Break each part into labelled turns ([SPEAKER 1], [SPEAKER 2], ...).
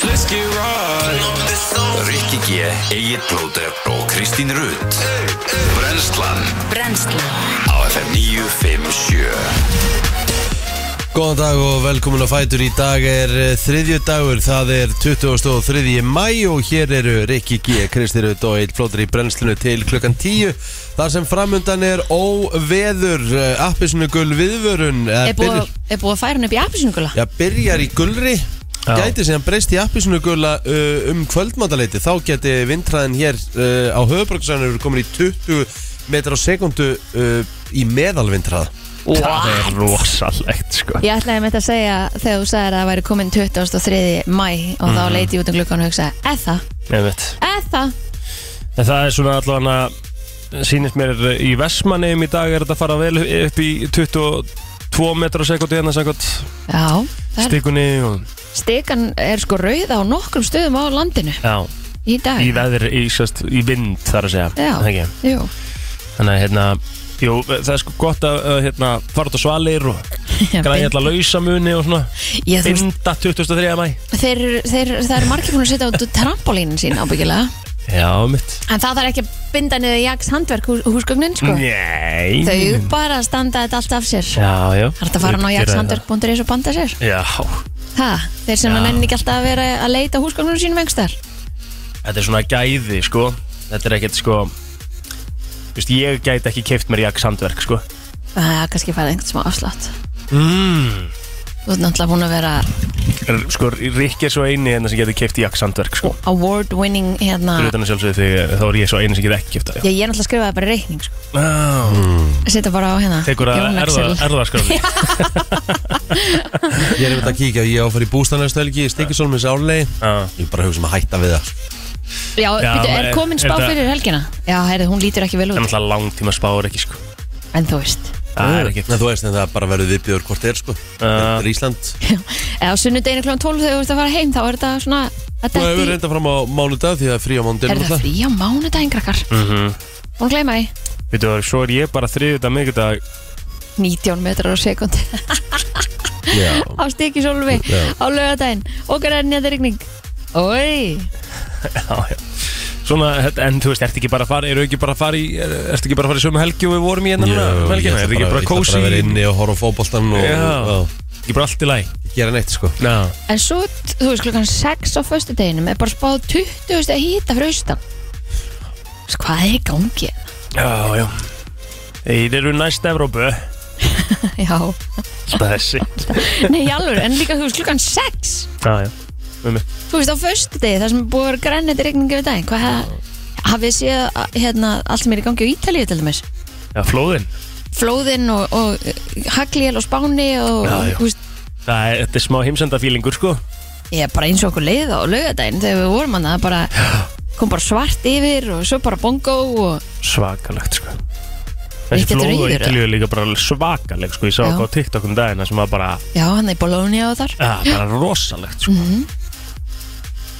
[SPEAKER 1] kannski ráð
[SPEAKER 2] Rikki G, Egil Blóter og Kristín Rutt Brenslan
[SPEAKER 3] Brennslan
[SPEAKER 2] á FM 957
[SPEAKER 4] Góðan dag og velkomin að fætur í dag er eh, þriðju dagur, það er 23. mæ og hér eru Rikki G, Kristirut og Eil Flóttur í brennslinu til klukkan 10 þar sem framundan er óveður, eh, appisnugul viðvörun eh,
[SPEAKER 3] Er búið
[SPEAKER 4] byrjar-
[SPEAKER 3] er búið að færa hann upp í appisungula?
[SPEAKER 4] Já, byrjar í gulri gæti sem breyst í appisnugula uh, um kvöldmataleiti, þá geti vindræðin hér uh, á höfuborgsæðinu komin í 20 metrar á sekundu uh, í meðalvindræð
[SPEAKER 5] Það er rosalegt sko
[SPEAKER 3] Ég ætlaði með þetta að segja þegar þú sagðir að það væri komin 23. mæ og þá
[SPEAKER 5] Mhm.
[SPEAKER 3] leiti ég út um glukkan og hugsaði eða það,
[SPEAKER 5] Einmitt.
[SPEAKER 3] eða það
[SPEAKER 5] En það er svona allavega sýnist mér í Vestmanneum í dag er þetta að fara vel upp í 22 metra sekundi hérna sekund
[SPEAKER 3] Já, það er,
[SPEAKER 5] stikunni og,
[SPEAKER 3] stikan er sko rauða á nokkrum stöðum á landinu
[SPEAKER 5] já,
[SPEAKER 3] í dag
[SPEAKER 5] í veðir, í, sest, í vind þar að segja
[SPEAKER 3] Já,
[SPEAKER 5] Það ekki?
[SPEAKER 3] jú
[SPEAKER 5] Þannig að hérna Jú, það er sko gott að uh, hérna, fara út á svalir og græði
[SPEAKER 3] Já,
[SPEAKER 5] alltaf lausamuni og svona
[SPEAKER 3] Ég, þú veist,
[SPEAKER 5] Binda 23. mæ
[SPEAKER 3] þeir, þeir, það eru margir búin að setja út trampolínin sín ábyggilega
[SPEAKER 5] Já, mitt
[SPEAKER 3] En það þarf ekki að binda niður jaks handverk hús, húsgögnin sko
[SPEAKER 5] Nei
[SPEAKER 3] Þau bara standa þetta allt af sér Það
[SPEAKER 5] Já, já
[SPEAKER 3] er þetta að fara ná
[SPEAKER 5] Gera
[SPEAKER 3] jaks
[SPEAKER 5] það.
[SPEAKER 3] handverk.is og banda sér
[SPEAKER 5] Já,
[SPEAKER 3] Ha, þeir sem
[SPEAKER 5] Já.
[SPEAKER 3] að nenni ekki alltaf að vera að leita húsgögnum sínum engstar
[SPEAKER 5] þetta er svona gæði sko þetta er ekkert sko Þú veist, ég gæti ekki keift mér jakk sandverk sko
[SPEAKER 3] Það er kannski færið einhvern smá afslátt
[SPEAKER 5] mm.
[SPEAKER 3] Þú ert náttúrulega búin að vera
[SPEAKER 5] sko, Rikki er svo eini hérna sem getur keift jakk sandverk sko
[SPEAKER 3] award winning hérna
[SPEAKER 5] fyrir utan að sjálfsögðu þig, þá er ég svo eini sem getur ekki keift það já.
[SPEAKER 3] Já, ég er náttúrulega að skrifa það bara í reikning sko.
[SPEAKER 5] mm.
[SPEAKER 3] Setta bara á hérna
[SPEAKER 5] tekur að
[SPEAKER 3] Jón
[SPEAKER 5] erða,
[SPEAKER 3] Axel.
[SPEAKER 5] erða sko
[SPEAKER 4] Ég er einmitt að kíkja, ég á að fara í bústan næstu helgi, Stikisólmis álei Ég er bara að hugsa um að hætta við það
[SPEAKER 3] Já,
[SPEAKER 5] Já,
[SPEAKER 3] býtu, er
[SPEAKER 5] er-
[SPEAKER 3] komin
[SPEAKER 5] er
[SPEAKER 3] spá
[SPEAKER 5] þetta-
[SPEAKER 3] fyrir helgina? Já, heyrðu, hún lítur ekki vel
[SPEAKER 5] það er
[SPEAKER 3] út
[SPEAKER 5] náttúrulega langtíma spáur ekki sko
[SPEAKER 3] En þú veist
[SPEAKER 5] það er ekkert
[SPEAKER 4] En þú veist, en það bara verður viðbjör hvort er sko Þetta er Ísland
[SPEAKER 3] Eða á sunnudeginu kl. 12 þegar þú ert að fara heim þá er þetta svona að
[SPEAKER 4] Þú hefur
[SPEAKER 3] detti
[SPEAKER 4] reynda fram á mánudag því að frí á
[SPEAKER 3] Er það
[SPEAKER 4] mánudaginn
[SPEAKER 3] frí á mánudaginn, krakkar?
[SPEAKER 5] Mhm.
[SPEAKER 3] Búin að gleyma því
[SPEAKER 5] Veitu, og svo er ég bara þriðið að miðgudag
[SPEAKER 3] 19 metrar á sekundi
[SPEAKER 4] Já,
[SPEAKER 3] á stikisólfi
[SPEAKER 4] Já.
[SPEAKER 3] á laugardaginn og er nýjandi rigning Oi,
[SPEAKER 5] Já, já. Svona, þetta- en þú veist, ertu ekki bara að fara, eru ekki bara að fara í, er- ertu ekki bara að fara í sömu helgi og við vorum í hérna núna um
[SPEAKER 4] ég
[SPEAKER 5] helgina,
[SPEAKER 4] ætla
[SPEAKER 5] ertu ekki bara
[SPEAKER 4] ég ætla
[SPEAKER 5] kósi,
[SPEAKER 4] að vera inni og horfa á fótboltan og,
[SPEAKER 5] Já.
[SPEAKER 4] og,
[SPEAKER 5] ekki bara allt í lagi?
[SPEAKER 4] og gera neitt sko
[SPEAKER 5] Já.
[SPEAKER 3] en svo, þú veist, klukkan 6 á föstudeginum er bara spáð 20 stið að hýta fyrir austan Þú veist, Hvað er í gangi?
[SPEAKER 5] Já, já Þeir eru næst Evrópu
[SPEAKER 3] Já,
[SPEAKER 5] Þessi
[SPEAKER 3] nei, í alveg, en líka, þú veist, klukkan 6
[SPEAKER 5] Já, já
[SPEAKER 3] Þú veist, á föstudegi, það sem er búið að vera grænandi rigning yfir daginn Hvað hafið þið séð, að, hérna, allt sem er í gangi á Ítalíu til dæmis?
[SPEAKER 5] Já, flóðin
[SPEAKER 3] Flóðin og, og hagljél og spáni og,
[SPEAKER 5] Já, já.
[SPEAKER 3] þú veist,
[SPEAKER 5] Það er, þetta er smá heimsendafílingur, sko
[SPEAKER 3] ég er bara eins og okkur leið á laugardaginn þegar við vorum hann að bara kom bara svart yfir og svo bara bongo og
[SPEAKER 5] Svakalegt, sko
[SPEAKER 3] Ekki
[SPEAKER 5] Þessi
[SPEAKER 3] þetta
[SPEAKER 5] flóðu
[SPEAKER 3] rauður,
[SPEAKER 5] í Ítalíu er líka bara svakaleg, sko Ég sá
[SPEAKER 3] Já.
[SPEAKER 5] okkur á TikTok um dagina sem var bara
[SPEAKER 3] já, hann er í Bologna og þar
[SPEAKER 5] Já, bara rosalegt, sko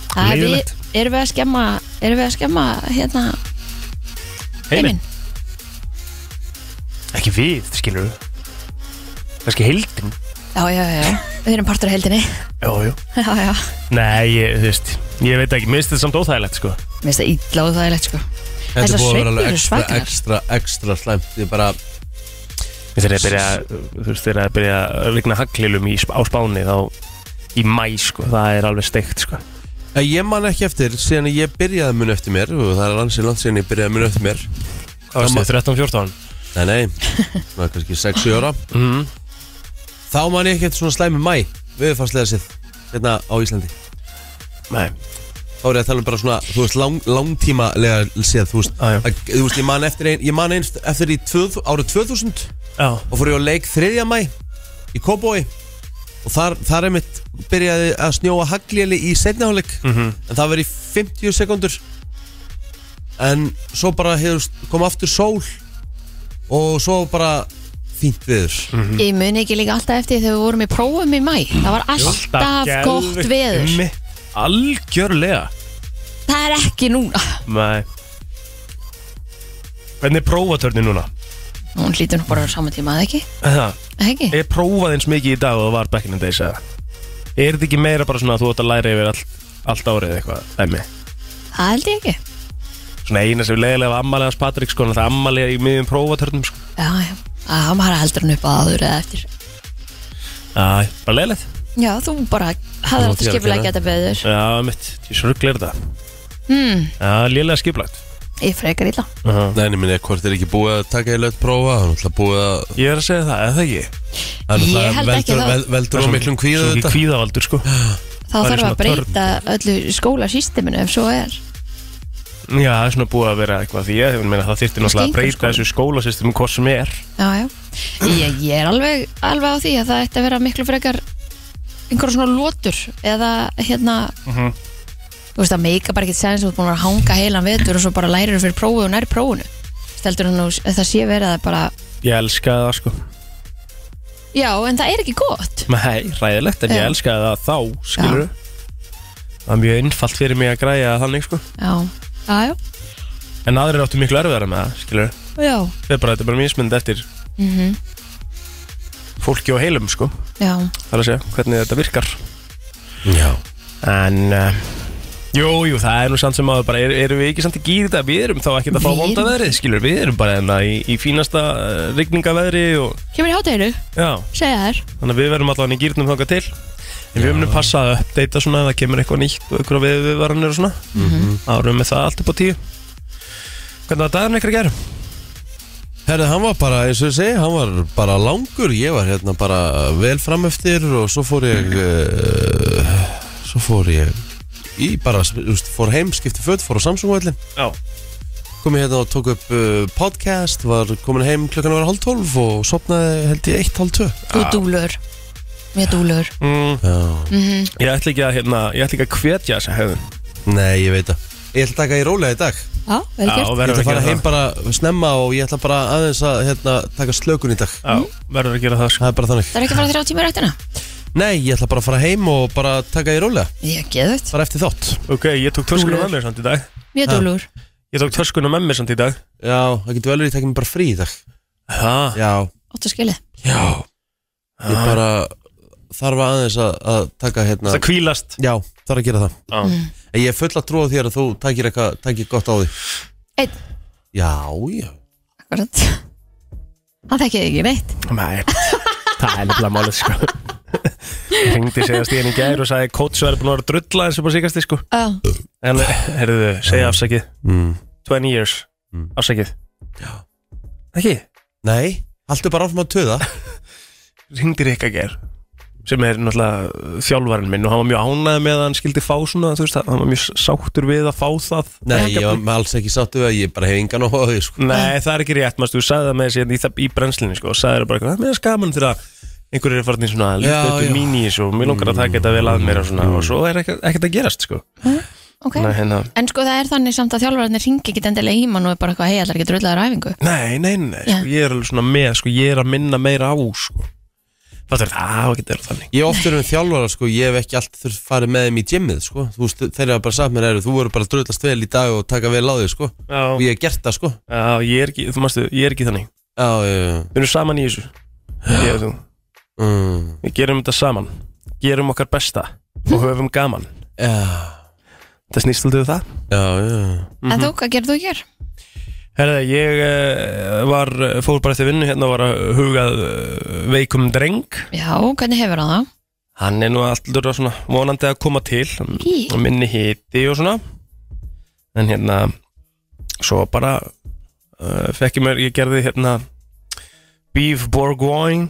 [SPEAKER 3] Það er við,
[SPEAKER 5] leiðinlegt.
[SPEAKER 3] erum við að skemma erum við að skemma hérna
[SPEAKER 5] Heiminn,
[SPEAKER 3] heiminn
[SPEAKER 5] ekki við, skilur við Kannski heildin
[SPEAKER 3] Já, já, já, já, við erum partur af heldinni
[SPEAKER 5] Já, já
[SPEAKER 3] Já, já,
[SPEAKER 5] Nei, ég, þú veist Ég veit ekki, minnst þetta samt óþægilegt, sko
[SPEAKER 3] mér finnst það ítla og það er leitt sko
[SPEAKER 4] Þetta
[SPEAKER 3] Þessar
[SPEAKER 4] er búið að vera
[SPEAKER 3] sveiflur
[SPEAKER 4] alveg
[SPEAKER 3] eru
[SPEAKER 4] ekstra,
[SPEAKER 3] svakalar.
[SPEAKER 4] ekstra, ekstra slæmt Ég bara,
[SPEAKER 5] Þeir eru að byrja, þú veist, þeir eru að byrja að rigna haglilum í, á Spáni þá í mæ, sko, það er alveg steikt, sko.
[SPEAKER 4] Eh, ég man ekki eftir síðan að ég byrjaði mun eftir mér og það er ansið langt síðan ég byrjaði mun eftir mér
[SPEAKER 5] Hvað
[SPEAKER 4] varstu,
[SPEAKER 5] 13-14?
[SPEAKER 4] Nei, nei, það er kannski 6-7 ára
[SPEAKER 5] Mm.
[SPEAKER 4] Þá man ég ekki eftir svona um slæmi mæ viðfarslega sið hérna á Íslandi
[SPEAKER 5] Nei.
[SPEAKER 4] þá er ég að tala um bara svona, þú veist, lang, langtímalega séð, þú veist,
[SPEAKER 5] Já, já.
[SPEAKER 4] að, þú veist ég man eftir ein, ég man einst eftir í tvöð, árið 2000
[SPEAKER 5] Já.
[SPEAKER 4] og fór ég á leik 3. mæ í Kóboi og þar, þar einmitt byrjaði að snjóa hagljeli í setniháleik mm
[SPEAKER 3] Mhm.
[SPEAKER 4] -hmm. en það var í 50 sekundur en svo bara hefur kom aftur sól og svo bara fínt viður
[SPEAKER 3] Ég muni ekki líka alltaf eftir þegar við vorum í prófum í mæ Það var alltaf gott veður
[SPEAKER 5] Algjörlega.
[SPEAKER 3] Það er ekki núna
[SPEAKER 5] Nei. Hvernig er prófatörni núna?
[SPEAKER 3] Hún hlýtur nú bara á saman tíma, eða ekki?
[SPEAKER 5] Það,
[SPEAKER 3] Eða ekki?
[SPEAKER 5] er prófað eins mikið í dag og það var back in the days, eða? Er þetta ekki meira bara svona að þú átt að læra yfir all, allt árið eitthvað dæmi.
[SPEAKER 3] Það held ég ekki
[SPEAKER 5] Svona eina sem leiðilega var ammalið hans Patrik sko, en það ammalið í miðjum prófatörnum sko.
[SPEAKER 3] Já, já, að hann bara heldur hann upp að áður eða eftir
[SPEAKER 5] Æ, bara leiðilegt.
[SPEAKER 3] Já, þú bara hafði
[SPEAKER 4] Nú
[SPEAKER 3] átt að
[SPEAKER 4] þér að
[SPEAKER 3] skipulega
[SPEAKER 4] gera.
[SPEAKER 3] geta beður
[SPEAKER 5] Já, mitt, ég sörgleir það.
[SPEAKER 3] mm,
[SPEAKER 5] Já, lélega skiplagt.
[SPEAKER 3] Ég frekar illa
[SPEAKER 5] Uh
[SPEAKER 4] Nei, en ég minni, hvort er ekki búið að taka í lögt prófa Það er náttúrulega búið að
[SPEAKER 5] Ég er að segja það, eða ekki.
[SPEAKER 4] það er
[SPEAKER 3] Ég
[SPEAKER 4] náttúrulega
[SPEAKER 3] held ekki
[SPEAKER 4] veldur,
[SPEAKER 3] það.
[SPEAKER 4] vel- veldur og miklum kvíðu
[SPEAKER 5] Svo ekki
[SPEAKER 4] þetta
[SPEAKER 5] kvíðavaldur sko.
[SPEAKER 3] Þá
[SPEAKER 5] Það er
[SPEAKER 3] þarf
[SPEAKER 5] svona
[SPEAKER 3] að breyta öllu skólasysteminu ef svo er
[SPEAKER 5] Já, það er svona búið að vera eitthvað því ég, ég meina, það þyrfti
[SPEAKER 3] Stingur sko.
[SPEAKER 5] náttúrulega að breyta
[SPEAKER 3] skóla.
[SPEAKER 5] þessu skólasystem hvað sem er.
[SPEAKER 3] Já, já Ég, ég er alveg, alveg á því að það ætti að vera miklu frekar einhverja svona lótur eða hérna
[SPEAKER 5] Mhm.
[SPEAKER 3] Þú veist, það meika bara ekki sens þú ert búin að vera að hanga heilan vetur og svo bara lærir þú fyrir prófið og nær prófinu Steldur hann að það sé verið að bara
[SPEAKER 5] Ég elskaði það sko.
[SPEAKER 3] Já, en það er ekki gott
[SPEAKER 5] Nei, ræðilegt, en ég
[SPEAKER 3] Já.
[SPEAKER 5] elskaði það þá, skilur Það er mjög einfalt fyrir mig að græja það þannig sko.
[SPEAKER 3] Já, já, já,
[SPEAKER 5] En aðrir áttu miklu erfiðar með það, skilur
[SPEAKER 3] já.
[SPEAKER 5] Það er bara, þetta er bara mismynd eftir
[SPEAKER 3] Mm
[SPEAKER 5] fólki og heilum sko.
[SPEAKER 3] já.
[SPEAKER 5] Það er að segja, hvernig þetta virkar
[SPEAKER 4] Já,
[SPEAKER 5] En uh, Jú, jú, það er nú samt sem að bara er, erum við ekki samt ekki í þetta, við erum þá ekkert að fá
[SPEAKER 3] Við
[SPEAKER 5] vonda
[SPEAKER 3] erum-
[SPEAKER 5] veðrið, skilur, við erum bara enna í, í fínasta uh, rigningaveðri og,
[SPEAKER 3] Kemur í hátæginu,
[SPEAKER 5] já,
[SPEAKER 3] segja þér
[SPEAKER 5] þannig að við verðum allavega í gýrnum þangað til en við munum passa að uppdata svona ef það kemur eitthvað nýtt og eitthvað við viðvaranir og svona þá erum við með það allt upp á tíu Hvernig var dagurinn ykkur að gera?
[SPEAKER 4] Herðu, hann var bara, eins og ég segi, hann var bara langur, ég var hérna bara vel framöftir og svo fór ég,
[SPEAKER 5] Mhm.
[SPEAKER 4] uh, svo fór ég í bara, þú veist, fór heim, skipti föt, fór á Samsung-völlin,
[SPEAKER 5] Já,
[SPEAKER 4] kom ég hérna og tók upp uh, podcast, var komin heim klukkan að vera hálf tólf og sopnaði held ég eitt hálf tvö.
[SPEAKER 3] Þú dúlur Mjög dúlur
[SPEAKER 5] Ah.
[SPEAKER 4] Já,
[SPEAKER 5] mm, ég ætla ekki að hérna, ég ætla ekki að hvetja þessa hefðun
[SPEAKER 4] nei, ég veit það. Ég ætla að taka í rólega í dag.
[SPEAKER 3] Já, vel
[SPEAKER 5] Já,
[SPEAKER 3] gert
[SPEAKER 4] Ég ætla
[SPEAKER 5] verður að
[SPEAKER 4] að
[SPEAKER 5] gera
[SPEAKER 4] fara heim
[SPEAKER 5] það
[SPEAKER 4] bara snemma og ég ætla bara aðeins að hérna, taka slökun í dag.
[SPEAKER 5] Já, verður að gera það sko.
[SPEAKER 4] Það er bara þannig.
[SPEAKER 3] Það er ekki að fara þrjá tíma í rættina
[SPEAKER 4] Nei, ég ætla bara að fara heim og bara taka í rólega,
[SPEAKER 3] Ég geðu þetta
[SPEAKER 4] bara eftir þátt.
[SPEAKER 5] Ok, ég tók töskuna með mér samt í dag
[SPEAKER 3] Mjög
[SPEAKER 4] Ha.
[SPEAKER 3] dúlur
[SPEAKER 5] Ég tók töskuna með mér samt í dag
[SPEAKER 4] Já, það getur vel verið að taka mig bara frí í dag
[SPEAKER 5] Það,
[SPEAKER 4] Já,
[SPEAKER 3] Óttu skilið
[SPEAKER 4] já Ég bara þarf aðeins að, að taka hérna
[SPEAKER 5] það kvílast
[SPEAKER 4] Já, þarf að gera það
[SPEAKER 5] Já.
[SPEAKER 4] En ég er full að trúa þér að þú takir eitthvað, takir gott á því
[SPEAKER 3] Einn.
[SPEAKER 4] Já, já
[SPEAKER 3] Akkurat Það þekkið ekki neitt
[SPEAKER 5] Nei, það er nefnilega málið sko Ringdi segast í henni gær og sagði Kóts verður búin að vera að drulla eins og bara síkast sko
[SPEAKER 3] Já,
[SPEAKER 5] En herruðu, segja afsakið
[SPEAKER 4] mm.
[SPEAKER 5] 20 years,
[SPEAKER 4] Mm.
[SPEAKER 5] afsakið Ekki,
[SPEAKER 4] Nei, haltu bara áfram að töða
[SPEAKER 5] ringdi Rikka gær sem er náttúrulega þjálfarinn minn og hann var mjög ánægð með að hann skildi fá svona þú veist, hann var mjög sáttur við að fá það
[SPEAKER 4] Nei, ég var alls ekki sáttu að ég bara hef engan á því sko.
[SPEAKER 5] Nei, það er ekki rétt, maður, þú sagði það með þessi í, það- í brennslinni, sko, og sagði það bara eitthvað, það er skaman þegar að einhverjir er farin í svona
[SPEAKER 4] Já,
[SPEAKER 5] lítið
[SPEAKER 4] já.
[SPEAKER 5] minis og mér langar að taka þetta vel að mér og svona, og svo er ekkert ekkert að gerast, sko.
[SPEAKER 3] ok
[SPEAKER 5] Mm. Nei, hérna,
[SPEAKER 3] En sko það er þannig samt að þjálfararnir ringi ekki endilega í mann og er bara eitthvað hei, allar ekki drullar æfingu
[SPEAKER 5] nei, nei, nei,
[SPEAKER 3] Já.
[SPEAKER 5] sko, ég er alveg svona með, sko, ég er að minna meira á, sko. Fattur, það á ekki að vera þannig.
[SPEAKER 4] Ég oftur um þjálfara, sko, ég hef ekki allt þurft farið með þeim í gymmið, sko Þú veist, þeir hafa bara sagt mér, eru, þú voru bara að dröðlast vel í dag og taka vel á því, sko Og
[SPEAKER 5] Já,
[SPEAKER 4] ég hef gert það, sko
[SPEAKER 5] já, ég er ekki, þú mástu, ég er ekki þannig.
[SPEAKER 4] Já, já, já
[SPEAKER 5] Við erum saman í þessu, ég og þú.
[SPEAKER 4] mm.
[SPEAKER 5] Við gerum þetta saman, gerum okkar besta og höfum gaman.
[SPEAKER 4] Já,
[SPEAKER 5] Það snýst aldrei um það.
[SPEAKER 4] já, já
[SPEAKER 5] Mhm.
[SPEAKER 3] En þú, hvað gerðu þú hér?
[SPEAKER 5] Herða, ég uh, var, fór bara eftir vinnu hérna og var að hugað uh, veikum dreng.
[SPEAKER 3] Já, hvernig hefur hann það?
[SPEAKER 5] Hann er nú alltaf svona vonandi að koma til
[SPEAKER 3] Í,
[SPEAKER 5] og minni hiti og svona. En hérna, svo bara uh, fekk ég mér, ég gerði hérna beef bourgoin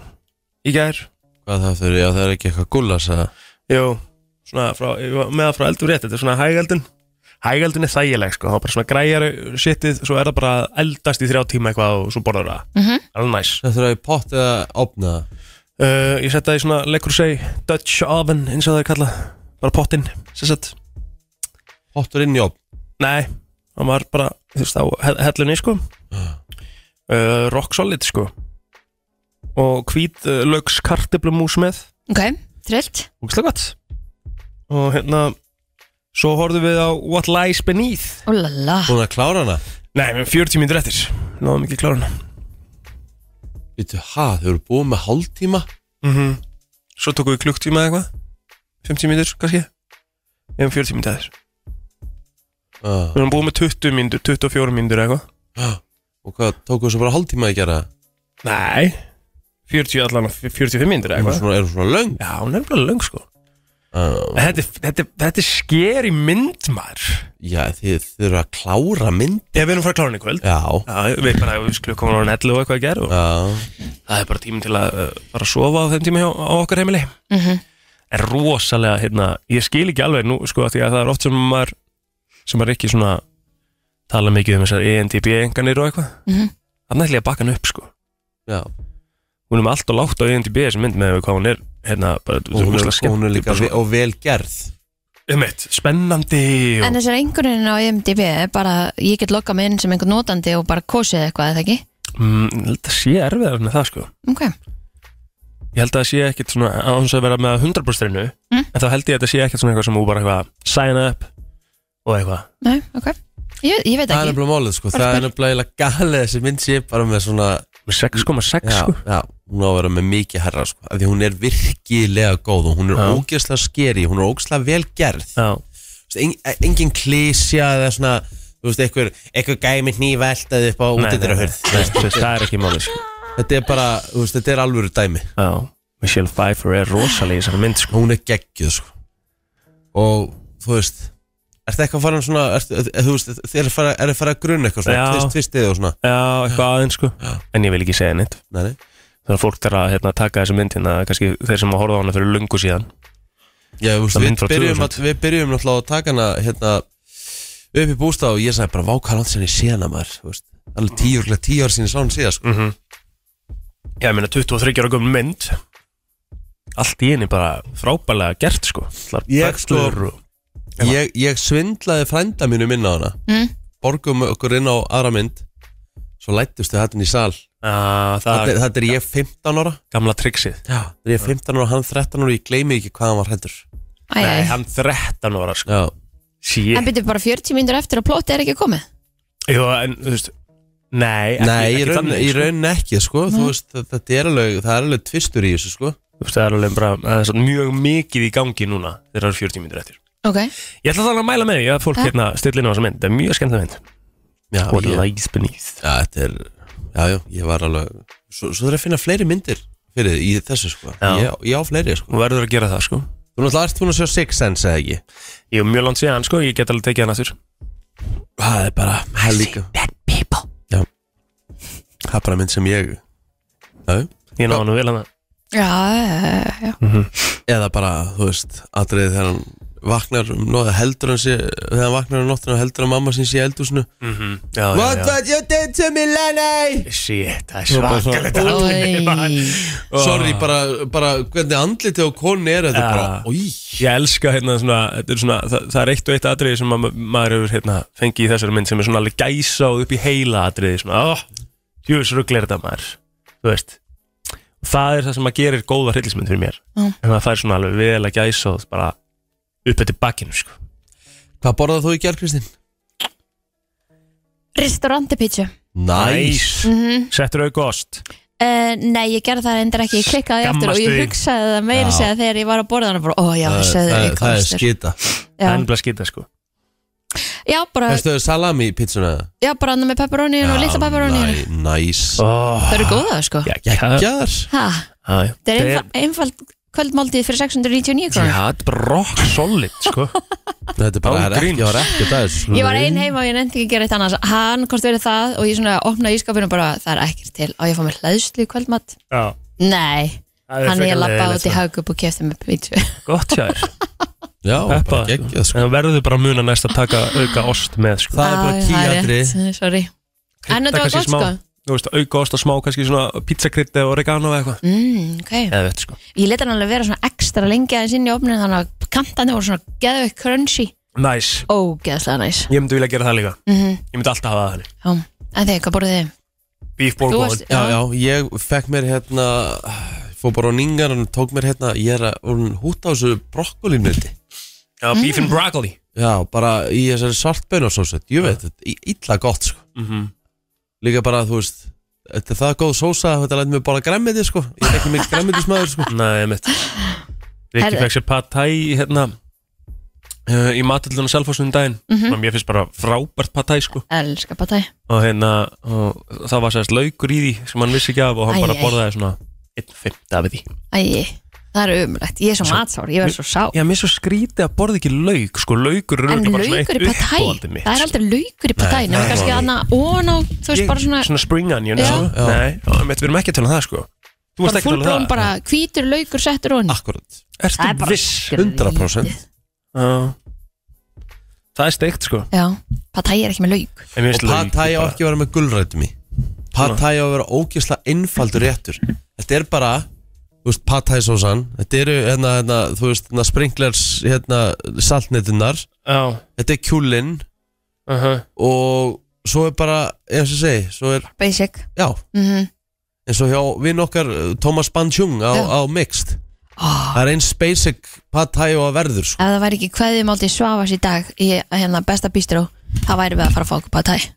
[SPEAKER 5] í gær.
[SPEAKER 4] Hvað það þurfi, já það er ekki eitthvað gullas að
[SPEAKER 5] Jú, svona frá, ég var með það frá eldur rétt, þetta er svona hægaldin. Hægaldin er þægileg sko, það er bara svona græjar shitið, svo er það bara að eldast í þrjá tíma eitthvað og svo borður það.
[SPEAKER 3] Mhm.
[SPEAKER 5] Alveg næs.
[SPEAKER 4] Það þurfi að pott eða opna það
[SPEAKER 5] Uh, ég setja það í svona leikur segi Dutch oven eins og það er kallað bara pottinn sem sett
[SPEAKER 4] Pottur inn í opn
[SPEAKER 5] nei, hann var bara þú veist á he- hellunni sko uh, rock solid sko og hvít uh, lögs kartiblumús með
[SPEAKER 3] ok, trillt
[SPEAKER 5] úkslega gott og hérna svo horfðum við á What Lies Beneath
[SPEAKER 3] Úlala,
[SPEAKER 4] Búin að klára hana
[SPEAKER 5] nei, við erum 40 mínútur eftir náðum ekki kláruna
[SPEAKER 4] Vítu, ha, þau eru búin með hálftíma
[SPEAKER 5] mm -hmm. svo tókum við klukktíma eða eitthvað 50 mínútur kannski við hefum 40 mínútur aðeins
[SPEAKER 4] Ah.
[SPEAKER 5] við erum búið með 20 mínútur, 24 mínútur eða eitthvað
[SPEAKER 4] Og hvað, tóku þessu bara hálftíma að gera?
[SPEAKER 5] nei 40 allan, 45 mínútur eða
[SPEAKER 4] Erum
[SPEAKER 5] eitthvað
[SPEAKER 4] svona, erum svona löng?
[SPEAKER 5] já, hún er nefnilega löng sko
[SPEAKER 4] Ah.
[SPEAKER 5] En þetta, er- þetta, er- þetta er skeri mynd maður
[SPEAKER 4] Já, þið þið eru að klára mynd
[SPEAKER 5] ef við erum frá klárin í kvöld
[SPEAKER 4] Já,
[SPEAKER 5] já, við bara, við skulum koma á netlu og eitthvað að gera og
[SPEAKER 4] já,
[SPEAKER 5] það er bara tíminn til að uh, fara að sofa á þeim tíma hjá, á okkar heimili
[SPEAKER 3] Mhm.
[SPEAKER 5] er rosalega, hérna, ég skil ekki alveg nú, sko, því að það er oft sem maður sem maður ekki svona tala mikið um þessar ENTB enganir og eitthvað
[SPEAKER 3] Mhm.
[SPEAKER 5] þannig ætla ég að bakka hann upp, sko
[SPEAKER 4] já
[SPEAKER 5] hún er með allt og lágt á E ENTB þessi mynd með hvað hún er, hérna, bara
[SPEAKER 4] Og hún er, og hún er líka ve og vel gerð
[SPEAKER 5] umeitt, spennandi og,
[SPEAKER 3] En þessar einhverjum á E IMDb er bara, ég get loggað mig inn sem einhvern notandi og bara kosið eitthvað, eða ekki?
[SPEAKER 5] mm, þetta sé erfiðar með það, sko
[SPEAKER 3] Ok,
[SPEAKER 5] ég held að það sé ekkit svona áns að vera með 100% reynu,
[SPEAKER 3] Mm.
[SPEAKER 5] en þá held ég að þetta sé ekkit svona eitthvað sem þú bara eitthvað sign up og eitthvað
[SPEAKER 3] nei, ok Ég, ég veit
[SPEAKER 4] Það er
[SPEAKER 3] ekki,
[SPEAKER 4] nefnilega málið sko, það er nefnilega eiginlega galið þessi mynd sé bara með svona
[SPEAKER 5] með 6,6
[SPEAKER 4] Já,
[SPEAKER 5] sko
[SPEAKER 4] já, hún á að vera með mikið herra sko, af því hún er virkilega góð og hún er
[SPEAKER 5] Já.
[SPEAKER 4] ógeðslega skeri, hún er ógeðslega vel gerð
[SPEAKER 5] Já,
[SPEAKER 4] Þú veist, en, engin klísja eða svona, þú veist, einhver, einhver gæmi nýveltað upp á
[SPEAKER 5] Nei, nei, nei,
[SPEAKER 4] útendurahörð
[SPEAKER 5] nei, þú veist, það er ekki máli sko.
[SPEAKER 4] Þetta er bara, þú veist, þetta er alvöru dæmi
[SPEAKER 5] Já, Michelle Pfeiffer er rosalega í þessari mynd sko.
[SPEAKER 4] hún er geggjuð sko. og þú veist ertu eitthvað að fara um svona ertu, er, þú veist, þið er að fara, er að fara að grunna eitthvað svona
[SPEAKER 5] Já.
[SPEAKER 4] tvist, tvistið og svona
[SPEAKER 5] Já, eitthvað aðeins sko. en ég vil ekki segja neitt
[SPEAKER 4] nei, nei.
[SPEAKER 5] þannig að fólk þarf að hérna, taka þessu mynd hérna, kannski þeir sem að horfa á hana fyrir lungu síðan
[SPEAKER 4] Já, þú veist,
[SPEAKER 5] Það er
[SPEAKER 4] við,
[SPEAKER 5] mynd frá
[SPEAKER 4] byrjum
[SPEAKER 5] 2000.
[SPEAKER 4] að, við byrjum náttúrulega að taka hana hérna, upp í bústað og ég sagði bara vákar hans henni síðan að maður þú veist, alveg tíu, örugglega tíu ár síðan sáum síðan sko.
[SPEAKER 5] Já, ég meina 23 ára gömul mynd allt í henni bara frábælega gert sko. Allar
[SPEAKER 4] Ég,
[SPEAKER 5] bræðslur
[SPEAKER 4] sko,
[SPEAKER 5] og...
[SPEAKER 4] ég, ég svindlaði frænda mínum inn á hana
[SPEAKER 3] Mm.
[SPEAKER 4] borgum okkur inn á aðra mynd svo lættust þau hættin í sal
[SPEAKER 5] Já, ah, það
[SPEAKER 4] þetta,
[SPEAKER 5] er
[SPEAKER 4] er- þetta er ég 15 ára
[SPEAKER 5] gamla triksið
[SPEAKER 4] Já, þetta er ég 15 ára, hann 13 ára og ég gleymi ekki hvað hann var hættur
[SPEAKER 3] æ,
[SPEAKER 5] Nei,
[SPEAKER 3] æ
[SPEAKER 5] hann 13 ára sko.
[SPEAKER 4] Já,
[SPEAKER 5] Sjé,
[SPEAKER 3] En byrju bara 40 mínútur eftir að plóti er ekki komið
[SPEAKER 5] jú, en þú veist Nei, ekki,
[SPEAKER 4] Nei,
[SPEAKER 5] ekki
[SPEAKER 4] í raun,
[SPEAKER 5] þannig,
[SPEAKER 4] í
[SPEAKER 5] sko.
[SPEAKER 4] raun ekki, sko Þú veist, þa- þetta er alveg, það er alveg tvistur í þessu, sko
[SPEAKER 5] Þú veist, það er alveg bara það er svo mjög mikið í gangi núna þegar það eru 40 mínútur eftir
[SPEAKER 3] Ok,
[SPEAKER 5] Ég ætla þannig að mæla með því að fólk
[SPEAKER 3] Ja.
[SPEAKER 5] hérna stillir inn á þessa mynd Það er mjög skemmtileg mynd
[SPEAKER 4] Já,
[SPEAKER 5] What
[SPEAKER 4] Sko, ég, já
[SPEAKER 5] lies beneath
[SPEAKER 4] þetta er, já, já, ég var alveg Svo, svo þarf að finna fleiri myndir fyrir því í þessu, sko
[SPEAKER 5] Já.
[SPEAKER 4] ég, ég á fleiri, sko
[SPEAKER 5] Hún verður að gera það sko
[SPEAKER 4] Þú náttúrulega ert búin að sjá Six Sense, eða ekki?
[SPEAKER 5] Ég er mjög langt síðan sko, ég get alveg tekið hann aftur
[SPEAKER 4] Það er bara, það er líka
[SPEAKER 3] bad people
[SPEAKER 4] Það er bara mynd sem ég Já, já.
[SPEAKER 5] Ég náði hann vel hann
[SPEAKER 3] Já, já, já, já
[SPEAKER 4] eða bara, þú veist, atriðið þegar hann vaknar um nóða heldur hann sé þegar hann vaknar um nóttina og heldur að mamma sín sé í eldhúsinu What
[SPEAKER 5] What?
[SPEAKER 4] what you did to me, Lenny?
[SPEAKER 5] Shit, það er
[SPEAKER 4] Nú bara svona-
[SPEAKER 5] svakalegt atriði, maður.
[SPEAKER 3] Oj.
[SPEAKER 4] Oh. Sorry, bara, bara hvernig andliti á konu er þetta
[SPEAKER 5] Ja.
[SPEAKER 4] bara Í,
[SPEAKER 5] Ég elska hérna svona, þetta er svona það, það er eitt og eitt atriði sem ma maður hefur hérna, fengið í þessari mynd sem er svona alveg gæsa og upp í heila atriði svona, oh, djúvis rugglir þetta maður þú veist það er það sem að gerir góða hryllismynd fyrir mér
[SPEAKER 3] Já.
[SPEAKER 5] en það fær svona alveg vel að gæsa og bara upp eftir bakkinu sko.
[SPEAKER 4] Hvað borðað þú í gerð, Kristín?
[SPEAKER 3] Restauranti pizza
[SPEAKER 4] Næs
[SPEAKER 3] mm
[SPEAKER 5] settur auðvitað ost
[SPEAKER 3] Eh, Nei, ég gerði það endur ekki, ég klikkaði
[SPEAKER 5] Skammast
[SPEAKER 3] aftur og ég
[SPEAKER 5] þín.
[SPEAKER 3] hugsaði það meira
[SPEAKER 4] Já.
[SPEAKER 3] segja þegar ég var að borða hana bara, ó já,
[SPEAKER 4] Það-
[SPEAKER 3] söður
[SPEAKER 4] það-
[SPEAKER 3] ekki
[SPEAKER 4] Það er skita
[SPEAKER 5] það
[SPEAKER 3] Já,
[SPEAKER 5] er nefnilega skita sko
[SPEAKER 3] já bara,
[SPEAKER 4] Erstu þau salami í pizzuna? eða?
[SPEAKER 3] já, bara annað með pepperoni og litla pepperoni
[SPEAKER 4] næ- Næs
[SPEAKER 5] oh,
[SPEAKER 3] Það eru góða, sko
[SPEAKER 5] já, já, já, já,
[SPEAKER 4] Gekkjar
[SPEAKER 3] Það
[SPEAKER 5] já.
[SPEAKER 3] er einfald, einfald kvöldmáltíð fyrir 699
[SPEAKER 5] Já,
[SPEAKER 3] krónir
[SPEAKER 5] þetta er bara rock solid sko.
[SPEAKER 4] Þetta er bara
[SPEAKER 5] Án
[SPEAKER 4] það er ekki,
[SPEAKER 5] gríns.
[SPEAKER 4] það er ekki það er
[SPEAKER 3] Ég var ein heima og ég nefndi ekki að gera eitt annars Hann hvort verið það og ég svona opnaði ískapinu og bara það er ekkert til og ég fá mér hlæðslu í kvöldmatt
[SPEAKER 5] Já,
[SPEAKER 3] Nei,
[SPEAKER 5] það
[SPEAKER 3] hann
[SPEAKER 5] er
[SPEAKER 3] ég
[SPEAKER 5] frekar
[SPEAKER 3] lappa
[SPEAKER 5] leiðilegt,
[SPEAKER 3] út í
[SPEAKER 5] sko.
[SPEAKER 3] haugup og kefti með pítsu
[SPEAKER 5] Gott hjá þér
[SPEAKER 4] Já, bara
[SPEAKER 5] Peppa,
[SPEAKER 4] geggjað
[SPEAKER 5] sko.
[SPEAKER 4] sko.
[SPEAKER 5] En það verður bara að muna næst að taka auka ost með sko.
[SPEAKER 4] Það er bara
[SPEAKER 3] Æ,
[SPEAKER 4] tíu
[SPEAKER 3] er
[SPEAKER 4] atri
[SPEAKER 3] rétt, eh, Sorry, en þetta var
[SPEAKER 5] kannski
[SPEAKER 3] gott
[SPEAKER 5] smá,
[SPEAKER 3] sko
[SPEAKER 5] Þú veist, auka ost og smá kannski svona pizzakrytti og oregano eða eitthvað
[SPEAKER 3] mm, okay.
[SPEAKER 5] Eða veit sko
[SPEAKER 3] Ég leta hann alveg vera svona ekstra lengi aðeins inn í opninu þannig að kantandi voru svona geðveik crunchy
[SPEAKER 5] Næs,
[SPEAKER 3] Ógeðslega næs
[SPEAKER 5] ég myndi vilja gera það líka
[SPEAKER 3] mm
[SPEAKER 5] Ég myndi alltaf hafa það þannig
[SPEAKER 3] Já, en þið, hvað borðið þið?
[SPEAKER 5] Beef
[SPEAKER 3] Þú
[SPEAKER 5] bourguignon
[SPEAKER 3] varst-
[SPEAKER 4] Já, já, ég fekk mér hérna Fór bara á ningar og tók mér hérna Ég er að húta á þessu brokkolínuti
[SPEAKER 5] Já, beef and broccoli
[SPEAKER 4] Já, bara í þessari saltbönnarsósu Ég veit, þetta er illa gott sko Líka bara, þú veist Þetta er það góð sósa, þetta læt mér bara græmmiti sko Ég er ekki mikið græmmitismæður sko
[SPEAKER 5] Nei, mitt Rikki
[SPEAKER 3] Mm. Herðu.
[SPEAKER 5] fekk sér pad thai hérna uh, í matillunum selfhásum daginn mm
[SPEAKER 3] Mhm.
[SPEAKER 5] -hmm. Mér finnst bara frábært patæ sko
[SPEAKER 3] Elskar patæ
[SPEAKER 5] og hérna og það var sérst laukur í því sem hann vissi ekki af og hann
[SPEAKER 3] Æ,
[SPEAKER 5] bara
[SPEAKER 3] æ.
[SPEAKER 5] borðaði svona einn fymta af því
[SPEAKER 3] Æ, það er umrætt Ég er svo matsár, ég verð svo sá
[SPEAKER 5] Já, mér er svo skrítið að borða ekki lauk sko, laukur er
[SPEAKER 3] En
[SPEAKER 5] örugglega bara svona
[SPEAKER 3] laukur
[SPEAKER 5] eitt
[SPEAKER 3] í patæ,
[SPEAKER 5] uppáhaldið mitt sko.
[SPEAKER 3] það er aldrei laukur í patæ Nefnir
[SPEAKER 5] það er
[SPEAKER 3] kannski
[SPEAKER 5] það.
[SPEAKER 3] aðna ón á, þú veist,
[SPEAKER 5] Ég-
[SPEAKER 3] bara svona
[SPEAKER 5] Svona spring onion
[SPEAKER 3] Já.
[SPEAKER 5] sko.
[SPEAKER 4] Já.
[SPEAKER 5] Nei, já, einmitt, við erum ekki að tala um það sko Þú varst
[SPEAKER 3] Bara
[SPEAKER 5] ekki að tala
[SPEAKER 3] fullblón,
[SPEAKER 5] um það Ah.
[SPEAKER 3] bara hvítur laukur settur onni
[SPEAKER 4] Akkurat
[SPEAKER 3] Það er
[SPEAKER 5] Ertu
[SPEAKER 3] bara
[SPEAKER 5] viss?
[SPEAKER 3] skrítið.
[SPEAKER 4] 100%.
[SPEAKER 5] Já. Það er steikt sko
[SPEAKER 3] Já, patæ er ekki með lauk
[SPEAKER 5] En
[SPEAKER 4] Og
[SPEAKER 5] mér finnst lauk
[SPEAKER 4] patæ á
[SPEAKER 5] bara-
[SPEAKER 4] ekki að vera með gulrætum í Patæ á að vera ógeðslega einfaldur réttur Þetta er bara Þú veist, patæ sósan Þetta eru, hérna, hérna, þú veist, hérna, sprinklers Hérna, saltnettinnar
[SPEAKER 5] Já,
[SPEAKER 4] Þetta er kjúlinn
[SPEAKER 5] uh
[SPEAKER 4] Og svo er bara, eins og segi Svo er,
[SPEAKER 3] Basic
[SPEAKER 4] já,
[SPEAKER 3] mm
[SPEAKER 4] eins og hjá vinn okkar uh, Thomas Banchung á,
[SPEAKER 3] Já.
[SPEAKER 4] á
[SPEAKER 3] Ah.
[SPEAKER 4] Mixed
[SPEAKER 3] Ó,
[SPEAKER 4] Það er eins basic patæ á að verður sko.
[SPEAKER 3] Ef það væri ekki kveðið málti svafas í dag í hérna besta bístró það væri við að fara að fá okkur patæ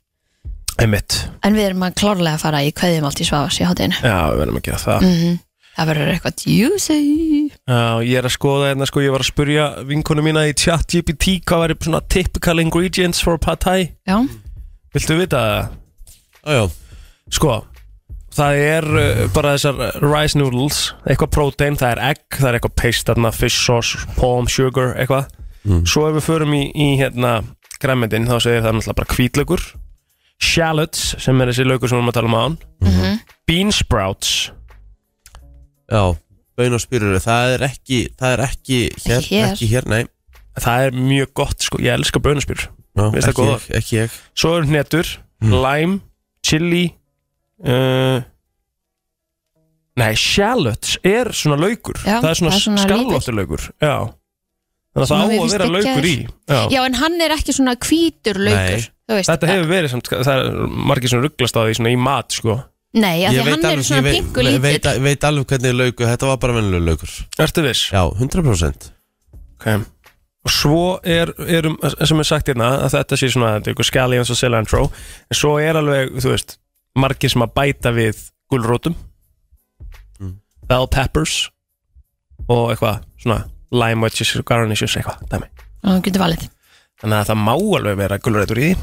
[SPEAKER 5] Einmitt
[SPEAKER 3] En við erum að klárlega að fara í kveðið málti svafas í hátinu
[SPEAKER 5] Já, við verðum að gera það
[SPEAKER 3] mm Það verður eitthvað juicy
[SPEAKER 5] Já, ég er að skoða hérna sko, ég var að spurja vinkonu mína í chat GPT hvað væri svona typical ingredients for pad thai
[SPEAKER 3] Já,
[SPEAKER 5] Viltu vita það?
[SPEAKER 4] Já, já,
[SPEAKER 5] Sko, það er uh, bara þessar uh, rice noodles, eitthvað protein, það er egg, það er eitthvað paste, þarna, fish sauce, palm sugar, eitthvað Svo ef við förum í, í hérna græmendin þá segir það náttúrulega bara hvítlaugur shallots, sem er þessi laugur sem við erum að tala um án bean sprouts
[SPEAKER 4] já Böin og spyrur, það er ekki Það er ekki hér,
[SPEAKER 3] Ekki hér.
[SPEAKER 4] ekki hér, nei
[SPEAKER 5] það er mjög gott, sko, ég elska bönuspyr
[SPEAKER 4] já,
[SPEAKER 5] Mér finnst það
[SPEAKER 4] ekki,
[SPEAKER 5] góðar.
[SPEAKER 4] ég, ekki ég
[SPEAKER 5] Svo eru hnetur, lime, chili uh, Nei, shallots er svona laukur
[SPEAKER 3] Já,
[SPEAKER 5] Það er svona,
[SPEAKER 3] það er svona
[SPEAKER 5] svona skarlóttu laukur Já Þannig að
[SPEAKER 3] Svona
[SPEAKER 5] það á
[SPEAKER 3] við
[SPEAKER 5] að vera
[SPEAKER 3] steikjaðir.
[SPEAKER 5] laukur í Já.
[SPEAKER 3] Já, en hann er ekki svona hvítur laukur
[SPEAKER 4] Nei.
[SPEAKER 3] þú veist.
[SPEAKER 5] Þetta hefur verið samt, það er margir sem rugglast á því svona í mat sko
[SPEAKER 3] Nei, af því
[SPEAKER 4] Ég veit
[SPEAKER 3] hann er
[SPEAKER 4] alveg-
[SPEAKER 3] svona
[SPEAKER 4] ég veit-
[SPEAKER 3] pingu
[SPEAKER 4] ég veit,
[SPEAKER 3] lítill
[SPEAKER 4] veit alveg hvernig laukur, þetta var bara vennilega laukur
[SPEAKER 5] Ertu viss?
[SPEAKER 4] Já, 100%
[SPEAKER 5] Okay. Og svo er, erum, sem er sagt hérna að þetta sé svona, þetta er ykkur skali eins og cilantro En svo er alveg, þú veist, margir sem að bæta við gulrótum
[SPEAKER 4] Mm.
[SPEAKER 5] bell peppers og eitthvað svona lime wedges og garnishes eitthvað dæmi.
[SPEAKER 3] Hann getur valið
[SPEAKER 5] þannig að það má alveg vera gulrætur í því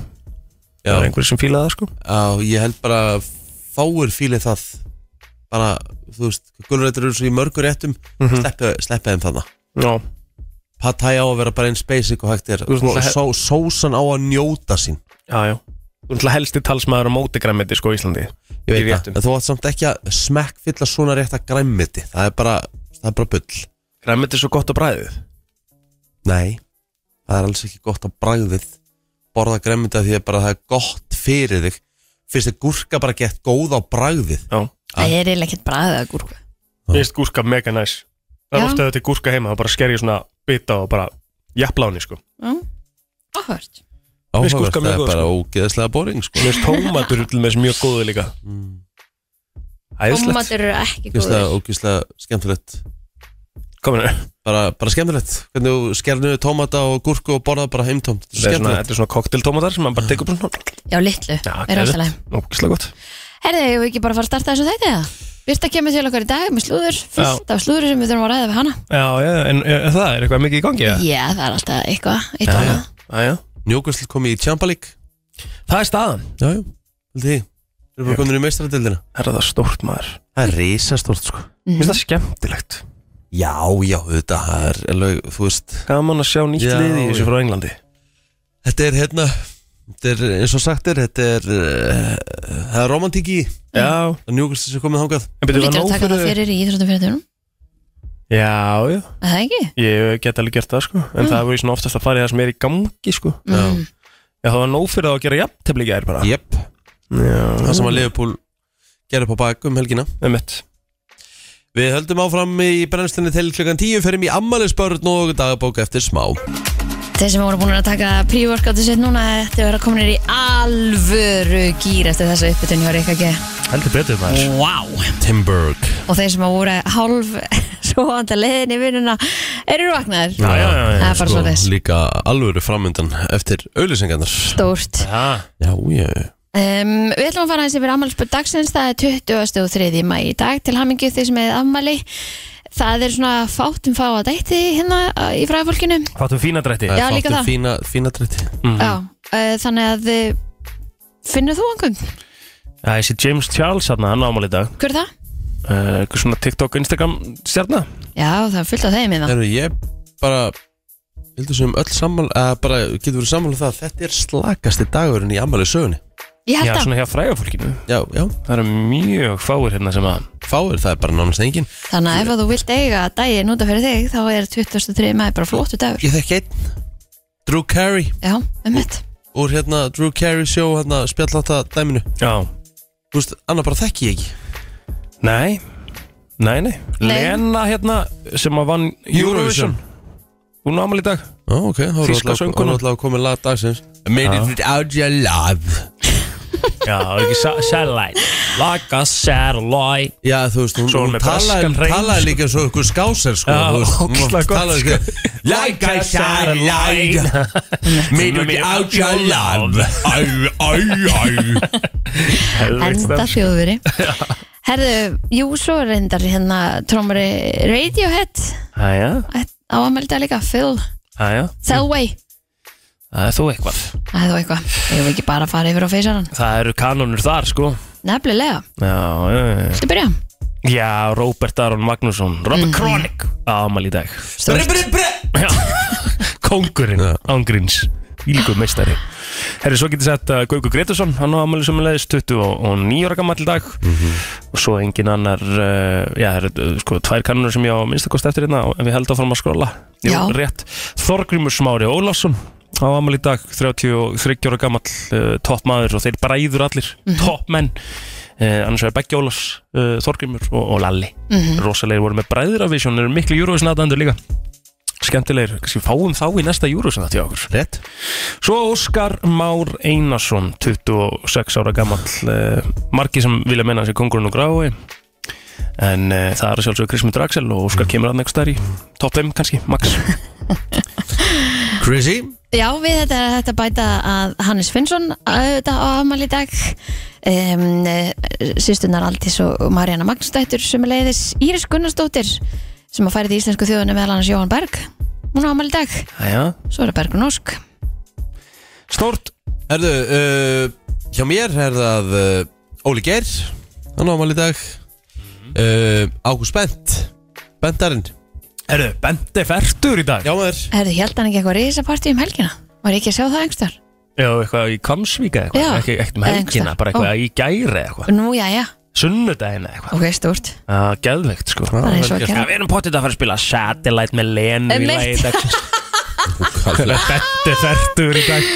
[SPEAKER 4] Já,
[SPEAKER 5] það er einhverjum sem fílaði það sko
[SPEAKER 4] já ég held bara að fáir fílið það Bara, þú veist, gulrættur eru svo í mörgur réttum mm
[SPEAKER 5] Mhm.
[SPEAKER 4] -hmm. Sleppið þeim þannig
[SPEAKER 5] Nó.
[SPEAKER 4] Patæ á að vera bara eins basic og hægt er
[SPEAKER 5] Þú veist,
[SPEAKER 4] Og
[SPEAKER 5] það-
[SPEAKER 4] só, Sósan á að njóta sín
[SPEAKER 5] já, já. þú ert helsti talsmaður á móti græmiti sko í Íslandi
[SPEAKER 4] Ég
[SPEAKER 5] Í
[SPEAKER 4] veit
[SPEAKER 5] réttum.
[SPEAKER 4] það, en þú átt samt ekki að smekkfylla svona rétta græmmiti Það er bara, það er bara bull
[SPEAKER 5] græmiti er svo gott á bræðið
[SPEAKER 4] Nei, það er alls ekki gott á bragðið Borða græmmiti af því að bara það er gott fyrir þig Fyrst er gúrka bara gett góð á bragðið
[SPEAKER 5] já.
[SPEAKER 3] Það er eiginlega ekkert bara aðeða gúrku
[SPEAKER 5] mér finnst gúrka mega næs það er
[SPEAKER 3] Já.
[SPEAKER 5] ofta þetta er gúrka heima það bara sker ég svona bita og bara jafnláni sko
[SPEAKER 3] Áhört
[SPEAKER 5] Mér finnst
[SPEAKER 4] Áhugavert,
[SPEAKER 5] gúrka
[SPEAKER 4] það
[SPEAKER 5] mjög
[SPEAKER 4] er
[SPEAKER 5] góð,
[SPEAKER 4] bara ógeðslega boring sko.
[SPEAKER 5] mér finnst tómatur til með mjög góðu líka æðislegt
[SPEAKER 3] Mm. Tómatur eru ekki
[SPEAKER 4] Ógeðslega,
[SPEAKER 3] góður
[SPEAKER 4] ógeðslega skemmtilegt
[SPEAKER 5] Kominu.
[SPEAKER 4] bara, bara skemmtilegt Hvernig þú skernuðu tómata og gúrku og borða bara heimtómt Þetta er
[SPEAKER 5] þetta er svona,
[SPEAKER 4] Skemmtilegt
[SPEAKER 5] þetta er svona kokteltómatar sem maður bara tekur bara svona
[SPEAKER 3] Já, litlu, er alltaf læm
[SPEAKER 5] ógislega gott
[SPEAKER 3] Herði, ég við ekki bara að fara að starta þessu þætti eða? Birta kemur til okkar í dag með slúður Fullt af slúður sem við þurfum að ræða við hana
[SPEAKER 5] Já, já, en er, það er eitthvað mikið í gangi eða?
[SPEAKER 3] Já, það er alltaf eitthvað Eitt og annað
[SPEAKER 5] Já, já.
[SPEAKER 4] Njókvæsl komið í Champa League
[SPEAKER 5] Það er staðan
[SPEAKER 4] Já, já, held ég Þeir eru bara komin í meistaradildina
[SPEAKER 5] Er það stórt maður? Mér
[SPEAKER 4] Það er risastórt sko
[SPEAKER 5] finnst það skemmtilegt
[SPEAKER 4] Já, já, þetta er alveg, þú veist
[SPEAKER 5] Gaman að sjá nýtt
[SPEAKER 4] Já,
[SPEAKER 5] lið í
[SPEAKER 4] já.
[SPEAKER 5] þessu frá Englandi
[SPEAKER 4] Þetta er hérna Þetta er eins og sagt er Þetta er uh, Það er romantík í Það
[SPEAKER 5] Já
[SPEAKER 4] er njókvæmst sem er komið þangað
[SPEAKER 5] En
[SPEAKER 3] Þú
[SPEAKER 5] byrjuðu
[SPEAKER 3] lítur að taka það fyrir í íþróttum fyrir þjónum
[SPEAKER 5] Já, já
[SPEAKER 3] Er það ekki?
[SPEAKER 5] Ég get alveg gert það sko En
[SPEAKER 3] Mm.
[SPEAKER 5] það hefur ég svona oftast að fara í það sem er í gangi sko
[SPEAKER 4] mm.
[SPEAKER 5] Já, það var nóg fyrir það að gera jafntefli í gær bara
[SPEAKER 4] Jep
[SPEAKER 5] Já,
[SPEAKER 4] Það sem að Leopold gerir upp á bak um helgina
[SPEAKER 5] með mitt
[SPEAKER 4] Við höldum áfram í brennslinni til klukkan 10 Ferum í ammælisbörn og dagbók eftir smá
[SPEAKER 3] Þeir sem voru búin að taka prívorkáttu sitt núna ættu að vera kominir í alvöru gýr eftir þessa uppbytun hjá Ríkka G.
[SPEAKER 5] Heldur betur maður
[SPEAKER 3] Wow.
[SPEAKER 4] Timberg
[SPEAKER 3] og þeir sem að voru hálf svoandi leiðin í vinnuna eru vaknaðir
[SPEAKER 5] Já, já, já,
[SPEAKER 3] það
[SPEAKER 5] já.
[SPEAKER 3] er bara svo þess
[SPEAKER 4] Sko, Líka alvöru framöndan eftir auðlýsingarnar
[SPEAKER 3] stórt
[SPEAKER 5] Já,
[SPEAKER 4] Já, ég
[SPEAKER 3] um, við ætlum að fara aðeins yfir afmælisbörn dagsins það er 23. mæ í dag til hamingi þeir sem hefði afmæli það er svona fátum fá að dætti hérna uh, í fræðafólkinu
[SPEAKER 5] Fattum fína drætti Mm.
[SPEAKER 3] Já, líka það.
[SPEAKER 4] um Fína, fína drætti
[SPEAKER 3] Já, uh, þannig að uh, finnur þú einhvern?
[SPEAKER 5] Það er sér James Charles hérna, hann ámál í dag
[SPEAKER 3] Hver er það?
[SPEAKER 5] uh, Eitthvað svona TikTok, Instagram stjarnar
[SPEAKER 3] Já, það er fullt af þeim hérna
[SPEAKER 4] Þegar ég bara Vildu sem öll sammál að bara getur verið sammála um það að Þetta er slakasti dagurinn í ammæli sögunni
[SPEAKER 3] Ég
[SPEAKER 5] Já,
[SPEAKER 3] held að,
[SPEAKER 5] svona hjá frægafólkinu
[SPEAKER 4] Já, já,
[SPEAKER 5] Það eru mjög fáir hérna sem að
[SPEAKER 4] fáir það er bara nánast engin
[SPEAKER 3] þannig að ef að þú vilt eiga daginn út af fyrir þig þá er 23. maður bara flottu dagur
[SPEAKER 4] Ég þekki einn Drew Carey
[SPEAKER 3] Já, um mitt
[SPEAKER 4] Úr hérna Drew Carey sjó hérna spjallata dæminu
[SPEAKER 5] Já,
[SPEAKER 4] Þú veist, annar bara þekki ég ekki
[SPEAKER 5] nei Nei, nei, Lena hérna sem að vann Eurovision Hún ámál í dag
[SPEAKER 4] Ó, ok, þá er
[SPEAKER 5] Þýska söngkonan.
[SPEAKER 4] alltaf komið lag dagsins Made
[SPEAKER 5] Já.
[SPEAKER 4] it out your love
[SPEAKER 5] Já, ekki sa- satellite Like a satellite
[SPEAKER 4] Já, þú veist, hún,
[SPEAKER 5] Svo
[SPEAKER 4] hún
[SPEAKER 5] með
[SPEAKER 4] talaði,
[SPEAKER 5] breskan hreim,
[SPEAKER 4] talaði líka svo ykkur skáser sko,
[SPEAKER 5] Já,
[SPEAKER 4] þú veist, hún
[SPEAKER 5] ógeðslega gott,
[SPEAKER 4] talaði
[SPEAKER 5] sko.
[SPEAKER 4] sko. Like I said, like Made it out your love Æ, æ, æ
[SPEAKER 3] Enda þjóðveri Herðu, jú, svo reyndar hérna trómari Radiohead
[SPEAKER 5] Æja,
[SPEAKER 3] á aðmelda líka, Phil
[SPEAKER 5] æja
[SPEAKER 3] Selway
[SPEAKER 5] Það er þú eitthvað
[SPEAKER 3] Það er þú eitthvað, ég vil ekki bara að fara yfir á feysaran
[SPEAKER 5] Það eru kanonur þar sko
[SPEAKER 3] Nefnilega,
[SPEAKER 5] Já, já, já, Mhm. já.
[SPEAKER 3] viltu byrja?
[SPEAKER 5] já Robert Aron Magnússon Robert Kronik Ámæl í dag
[SPEAKER 4] Bre, bre, bre
[SPEAKER 5] Já. Kóngurinn
[SPEAKER 4] Já.
[SPEAKER 5] Ángríns Ílíku meistari Herri, svo getur sett að Gauku Gretarsson Hann á ammæli sömulegis 29 ára gammal dag Og svo engin annar uh, Já, það eru uh, sko tvær kannunur sem ég á minnstakost eftir hérna En við held áfram að skrolla Jú,
[SPEAKER 3] Já.
[SPEAKER 5] rétt Þorgrymur Smári Ólafsson Á ammæli dag 33 ára gammal uh, Topp maður og þeir bræður allir mm Topp menn Uh, annars vegar Beggi Ólafs, uh, Þorgrymur og, og Lalli mm
[SPEAKER 3] Mhm.
[SPEAKER 5] -hmm. rosalegir voru með bræðravisjón eru miklu júruvísnatandur líka skemmtilegir, kannski fáum þá í næsta júruvísson þetta hjá okkur
[SPEAKER 4] Rett
[SPEAKER 5] Svo Óskar Már Einarsson 26 ára gammal uh, margi sem vilja menna sér kongurinn og grái en uh, það er að sjálfsögur Krismundur Axel og Óskar kemur að nægst þær í top 5 kannski, max
[SPEAKER 4] Chrissy
[SPEAKER 3] Já, við þetta er hægt að bæta að Hannes Finnsson auðvitað á afmæli í dag um, Sýstunar Aldís og Marjana Magnúsdættur sem er leiðis Íris Gunnarsdóttir sem að færið í Íslensku þjóðunum meðal annars Jóhann Berg Hún á afmæli í dag,
[SPEAKER 5] Æja,
[SPEAKER 3] svo er það Bergrun Ósk
[SPEAKER 5] stórt
[SPEAKER 4] Herðu, uh, hjá mér er það uh, Óli Geir Hann ámæli í dag uh, Ágúst Bent Bentarinn
[SPEAKER 5] Erðu, Bente Fertur í dag
[SPEAKER 4] Já maður
[SPEAKER 3] Herðu, held hann ekki eitthvað risapartí um helgina? Var ég ekki að sjá það einhver þar?
[SPEAKER 5] Já, eitthvað í Kamsvíka
[SPEAKER 3] Já.
[SPEAKER 5] eitthvað, ekki ekkert með
[SPEAKER 3] Eða
[SPEAKER 5] helgina,
[SPEAKER 3] einhvers
[SPEAKER 5] bara eitthvað í gæri eitthvað,
[SPEAKER 3] Nú, já, já,
[SPEAKER 5] sunnudagina eitthvað
[SPEAKER 3] ok, stúrt
[SPEAKER 5] Já, geðveikt sko
[SPEAKER 3] Bara eins og að
[SPEAKER 5] Já,
[SPEAKER 3] gera
[SPEAKER 5] við erum pottið að fara að spila Satellite með Lenu í lagi í dag Bente Fertur í dag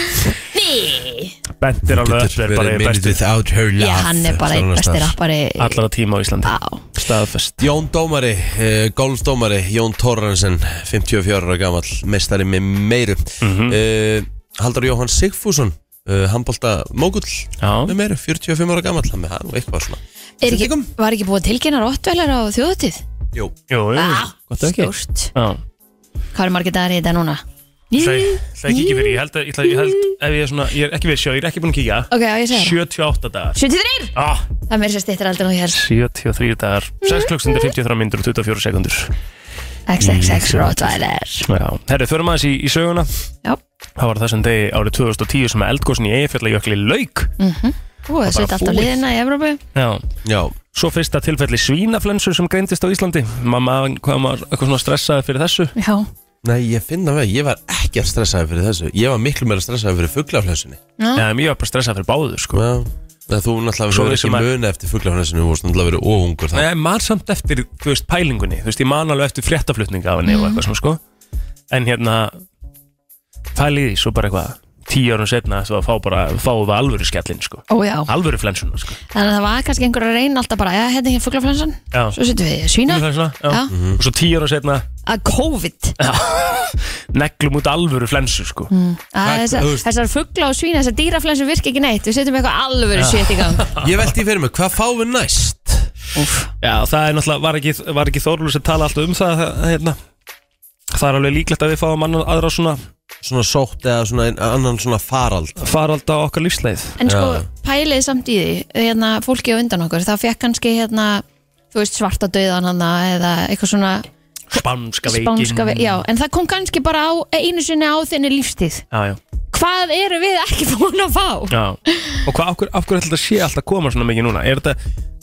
[SPEAKER 5] Bente er alveg öll er bara besti
[SPEAKER 4] without her love
[SPEAKER 3] Já, hann er bara einn besti rappari
[SPEAKER 5] allra tíma á Íslandi
[SPEAKER 3] Á,
[SPEAKER 5] Staðfest
[SPEAKER 4] Jón Dómari, uh, golfdómari Jón Torrensen, 54 ára gamall meistari með meiru mm
[SPEAKER 5] Mhm.
[SPEAKER 4] Haldur Jóhann Sigfússon uh, handbólta mógull
[SPEAKER 5] Já.
[SPEAKER 4] með meiru, 45 ára gamall hann með hann og eitthvað svona
[SPEAKER 3] er ekki, var ekki búið tilkynna rottvelar á þjóðutíð?
[SPEAKER 4] Jú,
[SPEAKER 5] Jú, jú, gott ekki
[SPEAKER 3] Stúrt
[SPEAKER 5] Já,
[SPEAKER 3] Ah, Hvað er margir dagar í þetta núna?
[SPEAKER 5] það það er ekki ekki fyrir Ég held að, ég ætla- ég held, ef ég er svona Ég er ekki fyrir sjá, ég er ekki búin að kíkja
[SPEAKER 3] Ok, já, ég segi
[SPEAKER 5] 78 dagar
[SPEAKER 3] það 73!
[SPEAKER 5] ah,
[SPEAKER 3] Það er mér sem stýttir aldrei nú hér
[SPEAKER 5] 73 dagar 6 klukkstundir, 53 myndur og 24 sekundur
[SPEAKER 3] XXX Rottweiler
[SPEAKER 5] Já, herri, förum aðeins í, í söguna
[SPEAKER 3] Já,
[SPEAKER 5] Það var þessum degi árið 2010 sem að eldgósin í Eyjafjallajökli lauk
[SPEAKER 3] þú er sitt alltaf
[SPEAKER 5] búið.
[SPEAKER 3] liðina í Evrópu
[SPEAKER 5] Já,
[SPEAKER 4] já,
[SPEAKER 5] Svo fyrsta tilfelli svínaflensu sem greindist á Íslandi Mamma, hvað maður eitthvað svona stressaði fyrir þessu
[SPEAKER 3] Já,
[SPEAKER 4] nei ég finna með ég var ekki að stressaði fyrir þessu ég var miklu meira stressaði fyrir fugglaflensunni
[SPEAKER 5] ja. um, Ég var bara stressaði fyrir báðu sko.
[SPEAKER 4] Já, það þú náttúrulega
[SPEAKER 5] Svo
[SPEAKER 4] verður
[SPEAKER 5] vissum
[SPEAKER 4] ekki
[SPEAKER 5] að-
[SPEAKER 4] muna eftir fugglaflensunni þú vorst náttúrulega verið óungur
[SPEAKER 5] Nei,
[SPEAKER 4] það
[SPEAKER 5] ég man samt eftir, þú veist, pælingunni Þú veist, ég man alveg eftir fréttaflutninga af henni og eitthvað svona sko En hérna, pælið því svo bara eitthvað Tíu árum setna þú að fá bara, fáum við alvöru skellin sko
[SPEAKER 3] ó já
[SPEAKER 5] Alvöru flensuna sko
[SPEAKER 3] Þannig að það var kannski einhver að reyna alltaf bara Já, hérna er fuglaflensan
[SPEAKER 5] Já,
[SPEAKER 3] Svo setjum við svína
[SPEAKER 5] flensuna, já.
[SPEAKER 3] Já,
[SPEAKER 5] Og svo tíu árum setna,
[SPEAKER 3] að COVID
[SPEAKER 5] neglum út alvöru flensu sko
[SPEAKER 3] Að þessar-
[SPEAKER 4] þú veist-
[SPEAKER 3] Þessar fugla og svína, þessar dýraflensu virka ekki neitt Við setjum eitthvað alvöru shit í gang
[SPEAKER 4] ég velti fyrir mig, hvað fáum við næst?
[SPEAKER 3] Úff.
[SPEAKER 5] Já, það er náttúrulega, var ekki, var ekki Þorlur sem tala alltaf um það, það hérna. Það er alveg líklegt að við fáum annan aðra svona
[SPEAKER 4] svona sótt eða svona ein- annan svona farald
[SPEAKER 5] farald á okkar lífsleið
[SPEAKER 3] En sko,
[SPEAKER 4] Já.
[SPEAKER 3] pælið samt í því hérna, Fólki á undan okkur, það fekk kannski hérna þú veist, svarta döðan hana eða eitthvað svona
[SPEAKER 5] Spánska veikin
[SPEAKER 3] spánska við, já, en það kom kannski bara á einu sinni á þinni lífstíð
[SPEAKER 5] Já, já,
[SPEAKER 3] Hvað eru við ekki búin að fá?
[SPEAKER 5] já Og hvað, af hverju af hverju ætla þetta sé alltaf að koma svona mikið núna? Er þetta,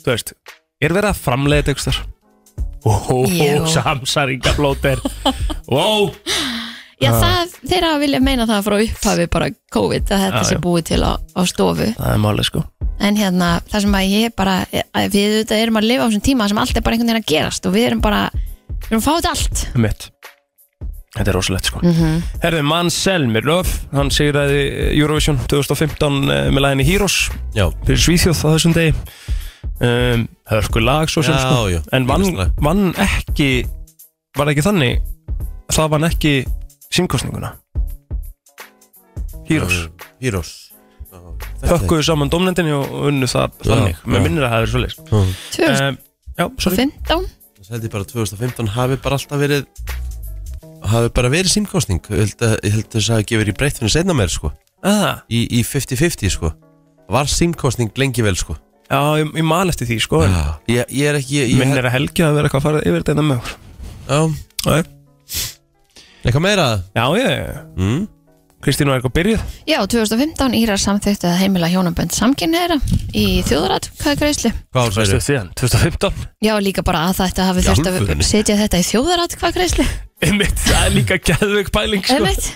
[SPEAKER 5] þú veist, er verið að framleiða þetta ykkur
[SPEAKER 3] Jú.
[SPEAKER 5] Ó, samsaringablóter Ó,
[SPEAKER 3] Já, það, þeirra vilja meina það frá upphafi bara COVID að þetta
[SPEAKER 5] Já,
[SPEAKER 3] sé
[SPEAKER 5] já.
[SPEAKER 3] búið til á, á stofu
[SPEAKER 5] það er málið sko
[SPEAKER 3] en hérna, það sem að ég bara að við auðvitað erum að lifa á þessum tíma sem allt er bara einhvern veginn að gerast og við erum bara við erum að fá þetta allt
[SPEAKER 5] mitt Þetta er rosalegt sko
[SPEAKER 3] Mm.
[SPEAKER 5] Herðu, Mann Selmiröf, hann sigraði Eurovision 2015 eh, með læginni Heroes
[SPEAKER 4] Já,
[SPEAKER 5] fyrir Svíþjóð á þessum degi um, Hörku lag svo sem
[SPEAKER 4] Já,
[SPEAKER 5] sko
[SPEAKER 4] já,
[SPEAKER 5] En vann,
[SPEAKER 4] ímislegt.
[SPEAKER 5] vann ekki Var það ekki þannig Það vann ekki símkostninguna Heroes
[SPEAKER 4] Ehm, Heroes
[SPEAKER 5] Hökkuðu saman domnendinni og og unnu það þannig
[SPEAKER 4] já.
[SPEAKER 5] Mér minnir að það hefur svo leys
[SPEAKER 3] 2015
[SPEAKER 5] um, Já, sorry
[SPEAKER 4] Það held ég bara að 2015 hafi bara alltaf verið hafi bara verið símkostning ég held að, ég held að þess að hafi gefur í breytt fyrir seinna meir sko
[SPEAKER 5] ah,
[SPEAKER 4] í í 50-50 sko var símkostning lengi vel sko
[SPEAKER 5] Já, ég, ég man eftir því sko en
[SPEAKER 4] ég, ég er ekki ég, ég,
[SPEAKER 5] Minnir að helgi að vera eitthvað að fara yfir þetta með okkur
[SPEAKER 4] Já,
[SPEAKER 5] Já,
[SPEAKER 4] eitthvað meira
[SPEAKER 5] Já, ég
[SPEAKER 4] mm?
[SPEAKER 5] Kristín var eitthvað byrjuð
[SPEAKER 3] Já, 2015 Írar samþyktu að heimila hjónabönd samkynneira í þjóðarat, hvað er greiðslu?
[SPEAKER 4] Hvað ár
[SPEAKER 5] Veistu
[SPEAKER 4] segirðu?
[SPEAKER 5] síðan, 2015
[SPEAKER 3] Já, líka bara að þetta hafi þurft að
[SPEAKER 4] alvörunni?
[SPEAKER 3] setja þetta í þjóðarat, hvað er greiðslu?
[SPEAKER 5] Einmitt, það er líka gæðveik pæling sko.
[SPEAKER 3] Einmitt,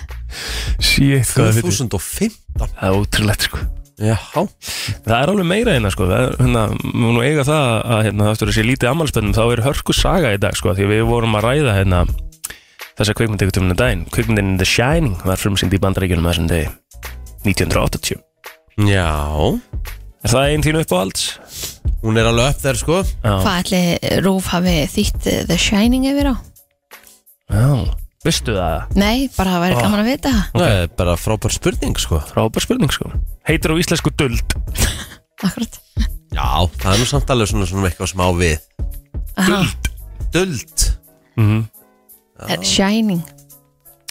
[SPEAKER 5] Shit, hvað er fyrir
[SPEAKER 4] 2015
[SPEAKER 5] Það er ótrúlegt sko
[SPEAKER 4] Já,
[SPEAKER 5] Það er alveg meira hérna sko Það er, hérna, Má nú eiga það að hérna, eftir þessi lítið ammálspennum þá er hörku saga í dag sko því við vorum að ræða hérna þessa kvikmyndi ykkur tumna daginn Kvikmyndin The Shining var frumsýnd í bandaríkjunum þessum degi 1980
[SPEAKER 4] já
[SPEAKER 5] Er það einn þínu uppáhalds?
[SPEAKER 4] Hún er alveg upp þær sko
[SPEAKER 5] Já,
[SPEAKER 3] hvað ætli Rúf hafi þýtt eh, The Shining yfir á?
[SPEAKER 5] já Vistu það?
[SPEAKER 3] Nei, bara væri gaman að vita það.
[SPEAKER 4] Það er bara frábær spurning sko
[SPEAKER 5] Frábær spurning sko Heitir á íslensku duld
[SPEAKER 3] Akkurat
[SPEAKER 4] Já, það er nú samt alveg svona, svona eitthvað smá við
[SPEAKER 3] Aha,
[SPEAKER 4] Duld
[SPEAKER 3] The Shining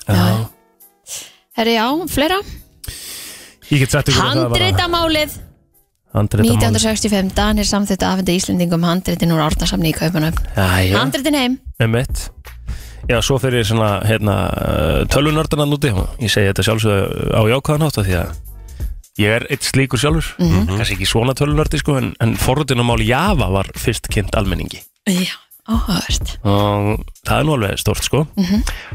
[SPEAKER 5] Já
[SPEAKER 3] Herri, já, fleira
[SPEAKER 5] Ég get sagt ykkur að það var að-
[SPEAKER 3] Handritamálið
[SPEAKER 5] Handritamál.
[SPEAKER 3] 1965, Danir samþýttu afhendu Íslendingum handritin úr árnarsafni í Kaupanöfn
[SPEAKER 5] Jæja.
[SPEAKER 3] Handritin heim
[SPEAKER 5] Emmett Já, svo fyrir svona, hérna, uh, tölvunördunan úti og ég segi þetta sjálfsögðu á jákvæðan hátt af því að ég er eitt slíkur sjálfur Mm-hmm. kannski ekki svona tölvunördi sko en, en forrutunamál Java var fyrst kynnt almenningi
[SPEAKER 3] Já, áhugavert
[SPEAKER 5] og það er nú alveg stort sko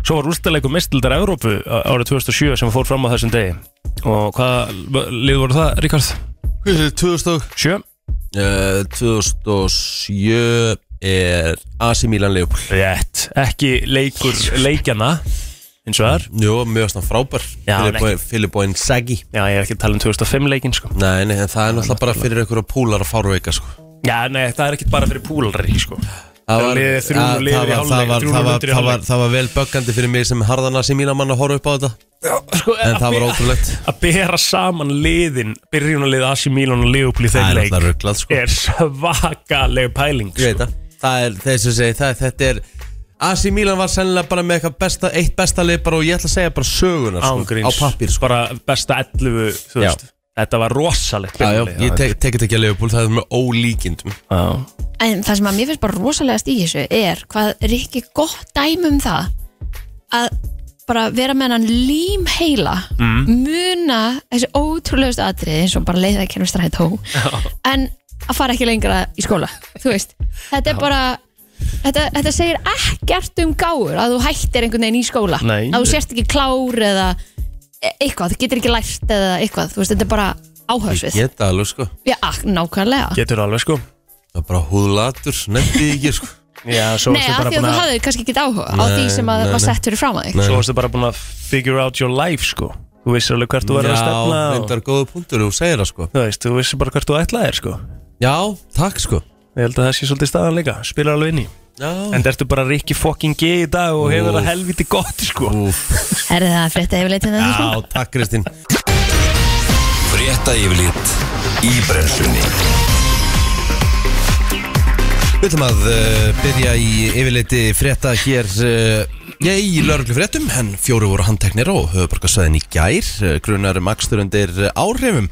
[SPEAKER 5] Svo var úrstæleikum mistildar Evrópu á- árið 2007 sem fór fram á þessum degi og hvaða lið voru það, Ríkard?
[SPEAKER 4] Hvað er 2000 og
[SPEAKER 5] Sjö?
[SPEAKER 4] Uh, 2007 er AC Milan Leopold
[SPEAKER 5] Rétt, ekki leikur leikjana eins og þar
[SPEAKER 4] Jó, mjög svona frábær
[SPEAKER 5] Já, en
[SPEAKER 4] Filip- Filip og Inzaghi
[SPEAKER 5] Já, ég er ekki að tala um 2005 leikin sko
[SPEAKER 4] Nei, nei, en það er náttúrulega bara fyrir einhverja púlar að fáruveika sko.
[SPEAKER 5] Já, nei, það er ekkert bara fyrir púlari, sko Það var liðið þrjú
[SPEAKER 4] að-
[SPEAKER 5] liðið
[SPEAKER 4] það
[SPEAKER 5] í
[SPEAKER 4] var-
[SPEAKER 5] hálfleik,
[SPEAKER 4] það var-
[SPEAKER 5] þrjú
[SPEAKER 4] það var-
[SPEAKER 5] mínútur í
[SPEAKER 4] það var-
[SPEAKER 5] hálfleik.
[SPEAKER 4] Það var vel böggandi fyrir mig sem harðan AC Milan mann að horfa upp á þetta
[SPEAKER 5] sko,
[SPEAKER 4] En það var ótrúlegt
[SPEAKER 5] Að bera saman liðin, byrjunarlið AC Milan og Leopold í
[SPEAKER 4] Það
[SPEAKER 5] þeim
[SPEAKER 4] er
[SPEAKER 5] leik
[SPEAKER 4] náttúrulega rugglað, sko.
[SPEAKER 5] Er svakaleg pæling
[SPEAKER 4] Ég
[SPEAKER 5] sko.
[SPEAKER 4] veit það Það er þeir sem segi það, þetta er AC Milan var sennilega bara með eitthvað besta, eitt besta lið bara og ég ætla að segja bara sögunar sko, á
[SPEAKER 5] Ángríns,
[SPEAKER 4] pappir sko.
[SPEAKER 5] bara besta 11 þú
[SPEAKER 4] Já.
[SPEAKER 5] veist, Þetta var rosalegt
[SPEAKER 4] Já, já,
[SPEAKER 5] byrjunarlið,
[SPEAKER 4] ég tek, tekið ekki að Leopold, það er með ólíkindum
[SPEAKER 5] Já.
[SPEAKER 3] En það sem að mér finnst bara rosalegast í þessu er hvað er ekki gott dæmi um það að bara vera með hann lím heila
[SPEAKER 4] Mm.
[SPEAKER 3] muna þessi ótrúlegustu atriði eins og bara leiða að kerfi strætó en að fara ekki lengra í skóla þú veist, þetta er bara þetta, þetta segir ekkert um gáur að þú hættir einhvern veginn í skóla
[SPEAKER 5] Nei.
[SPEAKER 3] að þú sért ekki klár eða e- eitthvað, þú getur ekki lært eða eitthvað, þú veist, þetta er bara
[SPEAKER 4] Ég
[SPEAKER 3] áhersfið,
[SPEAKER 4] get það alveg sko
[SPEAKER 3] já, ak- nákvæmlega
[SPEAKER 5] Getur alveg sko
[SPEAKER 4] Það er bara húðlatur, nefndi ég ekki sko
[SPEAKER 5] Já, svo
[SPEAKER 3] Nei,
[SPEAKER 5] ertu
[SPEAKER 3] af
[SPEAKER 5] bara
[SPEAKER 3] því að
[SPEAKER 5] búin
[SPEAKER 3] þú
[SPEAKER 5] að
[SPEAKER 3] hafði kannski ekki áhuga á því sem að
[SPEAKER 4] nei,
[SPEAKER 3] var
[SPEAKER 4] nei.
[SPEAKER 3] sett fyrir fram að þig
[SPEAKER 5] Svo varstu bara búin að figure out your life sko Þú vissir alveg hvert þú verður að
[SPEAKER 4] Já,
[SPEAKER 5] stefna og,
[SPEAKER 4] reyndar góða punktur, þú segir það sko
[SPEAKER 5] Þú veist, þú vissir bara hvert þú ætlaðir sko
[SPEAKER 4] Já, takk sko
[SPEAKER 5] Ég held að það sé svolítið staðan líka, spilar alveg inn í
[SPEAKER 4] Já,
[SPEAKER 5] En það ertu bara Rikki fucking G í dag og hefur það
[SPEAKER 4] Úff.
[SPEAKER 5] helviti gott sko
[SPEAKER 4] Úf,
[SPEAKER 3] Er það að frétta yfirleitt hérna því?
[SPEAKER 4] já takk Kristín
[SPEAKER 2] Frétta yfirlit í brennslunni
[SPEAKER 4] Við ætlum að uh, byrja í yfirleiti frétta hér uh, Já, í lörglu fréttum eh, En fjóru voru handteknir á höfuborgarsvæðin í gær uh, Grunar um akstur undir eh, áhrifum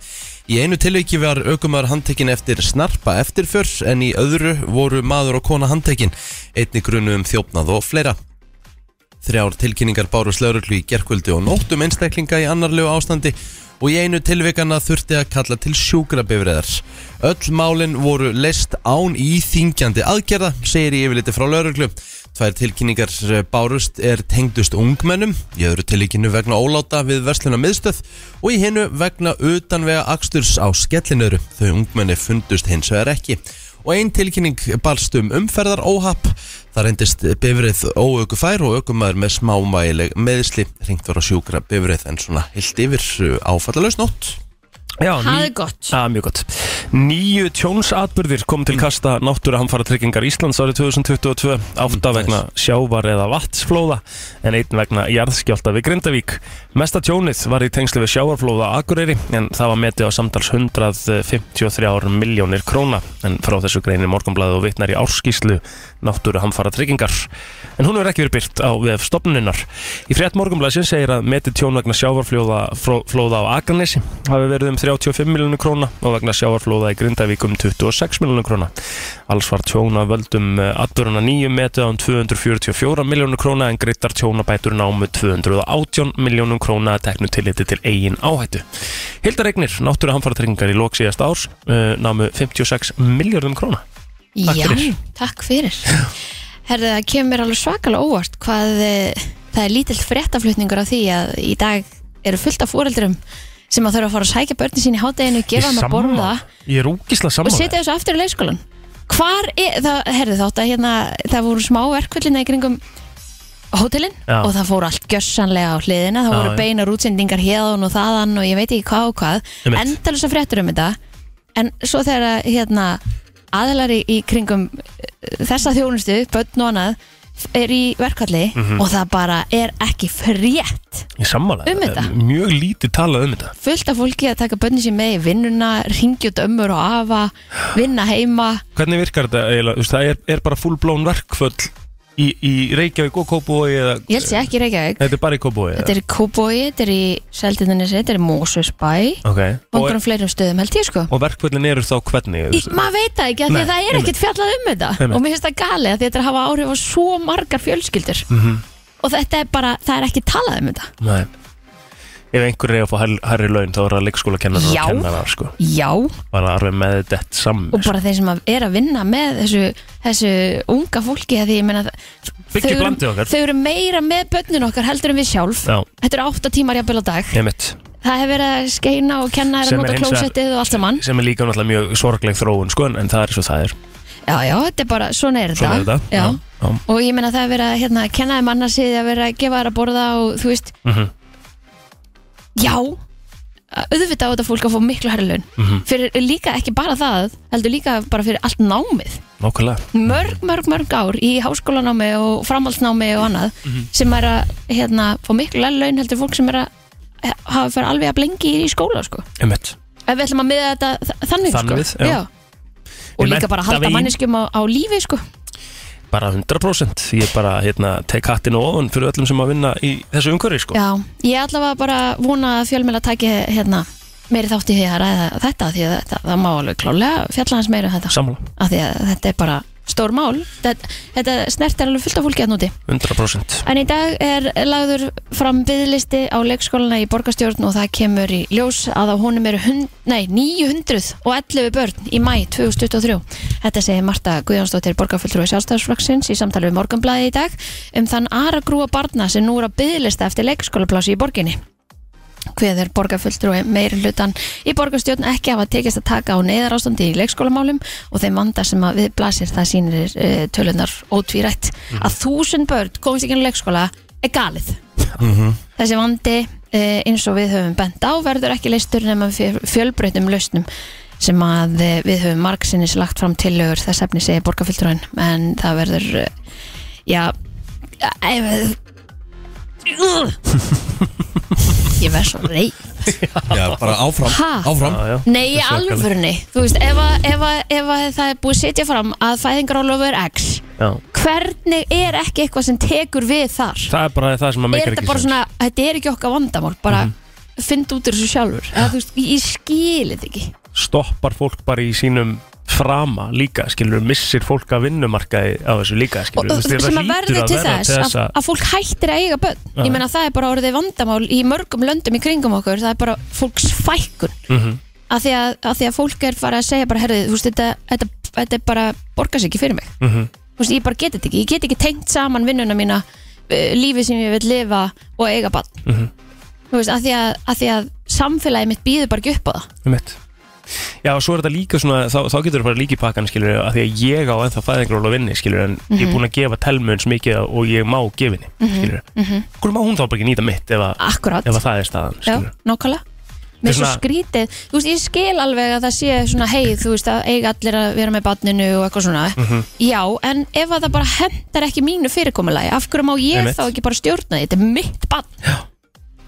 [SPEAKER 4] Í einu tilviki var aukumar handtekinn eftir snarpa eftirför en í öðru voru maður og kona handtekinn, einni grunu um þjófnað og fleira. Þrjár tilkynningar bárus lauruglu í gerkvöldi og nótt um einstaklinga í annarlegu ástandi og í einu tilvikana þurfti að kalla til sjúkrabifræðar. Öll málin voru leist án í þingjandi aðgerða, segir í yfirliti frá lauruglu. Tvær tilkynningar eh, bárust er tengdust ungmennum, í öðru tilíkinu vegna óláta við versluna miðstöð og í hinnu vegna utanvega aksturs á skellinöru. Þau ungmenni fundust hins vegar ekki og ein tilkynning balst um umferðar óhapp það reyndist bifrið óauku fær og aukumæður með smámægileg meðsli ringt var að sjúkra bifrið en svona heilt yfir uh, áfallalaus nótt
[SPEAKER 5] Já,
[SPEAKER 3] Það er gott.
[SPEAKER 5] Já, mjög gott. Nýju tjónsatbyrðir kom til kasta náttúruhamfara tryggingar Íslands árið 2022, átta vegna sjávar eða vatnsflóða en einn vegna jarðskjálta við Grindavík. Mesta tjónið var í tengslu við sjávarflóða á Akureyri en það var metið á samtals 153 miljónir króna en frá þessu greinir morgunblæði og vitnar í árskíslu náttúruhamfara tryggingar. En hún er ekki verið byrt á vef stopnunar. Í frétt morgunblæðsins segir að metið tjón vegna sjávarflóða fró- flóða á Akarnesi hafi verið um 35 miljónu króna og vegna sjávarflóða í Grindavík um 26 miljónu króna. Alls var tjóna völdum atböruna nýju metið um án 244 miljónu króna en greittar tjónabætur námu 218 miljónum króna að teknu tilliti til eigin áhættu. Hildaregnir, náttúru hamfaratryggingar í lók síðast árs uh, námu 56 miljörðum króna. Takk
[SPEAKER 3] Já,
[SPEAKER 5] fyrir.
[SPEAKER 3] takk fyrir Herðu, það kemur mér alveg svakalega óvart hvað eh, það er lítill fréttaflutningur á því að í dag eru fullt af fóreldurum sem að þurfa að fara að sækja börnin sín í hádeginu, gefa þeim að borða
[SPEAKER 5] Ég er úkislega
[SPEAKER 3] og
[SPEAKER 5] saman.
[SPEAKER 3] setja þessu aftur í leikskólan Hvar er, það, herðu þátt að hérna það voru smá verkvöllina í kringum hótelin
[SPEAKER 5] Já.
[SPEAKER 3] og það fór allt gjössanlega á hliðina, það
[SPEAKER 5] Já,
[SPEAKER 3] voru
[SPEAKER 5] já.
[SPEAKER 3] beinar útsendingar hérðan og þaðan og ég veit ekki hvað og hvað
[SPEAKER 5] Einmitt.
[SPEAKER 3] endalisa fréttur um þetta en svo þegar að, hérna, aðlar í, í kringum eh, þessa þjónustu, börn og annað f- er í verkvalli
[SPEAKER 5] Mhm.
[SPEAKER 3] og það bara er ekki frétt
[SPEAKER 5] Ég sammála.
[SPEAKER 3] Um þetta?
[SPEAKER 5] Mjög lítið talað um þetta.
[SPEAKER 3] fullt af fólki að taka börnin sín með í vinnuna ringjut ömmur og afa vinna heima
[SPEAKER 5] Hvernig virkar þetta eiginlega? Þú veist, Það er, er bara full blown verkföll í, í Reykjavík og Kópavogi eða...
[SPEAKER 3] ég held sér ekki í Reykjavík
[SPEAKER 5] Þetta er bara í Kópavogi
[SPEAKER 3] þetta er í Kóboi, þetta er í Seldindanesi, þetta er í Mósusbæ og
[SPEAKER 5] Ok. Og,
[SPEAKER 3] einhverjum fleirum stöðum held ég sko
[SPEAKER 5] og verkföllin eru þá hvernig?
[SPEAKER 3] Í- maður veit það ekki af því
[SPEAKER 5] Nei,
[SPEAKER 3] að það er
[SPEAKER 5] einmitt.
[SPEAKER 3] ekkert fjallað um þetta
[SPEAKER 5] Einmitt.
[SPEAKER 3] og mér finnst það galið af því að þetta er að hafa áhrif á svo margar fjölskyldur
[SPEAKER 5] Mhm.
[SPEAKER 3] -hmm. og þetta er bara, það er ekki talað um þetta
[SPEAKER 5] Nei. Ef einhver er að fá hær- hærri laun þá er það leikskóla kennar og
[SPEAKER 3] Já.
[SPEAKER 5] kennarar sko.
[SPEAKER 3] já,
[SPEAKER 5] Bara alveg með þetta saman.
[SPEAKER 3] og bara þeir sem að- er að vinna með þessu, þessu unga fólki af því ég meina það-
[SPEAKER 5] Byggja upp landið
[SPEAKER 3] eru,
[SPEAKER 5] okkar.
[SPEAKER 3] þau eru meira með börnin okkar heldur en við sjálf
[SPEAKER 5] Já.
[SPEAKER 3] þetta eru átta tímar jafnvel á dag
[SPEAKER 5] Nefnitt.
[SPEAKER 3] það hefur verið að skeina og kenna þær
[SPEAKER 5] Sem
[SPEAKER 3] að
[SPEAKER 5] er
[SPEAKER 3] nota
[SPEAKER 5] hins vegar-
[SPEAKER 3] klósettið og allt saman
[SPEAKER 5] Sem er líka náttúrulega mjög sorgleg þróun sko en en það er svo það er.
[SPEAKER 3] já, já, þetta er bara, svona er
[SPEAKER 5] Svona er
[SPEAKER 3] þetta
[SPEAKER 5] þetta.
[SPEAKER 3] Já.
[SPEAKER 5] Já.
[SPEAKER 3] og ég meina það er verið að hérna, kenna þeim annars það er verið að gefa þær að borða og þú veist
[SPEAKER 5] Mhm.
[SPEAKER 3] já auðvitað á þetta fólk að fá miklu herri laun
[SPEAKER 5] Mhm.
[SPEAKER 3] fyrir líka ekki bara það heldur líka bara fyrir allt námið
[SPEAKER 5] Nákvæmlega.
[SPEAKER 3] mörg, mörg, mörg ár í háskólanámi og framhaldsnámi og annað
[SPEAKER 5] Mhm.
[SPEAKER 3] sem er að hérna, fá miklu herri laun heldur fólk sem er að eh, hafa fyrir alveg að blengi í skóla sko.
[SPEAKER 5] Nefnitt.
[SPEAKER 3] ef við ætlum að miða þetta þ- þannig,
[SPEAKER 5] Þannig,
[SPEAKER 3] sko.
[SPEAKER 5] já.
[SPEAKER 3] og
[SPEAKER 5] Ég
[SPEAKER 3] líka bara
[SPEAKER 5] mennta
[SPEAKER 3] halda
[SPEAKER 5] veginn.
[SPEAKER 3] manneskjum á, á lífi sko.
[SPEAKER 5] Bara 100%. Ég bara hérna tek hattinu ofan fyrir öllum sem að vinna í þessu umhverfi sko.
[SPEAKER 3] Já, ég allavega bara vona að fjölmjöla tæki hérna, meiri þátt í því að ræða þetta því að þetta, það má alveg klálega fjalla hans meira um þetta
[SPEAKER 5] Sammála.
[SPEAKER 3] af því að þetta er bara stór mál þetta, þetta snert er alveg fullt af fólki hérna að núti
[SPEAKER 5] 100%.
[SPEAKER 3] en í dag er lagður fram byðlisti á leikskólana í borgarstjórn og það kemur í ljós að á honum eru hund, nei, 911 börn í mæ 2023 þetta segir Marta Guðjónsdóttir borgarfulltrúi sjálfstæðsflokksins í samtali við morgunblæði í dag um þann aragrúa barna sem nú er að byðlista eftir leikskólaplási í borginni hveður borgarfulltrúi meiri hlutan í borgarstjórn ekki hafa tekist að taka á neyðarástandi í leikskólamálum og þeim vanda sem að við blasir það sýnir uh, tölunar ótvírætt að þúsund börn komist ekki inn í leikskóla er galið þessi vandi uh, eins og við höfum bent á verður ekki leistur nema með fjölbreytum lausnum sem að eh, við höfum margsinnis lagt fram tillögur þess efni segir borgarfulltrúin en það verður eh, já ef, uh, ég verð svo reyð
[SPEAKER 4] Já, bara áfram,
[SPEAKER 3] Ha?
[SPEAKER 4] áfram
[SPEAKER 5] Já, já.
[SPEAKER 3] Nei, í
[SPEAKER 5] Þetta er svakalegt.
[SPEAKER 3] alvörni Þú veist, ef, að, ef, að, ef að það er búið að setja fram að fæðingarólofu er X
[SPEAKER 5] Já.
[SPEAKER 3] Hvernig er ekki eitthvað sem tekur við þar?
[SPEAKER 5] Það er bara það sem að
[SPEAKER 3] Er
[SPEAKER 5] meikar
[SPEAKER 3] þetta
[SPEAKER 5] ekki Mhm.
[SPEAKER 3] bara
[SPEAKER 5] sens.
[SPEAKER 3] svona, þetta er ekki okkar vandamál Bara, finna út úr þessu sjálfur Eða, þú veist, ég, ég skilið ekki
[SPEAKER 5] stoppar fólk bara í sínum frama líka, skilur, missir fólk að vinnumarkaði á þessu líka,
[SPEAKER 3] og,
[SPEAKER 5] skilur
[SPEAKER 3] og, sem að verður til þess að,
[SPEAKER 5] að,
[SPEAKER 3] að fólk hættir að eiga börn
[SPEAKER 5] Já.
[SPEAKER 3] ég meina það er bara orðið vandamál í mörgum löndum í kringum okkur, það er bara fólks fækkun
[SPEAKER 5] mm -hmm.
[SPEAKER 3] af því að, að, því að fólk er farið að segja bara herðið, þú veist, þetta, þetta, þetta er bara borgar sig ekki fyrir mig,
[SPEAKER 5] Mm -hmm.
[SPEAKER 3] þú veist, ég bara geti þetta ekki ég get ekki tengt saman vinnuna mína eh, lífið sem ég vil lifa og eiga barn
[SPEAKER 5] Mhm.
[SPEAKER 3] þú veist, af því að, að því að samfélagið mitt býður bara ekki upp á það
[SPEAKER 5] Já, og svo er þetta líka svona, þá, þá getur það bara líka í pakkan, skilur, af því að ég á ennþá fæðingról að vinni, skilur, en
[SPEAKER 3] Mhm.
[SPEAKER 5] ég er búin að gefa telmun mikið og ég má gefa henni, skilur. Mm Hvernig má hún þá bara ekki nýta mitt ef að,
[SPEAKER 3] akkurat,
[SPEAKER 5] ef að það er staðan,
[SPEAKER 3] mhm. Ah. já,
[SPEAKER 5] skilur?
[SPEAKER 3] nákvæmlega Mér er svo
[SPEAKER 5] svona-
[SPEAKER 3] skrítið, þú veist, ég skil alveg að það sé svona, hei, þú veist, að eiga allir að vera með barninu og eitthvað svona
[SPEAKER 5] Mhm.
[SPEAKER 3] Já, en ef að það bara hendar ekki mínu fyrirkomulagi, af hverju má ég
[SPEAKER 5] Einmitt.
[SPEAKER 3] þá ekki bara stjórna því, þetta er mitt barn Já.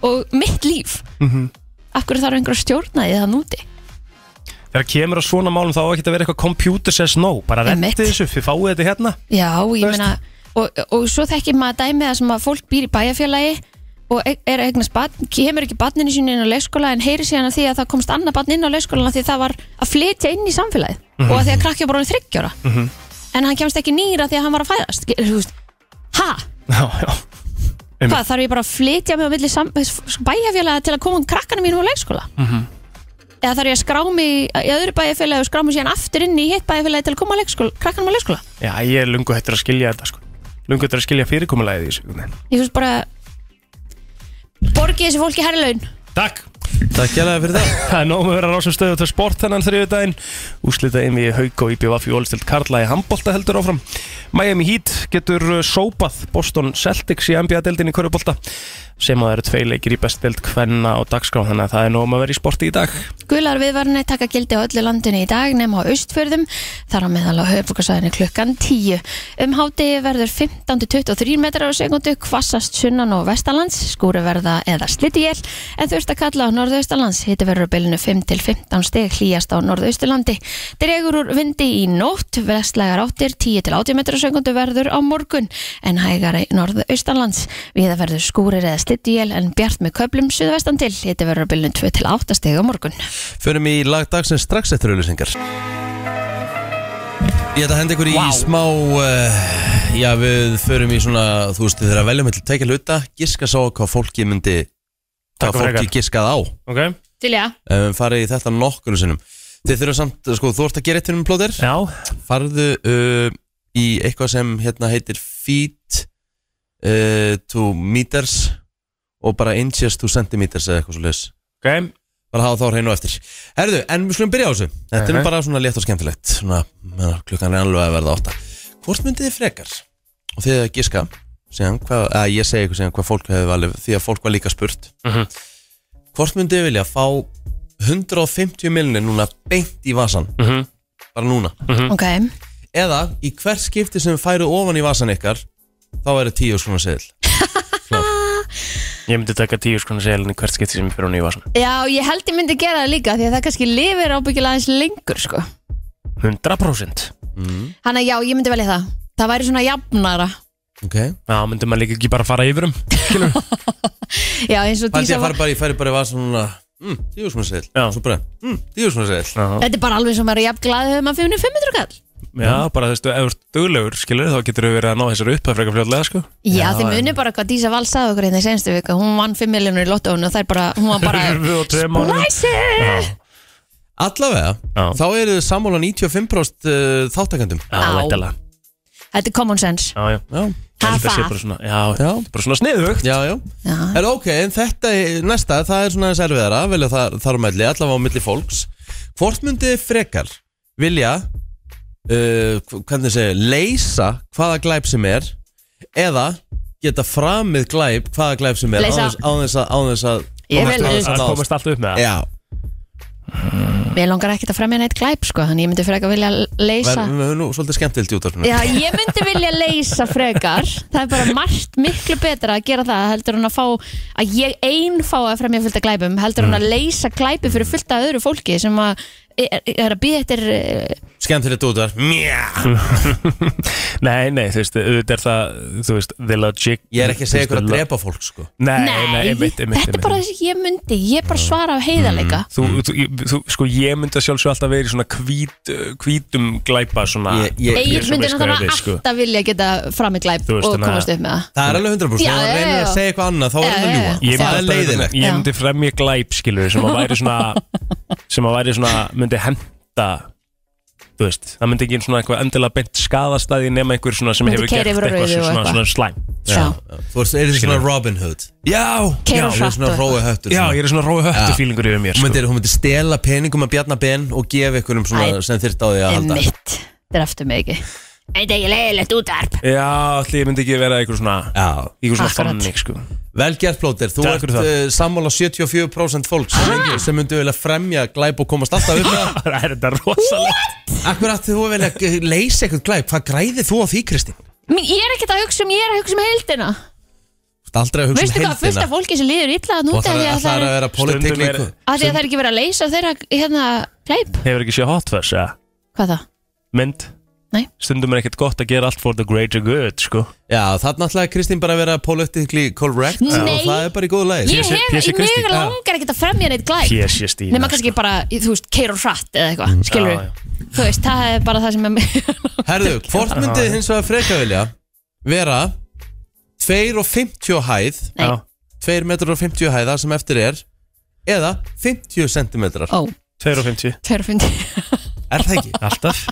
[SPEAKER 3] og mitt líf
[SPEAKER 5] Mhm.
[SPEAKER 3] Af hverju þarf einhver að stjórna því það núti?
[SPEAKER 5] Þegar kemur að svona málum þá á ekki að vera eitthvað computer says no, bara
[SPEAKER 3] Einmitt.
[SPEAKER 5] rettið þessu, þið fáið þetta hérna.
[SPEAKER 3] Já, ég
[SPEAKER 5] Þú veist.
[SPEAKER 3] meina, og, og svo þekkir maður dæmi það sem að fólk býr í bæjarfélagi og e- er að eignast barn, kemur ekki barninu sínu inn á leikskóla en heyri síðan að því að það komst annað barn inn á leikskólan því það var að flytja inn í samfélagið
[SPEAKER 5] Mhm.
[SPEAKER 3] og að því að krakkja bara þryggjóra mm -hmm. en hann kemst ekki nýra því að hann var að fæðast ge- þú veist, ha,
[SPEAKER 5] Já, já. Einmitt.
[SPEAKER 3] hvað þarf ég bara að flytja mig á milli sam- bæjarfélaga til að koma krakkanu mínum á leikskóla
[SPEAKER 5] Mhm.
[SPEAKER 3] eða þarf ég að skrá mig í- í öðru bæjarfélagi og skrá mig síðan aftur inn í hitt bæjarfélagi til að koma á leikskóla, krakkanum á leikskóla
[SPEAKER 5] Já, ég er lungu hættur að skilja þetta sko Lungu hættur að skilja fyrirkomulæðið í þessu einhvern veginn.
[SPEAKER 3] ég finnst bara borgið þessu fólki herrlaun
[SPEAKER 5] Takk!
[SPEAKER 4] Takk hérlega fyrir það
[SPEAKER 5] Það er nóg með að vera rásum stöðu til sport þennan þriðu daginn Úslita einmi í Hauk og IBVF í Ólistild Karla í handbolta heldur áfram Miami Heat getur uh, sópað Boston Celtics í NBA-deldin í Körubolta sem að það eru tvei leikir í bestdeld kvenna og dagskrá þannig að það er nóg með að vera í sporti í dag
[SPEAKER 3] Gular viðvarni taka gildi á öllu landinu í dag nema á austfjörðum, þar á meðal á höfbúkarsæðinu klukkan 10. Um hádegi verður 15-23 metrar á sekundu, hvassast sunnan og vestalands, skúri verða eða slittiél, en þurft að kalla á norðaustalands, hiti verður á bylunu 5-15 steg hlýjast á norðausturlandi. Dregur úr vindi í nótt, vestlægar áttir 10-80 metrar á sekundu verður á morgun, en hægari norðaustalands. Viða verður skúrir eða slittiél, en bjart með köplum suðvestan til, hiti verður á bylunu 2-8 steg á morgun.
[SPEAKER 4] Förum í lag dagsins strax eftir auðlýsingar Ég ætla að henda ykkur í smá uh, Já, við förum í svona Þú veist, þegar að velja með til að tekja hluta Giska sá hvað fólki myndi
[SPEAKER 5] Takk
[SPEAKER 4] Hvað fólki
[SPEAKER 5] frekar.
[SPEAKER 4] giskað á
[SPEAKER 5] okay.
[SPEAKER 3] Til já
[SPEAKER 4] um, Farið í þetta nokkunu sinnum Þið þurfum samt, sko, þú ert að gera eitt fyrir um plóðir
[SPEAKER 5] Já,
[SPEAKER 4] Farðu uh, í eitthvað sem hérna heitir Feet uh, to meters Og bara inches to centimeters Eða eitthvað svo leis
[SPEAKER 5] ok
[SPEAKER 4] bara hafa þá hreinu á eftir Herðu, en við skulum byrja á þessu Þetta er nú
[SPEAKER 5] Mhm.
[SPEAKER 4] bara svona létt og skemmtilegt svona, menna, klukkan er alveg að verða átta Hvort myndið þið frekar? Og þið að giska síðan, hva, að ég segi ykkur síðan hvað fólk hefði valið því að fólk var líka spurt
[SPEAKER 5] Mhm.
[SPEAKER 4] Hvort myndið þið vilja fá 150 miljonir núna beint í vasan
[SPEAKER 5] Mhm.
[SPEAKER 4] bara núna
[SPEAKER 3] Ok,
[SPEAKER 4] eða í hvert skipti sem færu ofan í vasan ykkar þá er það 10 svona seðil
[SPEAKER 5] Ég myndi taka tíu sko, skona selin í hvert skipti sem ég fyrir á nýju vasan
[SPEAKER 3] já ég held ég myndi gera það líka því að það kannski lifir ábyggilega aðeins lengur sko
[SPEAKER 5] 100%
[SPEAKER 3] Þannig að já, ég myndi velja það Það væri svona jafnara
[SPEAKER 4] Ok
[SPEAKER 5] Já, myndi maður líka ekki bara fara yfir um
[SPEAKER 3] Já, eins og
[SPEAKER 4] Pældi
[SPEAKER 3] Dísa
[SPEAKER 4] að
[SPEAKER 3] var
[SPEAKER 4] fara bara í færi bara í vasan núna mm, 10 svona seðil
[SPEAKER 5] Já.
[SPEAKER 4] Svo bara mm, 10 svona seðil
[SPEAKER 5] Já.
[SPEAKER 3] Þetta er bara alveg sem maður er jafn glaðið þegar maður fyrir 500 kall
[SPEAKER 5] Já, bara þú veist, ef þú ert duglegur, skilur, þá getur þú verið að ná þessar upp að freka fljóðlega, sko.
[SPEAKER 3] Já, þið munið bara hvað Dísa Val sagði okkur hérna í senstu vika Hún vann 5 miljonur í lottóinu og það er bara, hún var bara
[SPEAKER 5] Við og tveim mánuðum.
[SPEAKER 3] Læsi!
[SPEAKER 4] Allavega,
[SPEAKER 5] Já.
[SPEAKER 4] þá eru þið sammála 95% uh, þáttakendum
[SPEAKER 5] Já,
[SPEAKER 3] Á.
[SPEAKER 5] veitlega.
[SPEAKER 3] Þetta er common sense
[SPEAKER 5] Já, já.
[SPEAKER 4] Já,
[SPEAKER 5] Ég
[SPEAKER 3] Ha,
[SPEAKER 5] held að sé
[SPEAKER 3] það.
[SPEAKER 5] bara svona, já,
[SPEAKER 4] já,
[SPEAKER 5] bara svona sniðugt.
[SPEAKER 4] já, já.
[SPEAKER 3] Já,
[SPEAKER 4] Er ok, en þetta, er- næsta, það er svona aðeins erfiðara Vilja þar, þar á melli, allavega á milli fólks Hvort myndið þið frekar vilja uh, hv- Hvernig segja, leysa hvaða glæp sem er Eða geta framið glæp hvaða glæp sem er án
[SPEAKER 3] Leysa.
[SPEAKER 4] þess- Án þess að, án þess að
[SPEAKER 3] Ég
[SPEAKER 4] komast-
[SPEAKER 3] vil
[SPEAKER 4] án þess
[SPEAKER 5] Það
[SPEAKER 4] að nást.
[SPEAKER 5] komast allt upp með það.
[SPEAKER 4] Já,
[SPEAKER 3] mér langar ekkert að fremja neitt glæp sko Þannig ég myndi frekar vilja leysa
[SPEAKER 4] verðum við höfum nú svolítið skemmtilt í útvarpinu
[SPEAKER 3] Já, ég myndi vilja leysa frekar Það er bara margt miklu betra að gera það heldur hún að fá að ég einn fá að fremja fullt af glæpum
[SPEAKER 5] Mm.
[SPEAKER 3] heldur hún að leysa glæpi fyrir fullt af öðru fólki sem að er, er að býða eftir eh,
[SPEAKER 4] skemmtilegt útvarp Mjá.
[SPEAKER 5] Nei, nei, þú veist, auðvitað er það Þú veist, the logic
[SPEAKER 4] Ég er ekki að segja ykkur að drepa fólk sko
[SPEAKER 5] Nei, nei,
[SPEAKER 3] Nei,
[SPEAKER 5] einmitt, einmitt, Mm.
[SPEAKER 3] þetta er bara
[SPEAKER 5] einmitt.
[SPEAKER 3] þess að ég myndi Ég bara svara af heiðarleika
[SPEAKER 5] Þú, þú, ég- þú, sko, ég myndi að sjálfsög alltaf verið svona hvít, eh, hvítum glæpa svona
[SPEAKER 4] Ég- ég-
[SPEAKER 3] Egil
[SPEAKER 5] Þú
[SPEAKER 3] myndi
[SPEAKER 5] veist hvað ég
[SPEAKER 3] náttúrulega
[SPEAKER 5] við, sko.
[SPEAKER 3] alltaf vilja geta fram í glæp
[SPEAKER 5] Þú
[SPEAKER 3] og
[SPEAKER 5] veist, þannig að-
[SPEAKER 3] komast upp með það
[SPEAKER 4] Það er alveg 100%
[SPEAKER 3] Já,
[SPEAKER 4] Það
[SPEAKER 3] já,
[SPEAKER 4] reynir að
[SPEAKER 3] já.
[SPEAKER 4] segja eitthvað annað Þá er
[SPEAKER 3] Já,
[SPEAKER 4] hann að
[SPEAKER 3] já, já.
[SPEAKER 5] Ég
[SPEAKER 4] ljúa
[SPEAKER 5] myndi
[SPEAKER 4] Það er
[SPEAKER 5] alltaf-
[SPEAKER 4] leiðilegt
[SPEAKER 5] Ég
[SPEAKER 3] Já.
[SPEAKER 5] myndi fremja glæp, skilur sem að væri svona sem að væri svona, myndi henda þú veist, það myndi ekki svona eitthvað endilega beint skadastæði nema einhver svona sem
[SPEAKER 3] Myndi
[SPEAKER 5] hefur
[SPEAKER 3] keyra
[SPEAKER 5] gert
[SPEAKER 3] yfir á
[SPEAKER 5] eitthvað
[SPEAKER 3] rauðu og
[SPEAKER 5] svona,
[SPEAKER 3] eitthvað.
[SPEAKER 5] svona slæm
[SPEAKER 3] Já,
[SPEAKER 4] Þú ert- er þið svona Robin Hood
[SPEAKER 5] Já,
[SPEAKER 3] Keyra á
[SPEAKER 5] já,
[SPEAKER 4] Þú ert svona
[SPEAKER 3] Hratt og-
[SPEAKER 4] rói höttur
[SPEAKER 5] já,
[SPEAKER 4] svona.
[SPEAKER 5] ég er svona rói höttu fílingur yfir mér
[SPEAKER 4] Hún
[SPEAKER 5] sko.
[SPEAKER 4] myndi, hún myndi stela peningum að bjarna ben og gefa ykkur um svona
[SPEAKER 3] Æ.
[SPEAKER 4] sem þyrt á því að halda
[SPEAKER 3] mitt Þetta er eftir mig ekki Þetta er ekki leiðilegt útarp
[SPEAKER 5] Já, allir myndi ekki vera einhver svona
[SPEAKER 4] Já,
[SPEAKER 5] einhver svona
[SPEAKER 3] Akkurat.
[SPEAKER 5] þannig, sko
[SPEAKER 4] vel gert plóter, þú
[SPEAKER 5] Takk
[SPEAKER 4] ert
[SPEAKER 5] fyrir það.
[SPEAKER 4] uh, sammála 74% fólk sem, lengi, sem myndi vilja fremja glæp og komast alltaf upp með það.
[SPEAKER 5] Það er þetta rosalegt
[SPEAKER 4] Akkur að þú vilja g- leysa eitthvað glæp, hvað græðir þú á því Kristín?
[SPEAKER 3] Mín, Ég er ekkert að hugsa um, ég er að hugsa um heildina
[SPEAKER 4] Þú ert aldrei að hugsa
[SPEAKER 3] Veistu
[SPEAKER 4] um
[SPEAKER 3] hvað, fullt af
[SPEAKER 4] heildina
[SPEAKER 3] fólki sem líður illa
[SPEAKER 4] og
[SPEAKER 3] að núta
[SPEAKER 4] það
[SPEAKER 3] því
[SPEAKER 4] er
[SPEAKER 3] að það
[SPEAKER 4] að
[SPEAKER 3] er
[SPEAKER 4] vera politik
[SPEAKER 5] Stundum er-
[SPEAKER 4] líku
[SPEAKER 3] að því að það er ekki verið að leysa þeirra hérna glæp
[SPEAKER 5] Hefur ekki séð hotfess, eða?
[SPEAKER 3] Hvað það?
[SPEAKER 5] Mynd?
[SPEAKER 3] Nei.
[SPEAKER 5] Stundum er ekkert gott að gera allt for the greater good, sko
[SPEAKER 4] Já, það er náttúrulega Kristín bara að vera politically correct og
[SPEAKER 3] Nei.
[SPEAKER 4] það er bara í góðu lagi
[SPEAKER 3] Ég
[SPEAKER 5] Pési-
[SPEAKER 3] hef,
[SPEAKER 5] Pési
[SPEAKER 3] mig
[SPEAKER 5] Kristín.
[SPEAKER 3] langar ekkert að fremja neitt glæp
[SPEAKER 5] Pési stíl
[SPEAKER 3] Nefna kannski bara, þú veist, keir og hratt eða eitthvað, skilur
[SPEAKER 5] já,
[SPEAKER 3] Þú veist, það er bara það sem er
[SPEAKER 4] Herðu, hvort myndið hins vegar freka vilja vera 2,50 hæð
[SPEAKER 3] Nei.
[SPEAKER 5] Já,
[SPEAKER 4] 2 metrar og 50 hæða sem eftir er eða 50 centimetrar
[SPEAKER 3] Ó,
[SPEAKER 5] 250
[SPEAKER 3] tveir og fyndi
[SPEAKER 4] er það ekki?
[SPEAKER 5] Alltaf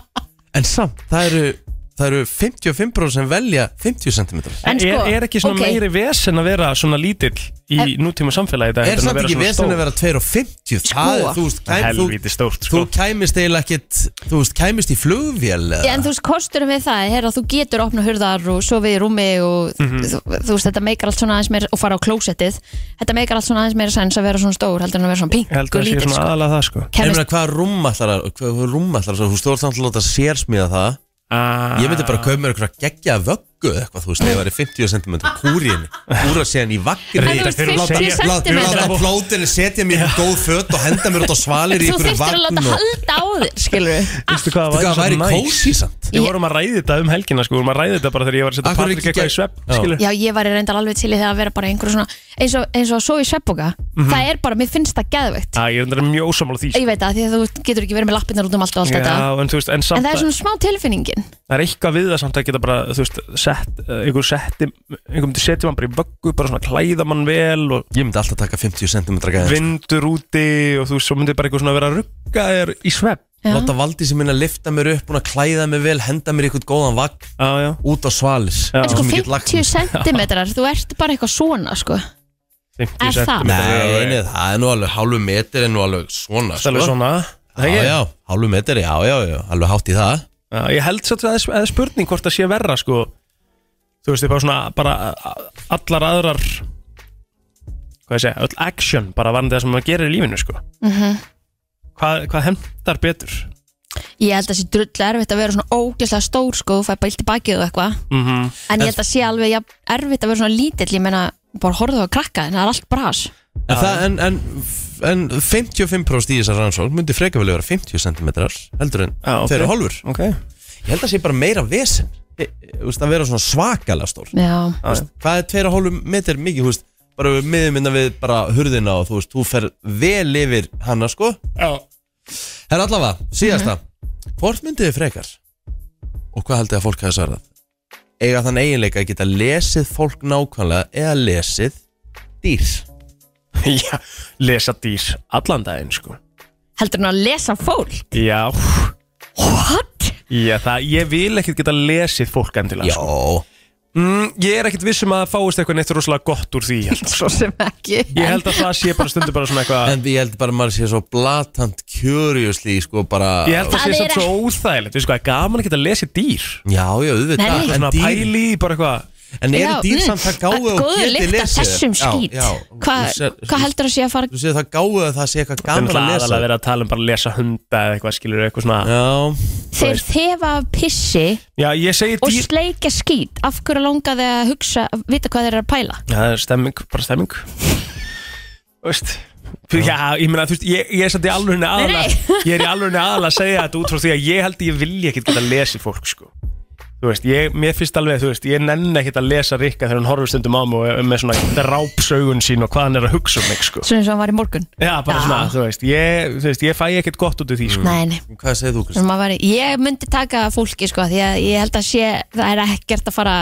[SPEAKER 4] En samt, það eru, það eru 55% sem velja 50 centimetrar
[SPEAKER 3] En sko,
[SPEAKER 5] er, er ekki svona
[SPEAKER 3] ok.
[SPEAKER 5] meiri vesen að vera svona lítill í
[SPEAKER 3] Ef-
[SPEAKER 5] nútíma samfélagi í dag
[SPEAKER 4] Er
[SPEAKER 5] heldur en
[SPEAKER 4] samt ekki
[SPEAKER 5] svona
[SPEAKER 4] vesen að
[SPEAKER 5] stór?
[SPEAKER 4] vera 2 og 50 það,
[SPEAKER 3] Sko.
[SPEAKER 4] er- þú, veist,
[SPEAKER 5] Það er
[SPEAKER 4] kæm, þú,
[SPEAKER 5] Helvítið stórt
[SPEAKER 4] þú
[SPEAKER 5] sko
[SPEAKER 4] kæmist eiginlega ekkit þú veist, kæmist í flugvél eða?
[SPEAKER 3] En þú veist, kosturum við það er að þú getur opna hurðar og sofið í rúmi og þú, þú veist, þetta meikar allt svona aðeins meira og fara á klósettið, þetta meikar allt svona aðeins meira sens að vera svona stór, heldur en að vera svona
[SPEAKER 5] Ég held
[SPEAKER 3] pink og
[SPEAKER 5] að það sé
[SPEAKER 3] lítill
[SPEAKER 5] svona
[SPEAKER 3] sko.
[SPEAKER 5] aðalega það sko
[SPEAKER 4] En
[SPEAKER 3] Kæmist,
[SPEAKER 4] meina, hvað rúmallar hvað rúmallar, þú veist, þú ert samt að láta sérsmíða það Ég myndi bara kaupa mér eitthvað geggja vöggu eða eitthvað, þú veist, ef það er 50 cm kúrinni, kúra síðan í
[SPEAKER 3] En
[SPEAKER 4] vagnir
[SPEAKER 3] þú veist,
[SPEAKER 5] Fyrir að
[SPEAKER 3] 50
[SPEAKER 5] láta- Lá-
[SPEAKER 4] Láta
[SPEAKER 3] centimetra
[SPEAKER 4] láta plótinu setja mér í góð fött og henda mér út á svalir í
[SPEAKER 3] Þú
[SPEAKER 4] ykkur
[SPEAKER 3] þurftir að
[SPEAKER 4] vagn
[SPEAKER 3] láta
[SPEAKER 4] og
[SPEAKER 3] halda á þér, skilur við
[SPEAKER 5] Vistu hvað
[SPEAKER 4] Veistu hvað
[SPEAKER 5] það
[SPEAKER 4] væri
[SPEAKER 5] væri svo næs
[SPEAKER 4] kósi samt
[SPEAKER 5] Við vorum að ræði þetta um helgina sko Við vorum að ræði þetta bara þegar ég var að setja
[SPEAKER 4] Af hverju
[SPEAKER 5] Patrik
[SPEAKER 4] ekki
[SPEAKER 5] eitthvað í
[SPEAKER 4] gegn-
[SPEAKER 5] svepp
[SPEAKER 4] Já.
[SPEAKER 5] skilur.
[SPEAKER 3] Já, ég var í reyndar alveg til í það að vera bara einhverju svona eins og, eins og að sofa í sveppoka Það er bara, mér finnst það geðveikt
[SPEAKER 5] Já, Ég er þetta mjög ósamála því sko.
[SPEAKER 3] Ég veit það, því að þú getur ekki verið með lappirnar út um allt og allt þetta
[SPEAKER 5] Já, en þú veist, en
[SPEAKER 3] En
[SPEAKER 5] samt
[SPEAKER 3] það er
[SPEAKER 5] að-
[SPEAKER 3] svona smá tilfinningin
[SPEAKER 5] það er eitthvað við það samt að geta bara, þú veist, sett, eh, einhver setti, einhver myndi setja mann bara í vöggu, bara svona klæða mann vel og
[SPEAKER 4] Ég myndi alltaf taka 50 cm gæðin
[SPEAKER 5] vindur úti og þú veist, svo myndi bara eitthvað svona vera að rugga þér í svepp.
[SPEAKER 3] Já.
[SPEAKER 4] Láta valdi sem minna lifta mér upp, búin að klæða mér vel, henda mér í eitthvað góðan vagn
[SPEAKER 5] Já, já.
[SPEAKER 4] út á svalis
[SPEAKER 5] Já.
[SPEAKER 3] En sko
[SPEAKER 4] Sem ég get lagt
[SPEAKER 3] 50 centimetrar, þú ert bara eitthvað svona sko.
[SPEAKER 5] 50
[SPEAKER 3] Er það?
[SPEAKER 5] sentimetrar
[SPEAKER 4] Nei,
[SPEAKER 5] er
[SPEAKER 4] nei, það er nú alveg hálfu metri er nú alveg svona
[SPEAKER 5] Það er alveg
[SPEAKER 4] sko.
[SPEAKER 5] svona.
[SPEAKER 4] Já, já, hálfu metri, já, já, já, alveg hátt í það
[SPEAKER 5] Já, ég held satt að það er spurning hvort það sé verra, sko. Þú veist, ég bara svona, bara a- allar aðrar, hvað ég segja, öll action, bara varðan það sem maður gerir í lífinu, sko.
[SPEAKER 3] Mhm.
[SPEAKER 5] Hvað, hvað hendar betur?
[SPEAKER 3] Ég held að það sé drullu erfitt að vera svona ógeðslega stór sko, þú fær bara illt í bakið og eitthvað
[SPEAKER 5] Mm
[SPEAKER 3] En ég held að sé alveg ja, erfitt að vera svona lítill Ég meina, bara horfðu á krakka en það er allt bras
[SPEAKER 4] En, það, en, en, en 55% í þessar rannsókn myndi freka vel vera 50 cm heldur en
[SPEAKER 5] Já, ok.
[SPEAKER 4] þeir eru hálfur
[SPEAKER 5] Ok.
[SPEAKER 4] Ég held að sé bara meira vesen e, e, þú veist, að vera svona svakalega stór
[SPEAKER 3] Já,
[SPEAKER 5] Já, já.
[SPEAKER 4] Hvað er 2,5 metri mikið, þú veist bara við miðum innan við bara hurðina og þú veist, þú fer vel yfir hana sko Mhm.
[SPEAKER 5] Já.
[SPEAKER 4] Herra allavega, síðasta Hvort myndið þið frekar? Og hvað haldið að fólk hafi svarað? Eiga þann eiginleika að geta lesið fólk nákvæmlega eða lesið dýr
[SPEAKER 5] Já, lesa dýr allan daginn sko
[SPEAKER 3] heldur hann að lesa fólk
[SPEAKER 5] Já,
[SPEAKER 3] What?
[SPEAKER 5] já það, ég vil ekkert geta lesið fólk endilega
[SPEAKER 4] Já,
[SPEAKER 5] sko. mm, Ég er ekkert vissum að það fáist eitthvað neitt rosalega gott úr því ég held.
[SPEAKER 3] Svo sem ekki
[SPEAKER 5] Ég held að það sé bara stundu bara svona eitthvað
[SPEAKER 4] en ég held bara að maður sé svo blatant curiously sko bara
[SPEAKER 5] Ég held að
[SPEAKER 3] Það
[SPEAKER 5] það sé
[SPEAKER 3] er
[SPEAKER 5] samt svo óþægilegt Við sko, það er gaman að geta lesið dýr
[SPEAKER 4] Já, já, auðvitað
[SPEAKER 3] Nei.
[SPEAKER 4] En,
[SPEAKER 5] Svona
[SPEAKER 4] dýr,
[SPEAKER 5] pæli í bara eitthvað
[SPEAKER 4] en eru
[SPEAKER 3] Já,
[SPEAKER 4] dýr
[SPEAKER 3] mm,
[SPEAKER 4] samt það gáðu og
[SPEAKER 3] góður
[SPEAKER 4] geti
[SPEAKER 3] lykt af
[SPEAKER 4] lesið
[SPEAKER 3] þessum skít.
[SPEAKER 4] Já, já
[SPEAKER 3] Hvað
[SPEAKER 4] Þú sér-
[SPEAKER 3] hva heldur að sé að fara
[SPEAKER 4] Þú séð það gáðu að það sé eitthvað
[SPEAKER 5] Það er
[SPEAKER 4] gaman að
[SPEAKER 5] náttúrulega
[SPEAKER 4] lesa
[SPEAKER 5] aðalega verið að tala um bara að lesa hunda eða eitthvað skilur eitthvað svona
[SPEAKER 4] Já,
[SPEAKER 3] Þeir þefa af pissi
[SPEAKER 5] Já, ég segi
[SPEAKER 3] og
[SPEAKER 5] dýr
[SPEAKER 3] sleikja skít Af hverju langaði að hugsa, að vita hvað þeir eru að pæla
[SPEAKER 5] Já, það er stemming, bara stemming Þú Veist Fyrir, já, ég meina, þú veist, ég, ég er samt í alveg aðla
[SPEAKER 3] Nei,
[SPEAKER 5] Ég er í alveg aðla að segja þetta út frá því að ég held að ég vilja ekkert geta lesið fólk, sko Þú veist, ég, mér finnst alveg, þú veist, ég nenni ekkert að lesa Rikka þegar hún horfir stundum á mig og- með svona drápsaugun sín og hvað hann er að hugsa um mig, sko
[SPEAKER 3] Svona eins og hann var í morgun
[SPEAKER 5] Já, bara
[SPEAKER 3] Já.
[SPEAKER 5] svona, þú veist, ég, þú veist, ég fæ ekkert gott út úr því, sko
[SPEAKER 3] Nei, nei
[SPEAKER 4] Hvað segir þú, Kristi?
[SPEAKER 3] Svona maður væri, ég myndi taka fólki sko, því að ég held að sé, það er ekkert að fara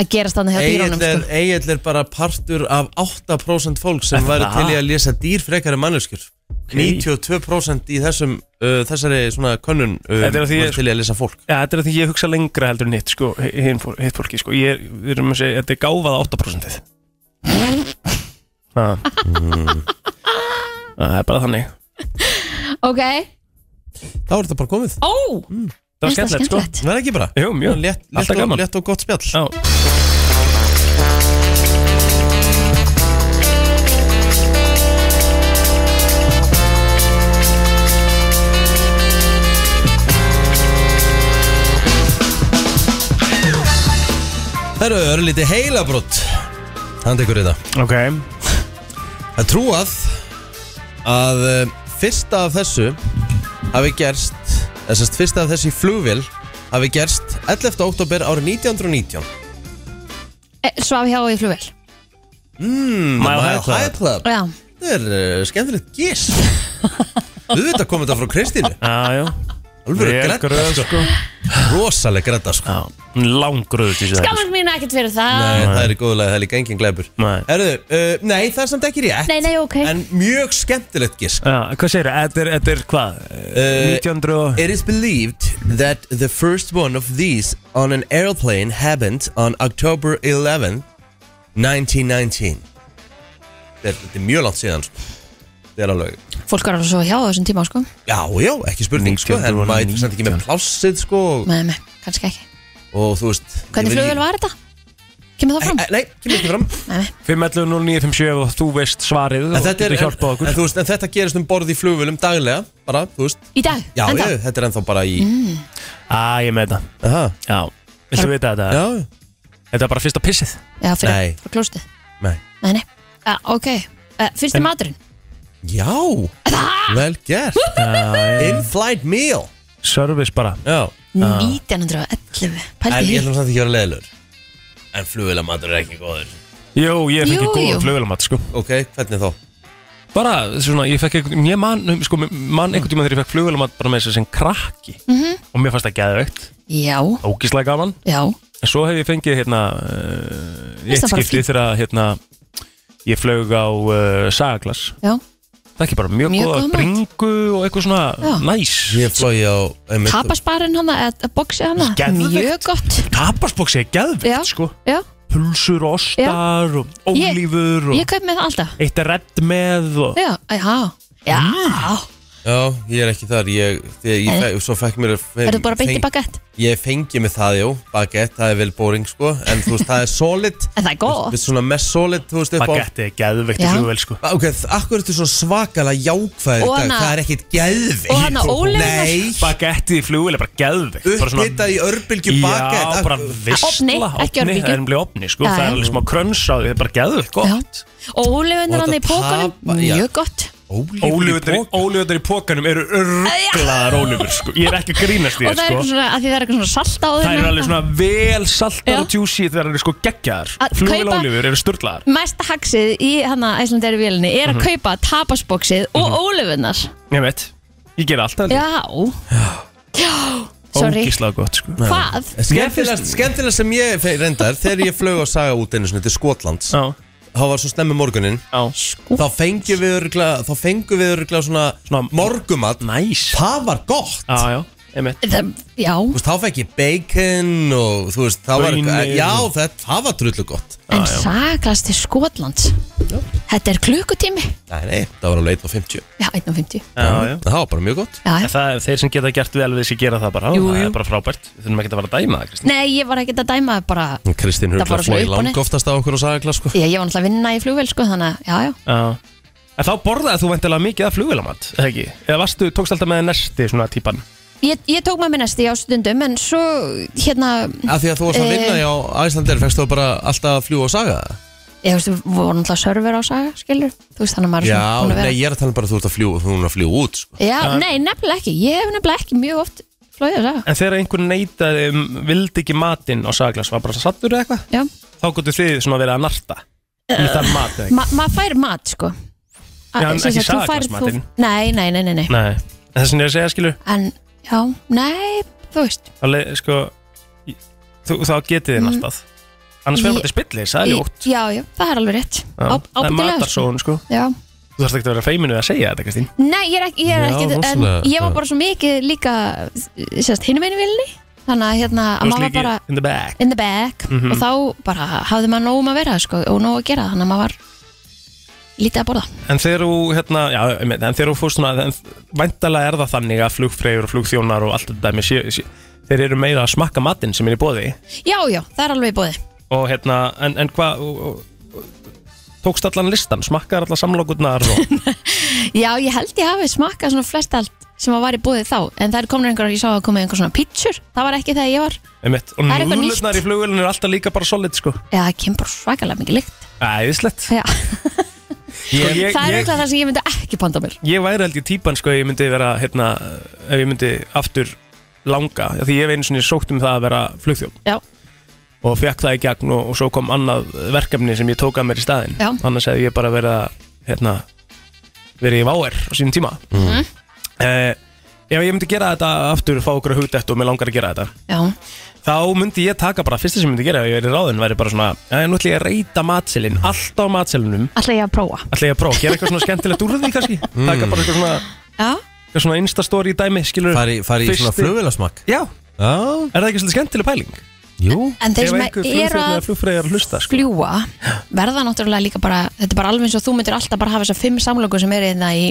[SPEAKER 3] að gerast þannig hjá
[SPEAKER 4] Egil
[SPEAKER 3] dýrónum
[SPEAKER 4] er,
[SPEAKER 3] sko.
[SPEAKER 4] Egill er bara partur af 8% fólk sem
[SPEAKER 5] Er
[SPEAKER 4] væri
[SPEAKER 5] það?
[SPEAKER 4] til í að lesa dýr frekar en manneskjur 92% í þessum uh, þessari svona könnun um,
[SPEAKER 5] Þetta er af því
[SPEAKER 4] væri
[SPEAKER 5] ég-
[SPEAKER 4] til í að lesa fólk
[SPEAKER 5] Já, þetta er af því ég hugsa lengra heldur en hitt, sko, hitt fólk, hitt fólki, sko Ég, er- við erum að segja, þetta er gáfað 8% Já Já, Það er bara þannig
[SPEAKER 3] Ok,
[SPEAKER 4] Þá er þetta bara komið
[SPEAKER 3] ó,
[SPEAKER 4] Mm,
[SPEAKER 3] finnst
[SPEAKER 5] Það var
[SPEAKER 3] það
[SPEAKER 5] skemmtilegt, sko
[SPEAKER 3] skemmtilegt
[SPEAKER 4] Það er ekki bara
[SPEAKER 5] Jú, mjög.
[SPEAKER 4] létt, létt,
[SPEAKER 5] Alltaf
[SPEAKER 4] og,
[SPEAKER 5] gaman.
[SPEAKER 4] létt og gott spjall
[SPEAKER 5] Já,
[SPEAKER 4] Það eru örlítið heilabrott Hann tekur þetta
[SPEAKER 5] ok
[SPEAKER 4] Það er hérna. trúað að uh, fyrsta af þessu hafi gerst eða sérst fyrsta af þessu í flugvél hafi gerst 11. oktober árið 1919
[SPEAKER 3] E, Svaf hjá og í flugvel
[SPEAKER 5] Mm, Mile High Club.
[SPEAKER 4] High Club
[SPEAKER 3] Já,
[SPEAKER 4] Þetta er uh, skemmtilegt gís Þú veit að koma þetta frá Kristínu
[SPEAKER 5] Já, já
[SPEAKER 4] Alveg
[SPEAKER 5] Vel
[SPEAKER 4] græta
[SPEAKER 5] gröð,
[SPEAKER 4] sko.
[SPEAKER 5] sko
[SPEAKER 4] Rosaleg græta sko.
[SPEAKER 5] Já, langröð sko. til þess
[SPEAKER 3] gaman mín ekkert fyrir
[SPEAKER 4] Nei,
[SPEAKER 3] það
[SPEAKER 4] það er í góðlega, það er líka engin glæpur
[SPEAKER 5] Nei.
[SPEAKER 4] Herðu, uh, nei, það er samt ekki rétt
[SPEAKER 3] Nei, nei, ok.
[SPEAKER 4] En mjög skemmtilegt gísk
[SPEAKER 5] Já, hvað segir það? Þetta er, þetta er hvað?
[SPEAKER 4] Eh,
[SPEAKER 5] 1900 og...
[SPEAKER 4] It is believed that the first one of these on an airplane happened on October 11, 1919 Þetta er, þetta er mjög langt síðan sko. Þetta er alveg
[SPEAKER 3] Fólk var alveg svo hjá á þessum tíma sko.
[SPEAKER 4] Já, já, ekki spurning sko, en
[SPEAKER 5] 1919.
[SPEAKER 4] maður er samt ekki með plássið sko, og,
[SPEAKER 3] Nei, nei, kannski ekki
[SPEAKER 4] og þú veist
[SPEAKER 3] Hvernig flugvel var þetta? Kemur það fram?
[SPEAKER 4] Nei, nei, kemur ekki fram
[SPEAKER 5] 511-0957 og þú veist svarið
[SPEAKER 4] En
[SPEAKER 5] og
[SPEAKER 4] þetta,
[SPEAKER 5] getur
[SPEAKER 4] er, en,
[SPEAKER 5] hjálpað okkur
[SPEAKER 4] en, þú veist, en þetta gerist um borð í flugvölum daglega bara, þú veist
[SPEAKER 3] Í dag?
[SPEAKER 4] Já,
[SPEAKER 3] Enda?
[SPEAKER 4] ég, þetta er ennþá bara í mm.
[SPEAKER 5] Á, Ah, ég með þetta
[SPEAKER 4] Aha,
[SPEAKER 5] Já Viltu vita þetta?
[SPEAKER 4] já,
[SPEAKER 5] Þetta er bara fyrsta pissið
[SPEAKER 3] Já, fyrir,
[SPEAKER 4] Nei.
[SPEAKER 3] fyrir klóstið
[SPEAKER 4] nei
[SPEAKER 3] Nei, nei, ja, ok uh, Fyrsti maturinn
[SPEAKER 4] Já, vel gert In-flight meal
[SPEAKER 5] Service bara
[SPEAKER 4] Já,
[SPEAKER 3] 1911
[SPEAKER 4] en
[SPEAKER 3] Pældi
[SPEAKER 4] ég
[SPEAKER 3] hér
[SPEAKER 4] ætlum samt ekki að vera leðilur En flugvölamatur er ekki góður
[SPEAKER 5] Jú, ég fekk
[SPEAKER 3] Jú,
[SPEAKER 5] ekki
[SPEAKER 3] jú.
[SPEAKER 5] góða flugulamat, sko
[SPEAKER 4] Ok, hvernig þá?
[SPEAKER 5] Bara, svona, ég fekk ekki Ég man, um, sko, man einhvern tíma þegar ég fekk flugulamat bara með þess að sem krakki
[SPEAKER 3] Mhm.
[SPEAKER 5] -hmm. Og mér fannst það geðveikt
[SPEAKER 3] Já,
[SPEAKER 5] Ógíslega gaman
[SPEAKER 3] já,
[SPEAKER 5] En svo hef ég fengið hérna uh,
[SPEAKER 3] Finnst
[SPEAKER 5] eitt
[SPEAKER 3] það bara
[SPEAKER 5] skipti
[SPEAKER 3] fínt.
[SPEAKER 5] þegar hérna ég flög á uh, sagaglass
[SPEAKER 3] já
[SPEAKER 5] það er ekki bara mjög,
[SPEAKER 3] Mjög
[SPEAKER 5] góða
[SPEAKER 3] góð mat.
[SPEAKER 5] bringu og eitthvað svona
[SPEAKER 3] Já.
[SPEAKER 5] næs
[SPEAKER 4] Ég flói á einmitt-
[SPEAKER 3] Tapasparinn hana, eða boxið hana
[SPEAKER 5] Geðveikt.
[SPEAKER 3] Mjög gott
[SPEAKER 5] tapasboksi er
[SPEAKER 3] Já.
[SPEAKER 5] geðvikt sko
[SPEAKER 3] Já,
[SPEAKER 5] pulsur og ostar og ólífur
[SPEAKER 3] ég
[SPEAKER 5] og
[SPEAKER 3] kaup með það alltaf
[SPEAKER 5] eitt er redd með og
[SPEAKER 3] Já, já, já
[SPEAKER 4] Já, ég er ekki þar Ég, ég, ég
[SPEAKER 3] Nei.
[SPEAKER 4] fæ, svo fekk mér
[SPEAKER 3] Er það bara beint í bagett?
[SPEAKER 4] Ég fengi mig það, jú, bagett, það er vel boring sko En þú veist, það er solid
[SPEAKER 3] En það er góð
[SPEAKER 4] Við svona mest solid, þú veist, upp á
[SPEAKER 5] bagetti er geðvikt
[SPEAKER 3] Já.
[SPEAKER 5] í flugvel sko
[SPEAKER 4] Ok, akkur ertu svona svakalega jákvæður í
[SPEAKER 3] Og
[SPEAKER 4] dag?
[SPEAKER 3] hana-
[SPEAKER 4] Það er ekkit geðveikt
[SPEAKER 3] og hana Ólefurnar-
[SPEAKER 4] Nei,
[SPEAKER 5] bagetti í flugvel er bara geðvikt bara
[SPEAKER 4] upphita í örbylgju bakett
[SPEAKER 5] Já, bara
[SPEAKER 4] Akkur-
[SPEAKER 5] vissla,
[SPEAKER 3] Ofni, ekki örbylgju.
[SPEAKER 5] Það er umlega opni, sko,
[SPEAKER 3] Já,
[SPEAKER 5] það
[SPEAKER 3] já.
[SPEAKER 5] er alveg smá krönsáði, það er bara geðvikt
[SPEAKER 3] Já.
[SPEAKER 5] gott
[SPEAKER 3] Og
[SPEAKER 4] Og
[SPEAKER 3] ólefunar hann í
[SPEAKER 4] þetta
[SPEAKER 3] pókunum
[SPEAKER 4] tapa- já.
[SPEAKER 3] Mjög gott
[SPEAKER 4] Ólífur í bók
[SPEAKER 5] Ólífundar í pókanum eru örglaðar ólífur sko. Ég er ekki að grínast í
[SPEAKER 3] Og það
[SPEAKER 5] það
[SPEAKER 3] er
[SPEAKER 5] sko.
[SPEAKER 3] eitthvað svona, að því það er eitthvað svona salt á þeim
[SPEAKER 5] Það eru alveg svona vel saltar
[SPEAKER 3] Já.
[SPEAKER 5] og juicy Það eru sko geggjaðar
[SPEAKER 3] Að
[SPEAKER 5] Flugil
[SPEAKER 3] kaupa-
[SPEAKER 5] ólífur eru sturglaðar
[SPEAKER 3] Mesta haxið í hana Æslanderi vélinni er að kaupa tapasboxið og ólefunar
[SPEAKER 5] Ég veit, ég ger alltaf
[SPEAKER 3] Já Já Sorry
[SPEAKER 5] Ógíslega gott sko.
[SPEAKER 3] Hvað?
[SPEAKER 4] Skemmtilegast, skemmtilegast sem ég fe- reyndar Þegar ég flög á saga út einu sinni til Skotlands
[SPEAKER 5] Já,
[SPEAKER 4] Þá var svo snemmi morgunin
[SPEAKER 5] já
[SPEAKER 4] Þá fengjum við örgla Þá fengjum við örgla svona,
[SPEAKER 5] Svona-
[SPEAKER 4] morgumat
[SPEAKER 5] Næs
[SPEAKER 4] Það var gott
[SPEAKER 5] Já, já, ég veit
[SPEAKER 3] Það, já,
[SPEAKER 4] Þú veist, þá fekk ég bacon og þú veist, það var
[SPEAKER 5] Baunir.
[SPEAKER 4] Já, það, það var drullu gott
[SPEAKER 3] en saglast til Skotlands Þetta er klukkutími
[SPEAKER 4] Nei, nei, það var alveg 1.50
[SPEAKER 3] Já, 1.50
[SPEAKER 5] Já, já
[SPEAKER 4] Það var bara mjög gott
[SPEAKER 3] Já,
[SPEAKER 5] En
[SPEAKER 3] já.
[SPEAKER 5] Það, þeir sem geta gert vel við þessi gera það bara
[SPEAKER 3] Jú,
[SPEAKER 5] Það
[SPEAKER 3] jú.
[SPEAKER 5] er bara frábært Við þurfum ekki að fara að dæma það, Kristín
[SPEAKER 3] Nei, ég var ekkert að dæma bara
[SPEAKER 4] Kristín
[SPEAKER 3] Það bara
[SPEAKER 4] Hurgla
[SPEAKER 3] svona
[SPEAKER 4] flói
[SPEAKER 3] upp og niður.
[SPEAKER 4] lang oftast á okkur á sagakla sko.
[SPEAKER 3] Ég, ég var náttúrulega að vinna í flugvél sko Þannig að, já, já
[SPEAKER 5] Já En þá borðaði þú veintilega mikið af flugilamat, eða ekki? Eða varstu, tókst alltaf með nesti svona típan?
[SPEAKER 3] Ég, ég tók maður minn næsti á stundum En svo, hérna
[SPEAKER 4] Af því að þú varst að vinna
[SPEAKER 3] Eh.
[SPEAKER 4] hjá Æslandir Fekst þú bara alltaf að fljúa á saga
[SPEAKER 3] ég veist, við vorum alltaf server á saga, skilur þú veist þannig að maður er
[SPEAKER 4] Já,
[SPEAKER 3] svona búin að vera
[SPEAKER 4] nei, ég er að tala bara að þú ert að fljú, þú ert að fljú út sko.
[SPEAKER 3] Já, nei, nefnilega ekki, ég hef nefnilega ekki mjög oft flóið á saga
[SPEAKER 5] En þegar einhver neitaði, um, vildi ekki matinn á saglas, var bara sattur eða eitthvað
[SPEAKER 3] Já,
[SPEAKER 5] Þá gotu þið svona verið að narta
[SPEAKER 3] Uh.
[SPEAKER 5] Með þann mat eða eitthvað
[SPEAKER 3] Ma, maður fær mat, sko
[SPEAKER 5] Já, en
[SPEAKER 3] sem
[SPEAKER 5] ekki
[SPEAKER 3] sagt, þú færð-
[SPEAKER 5] sakasmatinn.
[SPEAKER 3] þú- Nei, nei, nei, nei, nei
[SPEAKER 5] Nei, en það sem ég er að segja skilu
[SPEAKER 3] En, já, nei, þú veist
[SPEAKER 5] þá leið- sko, í- þú- Þá getið þið nartað Annars verður
[SPEAKER 3] Ég-
[SPEAKER 5] bara til spillis, það er ljótt
[SPEAKER 3] Mm. Í- Já, já, það er alveg rétt
[SPEAKER 5] Já, Það er
[SPEAKER 3] Ábyggilega, sko
[SPEAKER 5] matarsóun sko
[SPEAKER 3] Já
[SPEAKER 5] Þú þarfst ekki að vera feiminu að segja þetta Kristín
[SPEAKER 3] Nei, ég er ekki, ég er
[SPEAKER 4] Já,
[SPEAKER 3] ekki en
[SPEAKER 4] rosalega,
[SPEAKER 3] ég var
[SPEAKER 4] já.
[SPEAKER 3] bara svo mikið líka sérst, hinum einu vilni þannig að hérna,
[SPEAKER 5] Þú
[SPEAKER 3] að
[SPEAKER 5] varst Mhm.
[SPEAKER 3] maður var
[SPEAKER 5] líki
[SPEAKER 3] bara
[SPEAKER 5] in the back
[SPEAKER 3] in the back og þá bara hafði maður nóg um að vera sko, og nóg að gera, þannig að maður var lítið að borða
[SPEAKER 5] En þegar þú, hérna, já, einmitt, en þegar þú fórst svona en Væntalega er það þannig að flugfreyjur og flugþjónar og allt þetta dæmi sé, sé, Þeir eru meira að smakka matinn sem er í bóði
[SPEAKER 3] Já, já, það er alveg í bóði
[SPEAKER 5] Og hérna, en, en hvað og- og- og- Tókst allan listan, smakkaðar allar samlokurnar og,
[SPEAKER 3] Já, ég held ég hafi smakkað svona flest allt sem að var í bóði þá, en það er komin einhver ég sá að komið einhver svona pítsur, það var ekki þegar ég var
[SPEAKER 5] einmitt, og
[SPEAKER 3] Það er eitthvað
[SPEAKER 5] núlurnar
[SPEAKER 3] nýtt.
[SPEAKER 5] í flugvélinu er alltaf líka bara solid sko
[SPEAKER 3] Já, það kemur bara svakalega mikið lykt
[SPEAKER 5] Æðislegt
[SPEAKER 3] Já,
[SPEAKER 5] sko, ég,
[SPEAKER 3] það er
[SPEAKER 5] ég,
[SPEAKER 3] eitthvað það sem ég myndi ekki panta mér
[SPEAKER 5] ég væri held ég típan sko ef ég myndi vera hérna, ef ég myndi aftur langa, af því ég hef einu sinni sókt um það að vera flugþjón
[SPEAKER 3] Já,
[SPEAKER 5] og fekk það í gegn og, og svo kom annað verkefni sem ég tók að mér í staðinn
[SPEAKER 3] Já.
[SPEAKER 5] annars hefði ég bara verið að hérna, verið í váer á sínum tíma mm.
[SPEAKER 3] Mhm.
[SPEAKER 5] ef ég myndi gera þetta aftur fá okkur hugdætt og mér langar að gera þetta
[SPEAKER 3] já,
[SPEAKER 5] þá myndi ég taka bara, fyrsta sem ég myndi gera ef ég verið ráðin væri bara svona, já, nú ætla ég að reyta matselin allt á matselinum
[SPEAKER 3] alltaf ég að prófa
[SPEAKER 5] ætla ég að prófa, gera eitthvað svona skemmtilegt úr því kannski taka bara eitthvað svona,
[SPEAKER 3] Já,
[SPEAKER 5] eitthvað svona instastory dæmi, skilur
[SPEAKER 4] Fari, fari í svona
[SPEAKER 5] Fyrsti-
[SPEAKER 4] flugvélasmakk
[SPEAKER 5] já,
[SPEAKER 4] Já,
[SPEAKER 5] er það ekki svolítið skemmtileg pæling
[SPEAKER 4] jú
[SPEAKER 3] en þeir
[SPEAKER 5] ef
[SPEAKER 3] sem eru
[SPEAKER 5] einhver flugfreyðar
[SPEAKER 3] að
[SPEAKER 5] eða flugfreyðar hlusta sko.
[SPEAKER 3] fljúa verða náttúrulega líka bara þetta er bara alveg eins og þú myndir alltaf bara hafa þessar fimm samlöku sem eru hérna í,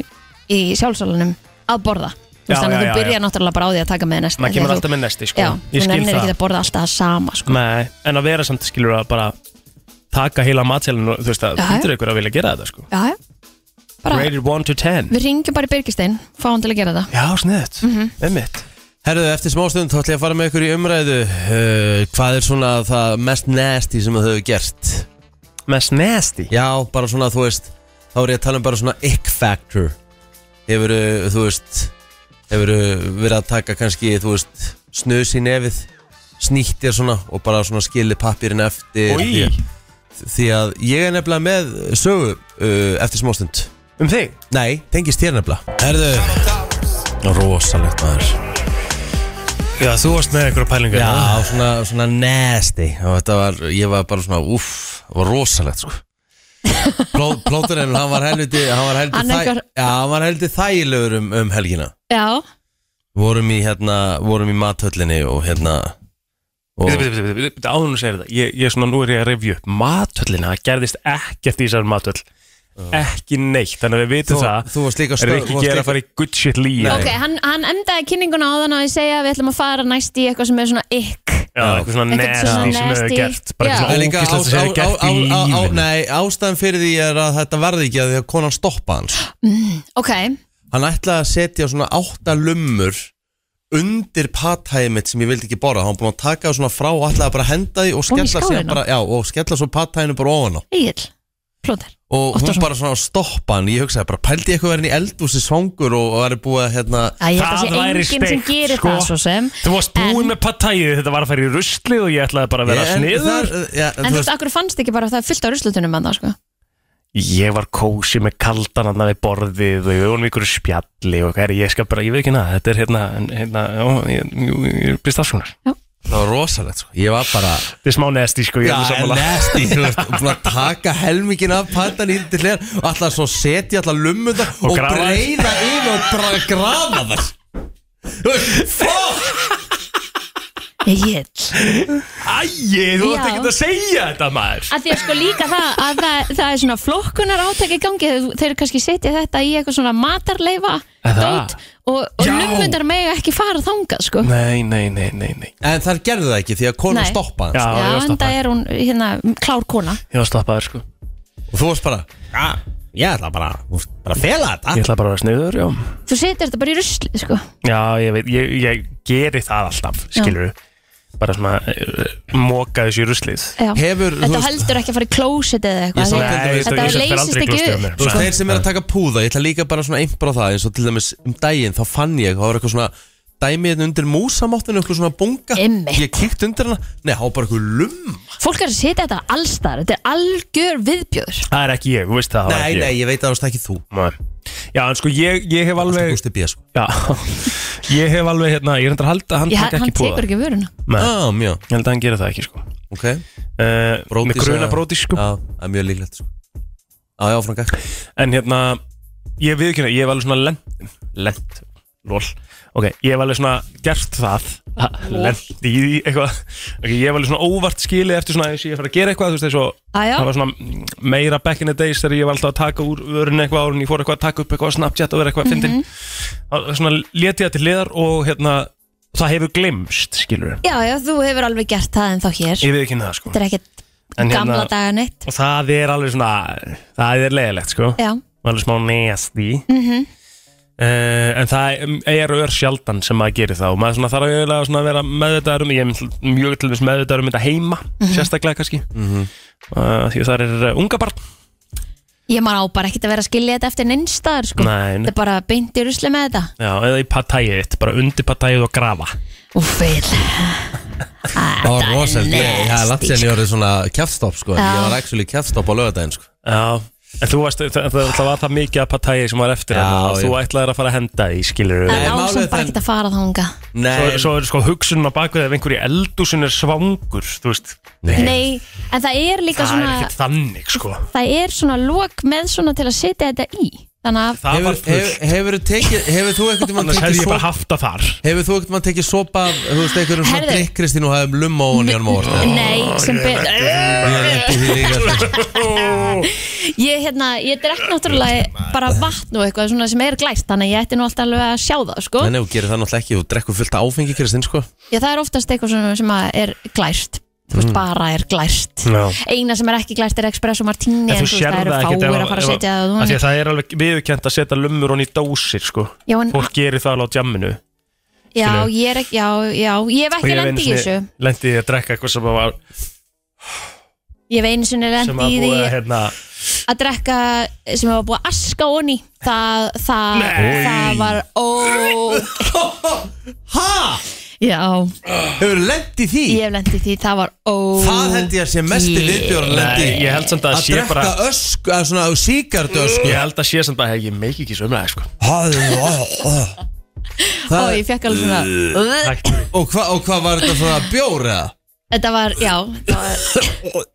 [SPEAKER 3] í sjálfsalunum að borða Þú
[SPEAKER 5] Já,
[SPEAKER 3] veist, þannig
[SPEAKER 5] já,
[SPEAKER 3] að
[SPEAKER 5] já,
[SPEAKER 3] þú byrjar náttúrulega bara á því að taka með næst
[SPEAKER 5] maður kemur alltaf með nesti, sko
[SPEAKER 3] já,
[SPEAKER 5] ég
[SPEAKER 3] þú
[SPEAKER 5] skil
[SPEAKER 3] nennir ekki
[SPEAKER 5] það,
[SPEAKER 3] að borða alltaf það sama sko.
[SPEAKER 5] Nei, en að vera samt skilur að bara taka heila matselin og þú veist að
[SPEAKER 3] Já, já.
[SPEAKER 5] hundur ykkur að vilja gera þetta sko
[SPEAKER 3] já, já. bara,
[SPEAKER 5] rated 1 to 10
[SPEAKER 3] við Mhm. ringjum bara í Birgistein fá hann til að gera það
[SPEAKER 5] já, sniðt, emmitt
[SPEAKER 4] Herðu, eftir smástund þá ætla ég að fara með ykkur í umræðu uh, Hvað er svona það mest nasty sem þau hefur gert?
[SPEAKER 5] mest nasty
[SPEAKER 4] Já, bara svona, þú veist Þá er ég að tala um bara svona ick factor Hefur, uh, þú veist Hefur uh, verið að taka kannski, þú veist Snus í nefið Snýtt þér svona og bara svona skilið pappirinn eftir því,
[SPEAKER 5] Oj,
[SPEAKER 4] að- því að ég er nefnilega með sögu uh, Eftir smástund
[SPEAKER 5] um þig
[SPEAKER 4] Nei, tengist þér nefnilega Herðu Rosalegt maður
[SPEAKER 5] já, þú varst með ykkur pælingar
[SPEAKER 4] Já, svona, svona nasty og þetta var, ég var bara svona uff, það var rosalegt sko Pló, Plóturinn, hann var helviti hann var helviti,
[SPEAKER 3] Hann einhver-
[SPEAKER 4] já, hann var helviti þægilegur um, um helgina
[SPEAKER 3] já,
[SPEAKER 4] vorum í, hérna, vorum í mathöllinni og hérna og,
[SPEAKER 5] áðun og segir þetta ég, ég svona nú er ég að revju upp matöllina, það gerðist ekkert í þessar matöll ekki neitt, þannig að við vitum
[SPEAKER 4] Þú-
[SPEAKER 5] það
[SPEAKER 4] þú varst líka
[SPEAKER 5] er
[SPEAKER 4] stöð-
[SPEAKER 5] ekki
[SPEAKER 4] varst
[SPEAKER 5] gera
[SPEAKER 4] líka-
[SPEAKER 5] að fara í good shit líi
[SPEAKER 4] Nei.
[SPEAKER 3] ok, hann, hann endaði kynninguna á þann að ég segja að við ætlum að fara næst í eitthvað sem er svona ykk
[SPEAKER 5] Já, eitthvað svona
[SPEAKER 3] Eitthvað
[SPEAKER 5] nasty
[SPEAKER 3] svona
[SPEAKER 5] sem hefur
[SPEAKER 3] nasty.
[SPEAKER 5] gert bara
[SPEAKER 3] Já.
[SPEAKER 4] En
[SPEAKER 5] eitthvað svona
[SPEAKER 4] líka
[SPEAKER 5] ógíslegt sem hefur gert í lífinu
[SPEAKER 4] Nei, ástæðan fyrir því er að þetta varði ekki að því að konan sko. stoppa hans
[SPEAKER 3] ok,
[SPEAKER 4] Hann ætlaði að setja svona átta lummur undir patæði mitt sem ég vildi ekki borða Hann var búin að taka það svona frá og ætlaði bara að henda því og
[SPEAKER 3] Ofan í
[SPEAKER 4] skella, sig
[SPEAKER 3] skálina?
[SPEAKER 4] bara, já, og skella svo patæðinu bara ofan á
[SPEAKER 3] Egil, plóter
[SPEAKER 4] og
[SPEAKER 3] Oft
[SPEAKER 4] hún
[SPEAKER 3] á svona.
[SPEAKER 4] bara svona að stoppa hann ég hugsaði bara, pældi ég eitthvað verið í eldúsi svangur og og væri búið að hérna
[SPEAKER 3] Æ, ég held að
[SPEAKER 5] Það
[SPEAKER 3] sé
[SPEAKER 5] væri
[SPEAKER 3] enginn sem
[SPEAKER 5] steikt,
[SPEAKER 3] gerir
[SPEAKER 5] sko.
[SPEAKER 3] það svo sem
[SPEAKER 5] Þú varst
[SPEAKER 3] En-
[SPEAKER 5] búinn með patæði þetta var að fara í rusli og ég ætlaði bara að vera
[SPEAKER 4] En
[SPEAKER 5] sniður
[SPEAKER 4] þar- já, þú
[SPEAKER 3] En þú
[SPEAKER 4] veist,
[SPEAKER 3] veist, akkur fannst ekki bara að það er fullt á ruslutunum annað, sko?
[SPEAKER 5] Ég var kósi með kaldan hann við borðið og við vorum í ykkur spjalli og hvað er ég skal bara, ég veit ekki nað þetta er hérna, en- hérna, já, ég- jú, ég er býst afskunar
[SPEAKER 4] það var rosalegt sko. ég var bara,
[SPEAKER 5] Þetta er smá nesti sko, ég
[SPEAKER 4] já,
[SPEAKER 5] er alveg sammála
[SPEAKER 4] nesti þú veist, og búin að taka helmingin af patæðinu í til hler og ætlaði svo að setja alltaf lummunda og, og
[SPEAKER 5] grafa þær.
[SPEAKER 4] breyða yfir og bara grafa þar Þú veist, Fuck!
[SPEAKER 3] Egil
[SPEAKER 5] Æi, þú ætti
[SPEAKER 3] Já.
[SPEAKER 5] ekki að segja þetta maður
[SPEAKER 3] Að því að sko líka það að það, það er svona flokkunar átæk í gangi þeir, þeir kannski setja þetta í eitthvað svona matarleifa
[SPEAKER 5] Eða?
[SPEAKER 3] dót og, og
[SPEAKER 5] Já.
[SPEAKER 3] lummundar megi ekki fara þangað sko
[SPEAKER 5] Nei, nei, nei, nei, nei
[SPEAKER 4] En þar gerðu það ekki því að konan
[SPEAKER 3] Nei.
[SPEAKER 4] stoppa hans
[SPEAKER 5] Já, ég
[SPEAKER 3] Já,
[SPEAKER 5] var
[SPEAKER 3] en það
[SPEAKER 5] stoppaður
[SPEAKER 3] er hún hérna klár kona
[SPEAKER 5] Ég var stoppaður sko
[SPEAKER 4] Og þú varst bara "Ja, Ég ætla bara, þú veist, bara að fela
[SPEAKER 5] Ég
[SPEAKER 4] þetta
[SPEAKER 5] ætla bara að vera sniður, já
[SPEAKER 3] Þú setjar þetta bara í rusli sko
[SPEAKER 5] Já, ég veit, ég, ég geri það alltaf, skilur bara svona eh, moka þessu í ruslið
[SPEAKER 3] Já.
[SPEAKER 4] Hefur, þú
[SPEAKER 3] Þetta
[SPEAKER 4] veist-
[SPEAKER 3] heldur ekki að fara í klósit eða
[SPEAKER 4] Ég
[SPEAKER 3] eitthvað
[SPEAKER 4] sá
[SPEAKER 3] því-
[SPEAKER 4] þetta- Nei,
[SPEAKER 3] Þetta
[SPEAKER 5] ég- ég- fer
[SPEAKER 3] leysist
[SPEAKER 5] aldrei í
[SPEAKER 3] ekki upp
[SPEAKER 5] klósettið
[SPEAKER 3] sko.
[SPEAKER 5] með mér.
[SPEAKER 4] Þú veist,
[SPEAKER 5] Nei.
[SPEAKER 4] þeir sem er að taka púða, ég ætla líka bara svona einbra á það eins og til dæmis um daginn, þá fann ég það var eitthvað svona dæmið hérna undir músamáttinu eitthvað svona bunga,
[SPEAKER 3] Einmitt.
[SPEAKER 4] ég kíkt undir hana nei, það var bara eitthvað lum
[SPEAKER 3] Fólk er að setja þetta allstar Þetta er algjör viðbjöður
[SPEAKER 5] það er ekki ég, þú veist það það var
[SPEAKER 4] Nei,
[SPEAKER 5] ekki
[SPEAKER 4] nei,
[SPEAKER 5] ég.
[SPEAKER 4] ég veit að það var ekki þú
[SPEAKER 5] Nei. já, en sko ég, ég hef
[SPEAKER 4] Það er
[SPEAKER 5] alveg
[SPEAKER 4] Gústi B, sko
[SPEAKER 5] já, ég hef alveg hérna, ég er hendur að halda að hann
[SPEAKER 3] Ég,
[SPEAKER 5] taka
[SPEAKER 3] hann
[SPEAKER 5] ekki púða
[SPEAKER 3] tekur ekki vöruna
[SPEAKER 5] Nei,
[SPEAKER 4] Já, mjög,
[SPEAKER 5] ég held að hann gera það ekki sko
[SPEAKER 4] ok
[SPEAKER 5] uh,
[SPEAKER 4] Bródís
[SPEAKER 5] með gruna
[SPEAKER 4] eða-
[SPEAKER 5] brótis sko
[SPEAKER 4] Já, það er mjög líklegt, sko Já, já, franga
[SPEAKER 5] En hérna, ég viðkynna, ég hef alveg svona lent, lent, lol, ok, ég hef alveg svona gert það, ha, lent í því eitthvað, ok, ég hef alveg svona óvart skilið eftir svona þess að ég er að fara að gera eitthvað, þú veist, þess að
[SPEAKER 3] Æjá,
[SPEAKER 5] það var svona mm, meira back in the days þegar ég var alltaf að taka úr vörun eitthvað árun, ég fór eitthvað að taka upp eitthvað á Snapchat og vera eitthvað mm -hmm. fyndin, svona leti það til liðar og hérna, það hefur glemst, skilur við,
[SPEAKER 3] já, já, þú hefur alveg gert það en þá hér
[SPEAKER 5] ég viðkynna það, sko,
[SPEAKER 3] Þetta er ekkert
[SPEAKER 5] En hérna-
[SPEAKER 3] gamla daga neitt
[SPEAKER 5] og það er alveg svona, það er leiðilegt, sko,
[SPEAKER 3] Já,
[SPEAKER 5] alveg smá nasty mm en það um, er ör sjaldan sem maður gerir það og maður svona þarf eiginlega svona að vera meðvitaður um ég er mjög- mjög til þess meðvitaður um þetta heima sérstaklega kannski mm því að það er uh, unga barn
[SPEAKER 3] ég man á bara ekkert að vera að skilja þetta eftir nynstaðar sko
[SPEAKER 5] Nei, nei.
[SPEAKER 3] Þetta er bara beint í rusli með þetta
[SPEAKER 5] Já, eða í patæið þitt, bara undir patæið og grafa
[SPEAKER 3] Úfeil
[SPEAKER 4] Það var rosalega, já, langt sér ég orðið svona kjafstopp, sko en
[SPEAKER 3] Já.
[SPEAKER 4] Ég var actually kjafstopp á lögadaginn, sko
[SPEAKER 5] Já, en þú varst, það, það, það var það mikið að patæið sem var eftir
[SPEAKER 4] Já,
[SPEAKER 5] hana og þú
[SPEAKER 4] já.
[SPEAKER 5] ætlaðir að fara að henda því, skilur
[SPEAKER 3] En
[SPEAKER 4] Nei, málið
[SPEAKER 3] ásum
[SPEAKER 4] er
[SPEAKER 3] bara
[SPEAKER 4] það-
[SPEAKER 3] ekkert að fara þanga
[SPEAKER 5] Svo, svo er sko hugsunum á bakvið ef einhverju eldúsin er svangur, þú veist
[SPEAKER 3] Nei, en það er líka
[SPEAKER 5] Það er
[SPEAKER 3] svona
[SPEAKER 5] ekkert þannig, sko
[SPEAKER 3] Það er svona lok með svona til að setja þetta í Þannig að
[SPEAKER 5] Það
[SPEAKER 4] Hefur,
[SPEAKER 5] var full
[SPEAKER 4] hefur, hefur, tekið, hefur þú ekkert um að
[SPEAKER 5] Annars hefði
[SPEAKER 4] tekið
[SPEAKER 5] ég bara
[SPEAKER 4] sopa
[SPEAKER 5] haft það þar
[SPEAKER 4] Hefur þú ekkert um að tekið sopa af, Þú veist, einhverjum svona
[SPEAKER 3] Herðu.
[SPEAKER 4] drikk, Kristín og hafðum lumma á hann í hann mór
[SPEAKER 3] Nei, sem betur
[SPEAKER 4] Ég er lent í því líka, sko
[SPEAKER 3] Ég, hérna, ég drekk náttúrulega bara vatn og eitthvað svona sem er glæst Þannig að ég ætti nú alltaf alveg að sjá það, sko
[SPEAKER 4] Nei, nei, þú gerir það náttúrulega ekki, þú drekkur fullt af áfengi Kristinn, sko
[SPEAKER 3] Já, það er oftast eitthvað svona sem að er glæst Þú
[SPEAKER 5] Mm.
[SPEAKER 3] veist, bara er glæst
[SPEAKER 5] Já.
[SPEAKER 3] Eina sem er ekki glæst er Expresso Martini
[SPEAKER 5] En þú
[SPEAKER 3] veist,
[SPEAKER 5] sér
[SPEAKER 3] það eru
[SPEAKER 5] það ekkert
[SPEAKER 3] fáir
[SPEAKER 5] ef-
[SPEAKER 3] að fara að
[SPEAKER 5] ef-
[SPEAKER 3] setja það
[SPEAKER 5] af
[SPEAKER 3] og
[SPEAKER 5] því
[SPEAKER 3] þú-
[SPEAKER 5] að það er alveg viðurkjönt að setja lumur honni í dósir sko.
[SPEAKER 3] Já, en,
[SPEAKER 5] Fólk gerir það alveg á djamminu
[SPEAKER 3] já,
[SPEAKER 5] skilur.
[SPEAKER 3] ég er ekki, já, já, ég hef ekki lendi í þessu
[SPEAKER 5] lendi í að drekka eitthvað sem að var
[SPEAKER 3] Ég hef einu sinni
[SPEAKER 5] sem
[SPEAKER 3] lendi
[SPEAKER 5] að
[SPEAKER 3] í því
[SPEAKER 5] búið að hérna
[SPEAKER 3] að drekka sem var búið að aska onni það, það,
[SPEAKER 5] Nei.
[SPEAKER 3] það var ó
[SPEAKER 4] Ha?
[SPEAKER 3] já,
[SPEAKER 4] Hefur lent í því?
[SPEAKER 3] ég hef lendið því það var ó
[SPEAKER 4] Það held ég að sé mest í viðbjörn lent í
[SPEAKER 5] Nei, ég held samt að
[SPEAKER 4] Að
[SPEAKER 5] sé
[SPEAKER 4] drekka
[SPEAKER 5] bara
[SPEAKER 4] ösku, að svona síkardu ösku
[SPEAKER 5] Ég held að sé samt bara, hey, ég meiki ekki svo umlega sko.
[SPEAKER 4] Það
[SPEAKER 3] ó, ég fekk alveg svona
[SPEAKER 5] Takk.
[SPEAKER 4] Og hvað og hva var þetta svona bjór eða?
[SPEAKER 3] þetta var, já það var,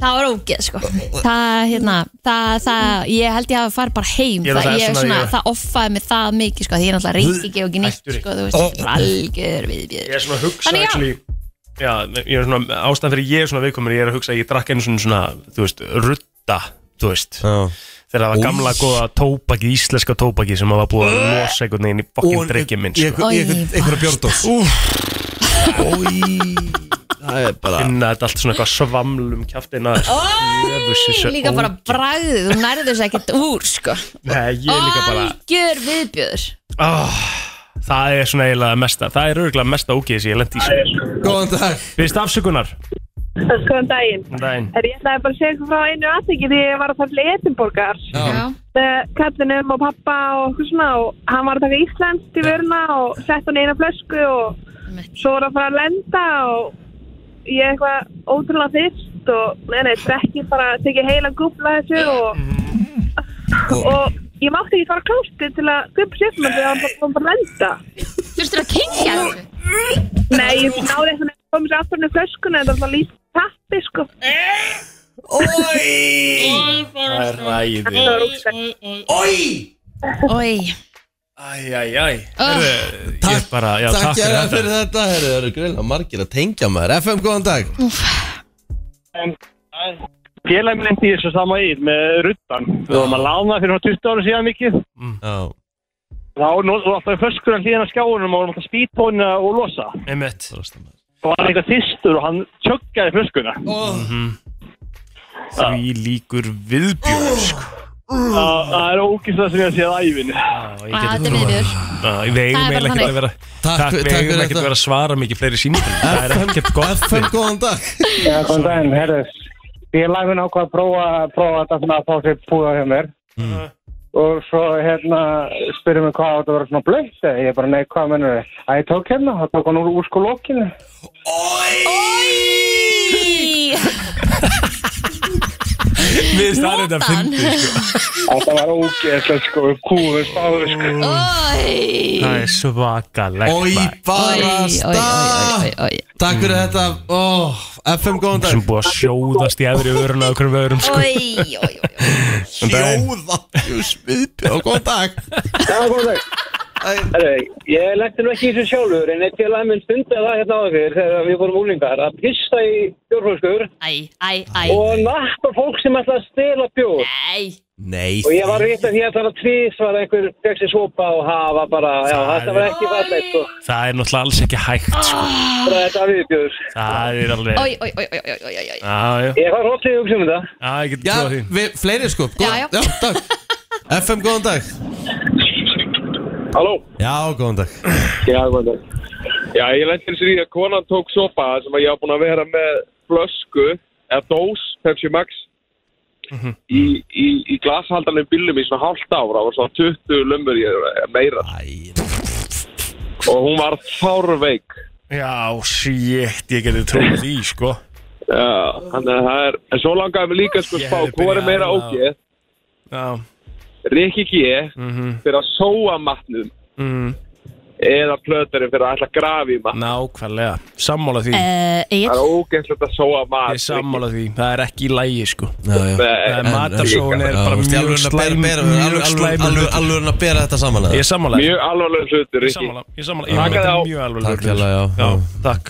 [SPEAKER 3] það var ógeð sko það, hérna, það, það ég held ég hafi farið bara heim
[SPEAKER 5] Ég er
[SPEAKER 3] það,
[SPEAKER 5] náttúrulega
[SPEAKER 3] ég,
[SPEAKER 5] svona-
[SPEAKER 3] svona,
[SPEAKER 5] ég-
[SPEAKER 3] það offaði mig það mikið sko, því ég náttúrulega reyndi ekki og ekki nýtt
[SPEAKER 5] Hættu
[SPEAKER 3] sko, þú veist, þetta var algjör viðbjöður
[SPEAKER 5] Ég er svona að hugsa
[SPEAKER 3] Þannig já.
[SPEAKER 5] actually, já, ég er svona, ástæðan fyrir ég er svona viðkomur ég er að hugsa að ég drakk einu svona, svona þú veist, rutta þú veist, þegar það var
[SPEAKER 4] Új.
[SPEAKER 5] gamla góða tóbaki, íslenska tóbaki sem að var búið að losa einhvern veginn í
[SPEAKER 4] Og-
[SPEAKER 5] fokkin drikkið
[SPEAKER 4] í
[SPEAKER 5] minn sko.
[SPEAKER 4] einhver- í einhver-
[SPEAKER 3] Oj,
[SPEAKER 4] Einhverja bjórdós Það er bara
[SPEAKER 5] finna þetta allt svona eitthvað svamlum kjaftina sko.
[SPEAKER 3] Ói, líka bara bragðið, þú nærður þess ekkert úr sko
[SPEAKER 5] Nei, ég líka bara
[SPEAKER 3] Algjör viðbjöður
[SPEAKER 5] oh, Það er svona eiginlega mesta Það er örgulega mesta ógeðis ég lendi í sko.
[SPEAKER 4] Góðan dag
[SPEAKER 5] Fyrst afsökunar
[SPEAKER 1] Góðan daginn.
[SPEAKER 5] Dæn.
[SPEAKER 1] Er ég ætlaði bara að segja ykkur frá einu aðtekki því ég var að fara til Edinborgar
[SPEAKER 3] Já,
[SPEAKER 1] með kallinum og pappa og okkur svona og hann var að taka íslenskt í vöruna og sett hann í eina flösku og
[SPEAKER 3] Einmitt.
[SPEAKER 1] svo var að fara að lenda og ég eitthvað ótrúlega fyrst og nei, nei, drekki bara að tekja heila gúbla þessu og, og ég mátti ekki fara klósti til að gubba sér með því að hann bara- hann bara að lenda.
[SPEAKER 3] þurftur að kengja þessu
[SPEAKER 1] Nei, ég náði eitthvað að koma sér aftur með flöskuna en það var lítið tappi sko.
[SPEAKER 5] Það er ræði
[SPEAKER 1] Það var ótrúlega.
[SPEAKER 3] Ói,
[SPEAKER 5] Æjæjæj
[SPEAKER 3] Ah.
[SPEAKER 5] Takk, bara, já, takk,
[SPEAKER 4] Takk
[SPEAKER 5] fyrir
[SPEAKER 4] hérna
[SPEAKER 5] þetta
[SPEAKER 4] fyrir þetta Herru, það eru greinlega margir að tengja maður FM, góðan dag
[SPEAKER 5] Mm.
[SPEAKER 6] Félagin endi í þessu sama ír með ruttan. Við vorum að lána fyrir svona 20 ára síðan mikið.
[SPEAKER 4] Já
[SPEAKER 6] Þá nóttum við alltaf föskurinn hlýðan að skjáunum og vorum alltaf spýtónina og losa.
[SPEAKER 5] Einmitt
[SPEAKER 6] Og hann var eitthvað þýstur og hann
[SPEAKER 4] Mm-hmm.
[SPEAKER 6] tjöggaði föskuna.
[SPEAKER 5] Því líkur viðbjörn sko.
[SPEAKER 7] Það það er ógislega sem ég sé að ævinni.
[SPEAKER 5] Ég
[SPEAKER 3] Á,
[SPEAKER 5] get
[SPEAKER 3] þetta er viður
[SPEAKER 5] Nei, Við eigum
[SPEAKER 3] Það er bara
[SPEAKER 5] eiginlega ekkert
[SPEAKER 3] þannig.
[SPEAKER 5] að vera
[SPEAKER 4] Takk-
[SPEAKER 5] Takk, við
[SPEAKER 4] takk
[SPEAKER 5] eigum
[SPEAKER 4] fyrir
[SPEAKER 5] ekkert
[SPEAKER 4] þetta.
[SPEAKER 5] að vera að svara mikið fleiri símtum Það er ekkert gott
[SPEAKER 4] FM, góðan dag
[SPEAKER 8] Já, góðan daginn, herðis. Félagin ákvað að prófa, prófa þetta svona að fá sér púða hjá mér. Mm. Og svo hérna spyrir mig hvað þetta var svona blöitt. Ég bara, nei, hvað mennur þið? Æ, ég tók hérna, það tók hann úr úrskulókinu.
[SPEAKER 5] Við staðum þetta sko. að fyndi
[SPEAKER 8] Þetta var ógeðslega sko, kúður stáður sko.
[SPEAKER 3] Ói
[SPEAKER 5] Það er svakalegt
[SPEAKER 4] Oi,
[SPEAKER 5] maður.
[SPEAKER 4] bara stað Takk
[SPEAKER 5] Mm.
[SPEAKER 4] fyrir þetta Ó, FM, góðan
[SPEAKER 5] sem
[SPEAKER 4] dag
[SPEAKER 5] búið að sjóðast í eðri öruna og hverjum öðrum sko. En það er-
[SPEAKER 4] Sjóða, jú, smiðbjó, góðan dag
[SPEAKER 8] Já, góðan dag. Herri, ég lendi nú ekki í þessu sjálfur, en eitt félagin minn stundi það hérna á þér þegar við vorum úlingar að pissa í bjórfólkskur
[SPEAKER 3] Æ, æ, æ
[SPEAKER 8] og nappa fólk sem ætlaði að stela bjór.
[SPEAKER 3] Æ
[SPEAKER 4] Nei
[SPEAKER 8] Og ég var rétt að því að það var tvís var einhver fekk sér svopa og hafa bara, já,
[SPEAKER 5] Það
[SPEAKER 8] þetta var
[SPEAKER 5] er-
[SPEAKER 8] ekki fallegt sko.
[SPEAKER 5] það er náttúrulega alls ekki hægt sko.
[SPEAKER 8] Bara þetta viðbjör.
[SPEAKER 5] Það er alveg
[SPEAKER 3] Ói, ói, ói, ói, ói, ói, ói
[SPEAKER 5] Já, já,
[SPEAKER 8] Ég var hóttið um sem þetta.
[SPEAKER 5] Já, ég get
[SPEAKER 4] Já,
[SPEAKER 5] trúið því
[SPEAKER 4] við, fleiri sko
[SPEAKER 3] Já, já.
[SPEAKER 4] góðan, takk FM, góðan dag
[SPEAKER 9] Halló?
[SPEAKER 4] Já, góðan dag
[SPEAKER 8] Já, góðan dag.
[SPEAKER 9] Já, ég lendi þessu í að konan tók sopa sem að ég var búin að vera með flösku eða dós, Pepsi Max
[SPEAKER 5] Mhm.
[SPEAKER 9] í, í, í glashaldanum bílum í svona hálft ára það var svona 20 lömmur í meira
[SPEAKER 4] Æ,
[SPEAKER 9] og hún var þárveik
[SPEAKER 5] Já, shit, ég geti trúið því sko.
[SPEAKER 9] Já, þannig að það er en svo langaði mig líka sko
[SPEAKER 5] Ég
[SPEAKER 9] spá
[SPEAKER 5] hefði
[SPEAKER 9] hvað er
[SPEAKER 5] byrjað
[SPEAKER 9] meira
[SPEAKER 5] að-
[SPEAKER 9] ógeð
[SPEAKER 5] Já,
[SPEAKER 9] Rikki G
[SPEAKER 5] Mhm.
[SPEAKER 9] fyrir að sóa matnum
[SPEAKER 5] mm,
[SPEAKER 9] eða plöturinn fyrir að ætla að grafi í matnum
[SPEAKER 5] nákvæmlega Sammála
[SPEAKER 3] Eh,
[SPEAKER 5] því,
[SPEAKER 9] Það
[SPEAKER 3] Egil
[SPEAKER 9] er ógeðslegt að sóa
[SPEAKER 5] ég
[SPEAKER 9] mat
[SPEAKER 5] er sammála því Það er ekki í lægi sko.
[SPEAKER 4] já, já
[SPEAKER 5] Það
[SPEAKER 9] Nei,
[SPEAKER 5] er matarsóun er
[SPEAKER 4] Já, þú
[SPEAKER 5] bara
[SPEAKER 4] veist, í alvörunni
[SPEAKER 5] mjög
[SPEAKER 4] að bera-
[SPEAKER 5] slæm
[SPEAKER 4] bera-
[SPEAKER 5] Mjög
[SPEAKER 4] alvöru-
[SPEAKER 5] slæm
[SPEAKER 4] alvöru- alvöru að bera þetta saman eða?
[SPEAKER 5] Ég er sammála því.
[SPEAKER 9] Mjög alvarlega
[SPEAKER 5] Ég
[SPEAKER 9] hlutur,
[SPEAKER 5] er
[SPEAKER 9] Rikki
[SPEAKER 5] sammála, ég er sammála, ég veit
[SPEAKER 9] Taka það
[SPEAKER 5] þetta
[SPEAKER 9] á.
[SPEAKER 5] er mjög alveg
[SPEAKER 4] Takk hérlega, já.
[SPEAKER 5] já Takk,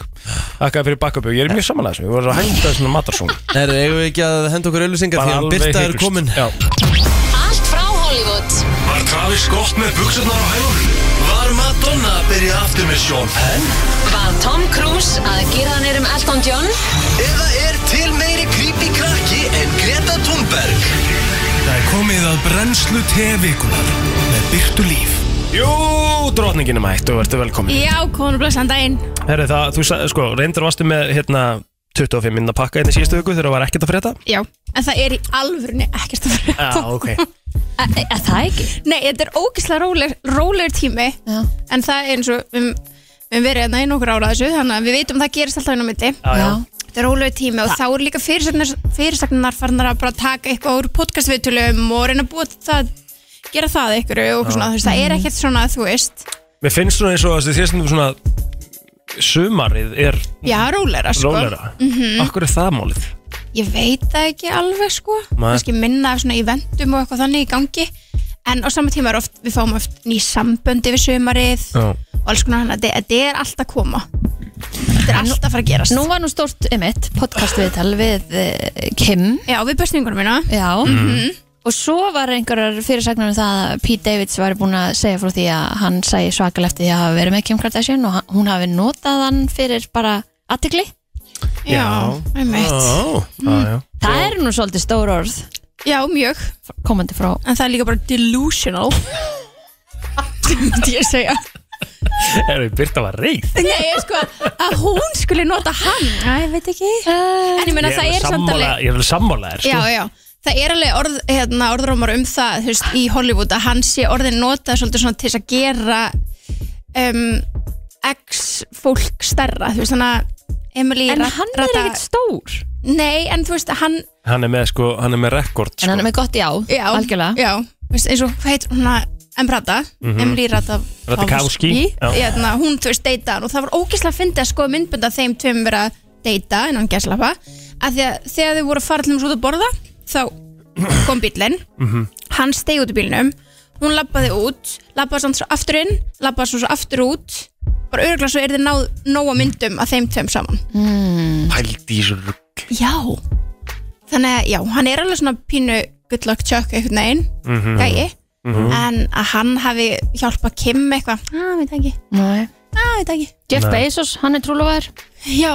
[SPEAKER 5] takk að fyrir bakkabjög, ég er mjög sammála þessu Ég var svo að hænta þessum matarsónu
[SPEAKER 4] Herru, eigum við ekki að henda okkur auðlýsingar því að Birta er komin
[SPEAKER 5] Já,
[SPEAKER 10] Allt frá Hollywood
[SPEAKER 2] Var Travis gott með buksunar á hælunum? Var Madonna að byrja aftur með Sean Penn?
[SPEAKER 10] Var Tom Cruise að gera hann um Elton John?
[SPEAKER 2] Eða er til meiri creepy krakki en Greta Thunberg? Það er komið að brennslu tevikunar með Byrtu Líf.
[SPEAKER 5] jú, drotningin er mætt og verður velkomin
[SPEAKER 1] Já, konur blössan daginn
[SPEAKER 5] Herri það, þú sagði, sko, reyndur varstu með hérna 25 minna pakka hérna í síðustu viku þegar það var ekkert að frétta
[SPEAKER 1] Já, en það er í alvörni ekkert að frétta
[SPEAKER 5] ok
[SPEAKER 3] Eh, Er það ekki?
[SPEAKER 1] Nei, þetta er ógislega rólegur, rólegur tími
[SPEAKER 3] Já.
[SPEAKER 1] En það er eins og við við höfum verið hérna í nokkur ára þessu Þannig að við veitum að það gerist alltaf inn á milli
[SPEAKER 5] já.
[SPEAKER 1] Þetta er rólegur tími og þá er líka fyrirsagnar, fyrirsagnar farnar að bara taka eitthvað úr podcastviðtölum og reyna að búa það gera það ykkur og eitthvað svona, þú veist, það er ekkert svona þú veist,
[SPEAKER 5] Mér finnst svona eins og þessi þessum svona sumarið er
[SPEAKER 1] já, rólera sko.
[SPEAKER 5] rólera Akkur er það málið?
[SPEAKER 1] Ég veit það ekki alveg sko
[SPEAKER 5] Nei.
[SPEAKER 1] kannski minna af svona eventum og eitthvað þannig í gangi En á sama tíma er oft, við fáum oft ný samböndi við sömarið
[SPEAKER 5] Já.
[SPEAKER 1] Og alls konar hann að þetta er allt að koma Þetta er allt að fara að gerast
[SPEAKER 3] Nú var nú stórt um eitt podcast viðtal við uh, Kim
[SPEAKER 1] Já, við bestu yngur mína
[SPEAKER 3] Já
[SPEAKER 5] Mhm.
[SPEAKER 3] Og svo var einhverjar fyrirsagnar um það að Pete Davids var búin að segja frá því að hann sæði svakal eftir því að hafa verið með Kim Kardashian og hann- hún hafi notað hann fyrir bara aðtikli.
[SPEAKER 1] Já, einmitt
[SPEAKER 5] Ó, já, já
[SPEAKER 3] Það er nú svolítið stór orð
[SPEAKER 1] Já, mjög
[SPEAKER 3] komandi frá
[SPEAKER 1] En það er líka bara delusional Sem myndi ég segja
[SPEAKER 5] Herri, Birta var reyð
[SPEAKER 1] Nei, sko, að hún skulle nota hann Já, ég veit ekki
[SPEAKER 3] Eh,
[SPEAKER 1] En ég meina
[SPEAKER 5] Ég
[SPEAKER 1] það
[SPEAKER 5] er
[SPEAKER 1] er samt alveg
[SPEAKER 5] sammála- ég er alveg sammála þér, sko
[SPEAKER 1] já, já. Það er alveg orð, hérna, orðrómar um það þú veist, í Hollywood að hann sé orðin notað svolítið svona til þess að gera um, ex fólk stærra þú veist þannig að Emily
[SPEAKER 3] En
[SPEAKER 1] rat-
[SPEAKER 3] hann er
[SPEAKER 1] rata-
[SPEAKER 3] ekkert stór
[SPEAKER 1] Nei, en þú veist hann
[SPEAKER 5] Hann er með, sko, hann er með rekord,
[SPEAKER 3] En
[SPEAKER 5] sko
[SPEAKER 3] hann er með gott já,
[SPEAKER 1] já,
[SPEAKER 3] algjörlega
[SPEAKER 1] já, þú veist, eins og hvað heitir hún að Emrata, Emily Rata
[SPEAKER 5] Ratajkowski, já.
[SPEAKER 1] hérna, hún þú veist deyta hann og það var ógeðslega fyndið að sko myndbund að þeim tveim vera að deyta innan gæslappa að því að þegar þau voru að fara allir út að borða þá kom bílinn hann steig út í bílnum hún lappaði út, lappaði samt svo aftur inn lappaði svo, svo aftur út bara örgulega svo er þið náð nóga myndum að þeim tveim saman
[SPEAKER 5] Pældi í svo rugg
[SPEAKER 1] Já Þannig að já, hann er alveg svona pínu good luck chuck einhvern veginn gæi, en að hann hafi hjálpað Kim eitthvað að, veit ekki,
[SPEAKER 3] Nei.
[SPEAKER 1] að, veit ekki
[SPEAKER 3] Jeff Bezos, hann er trúlofaður
[SPEAKER 1] Já,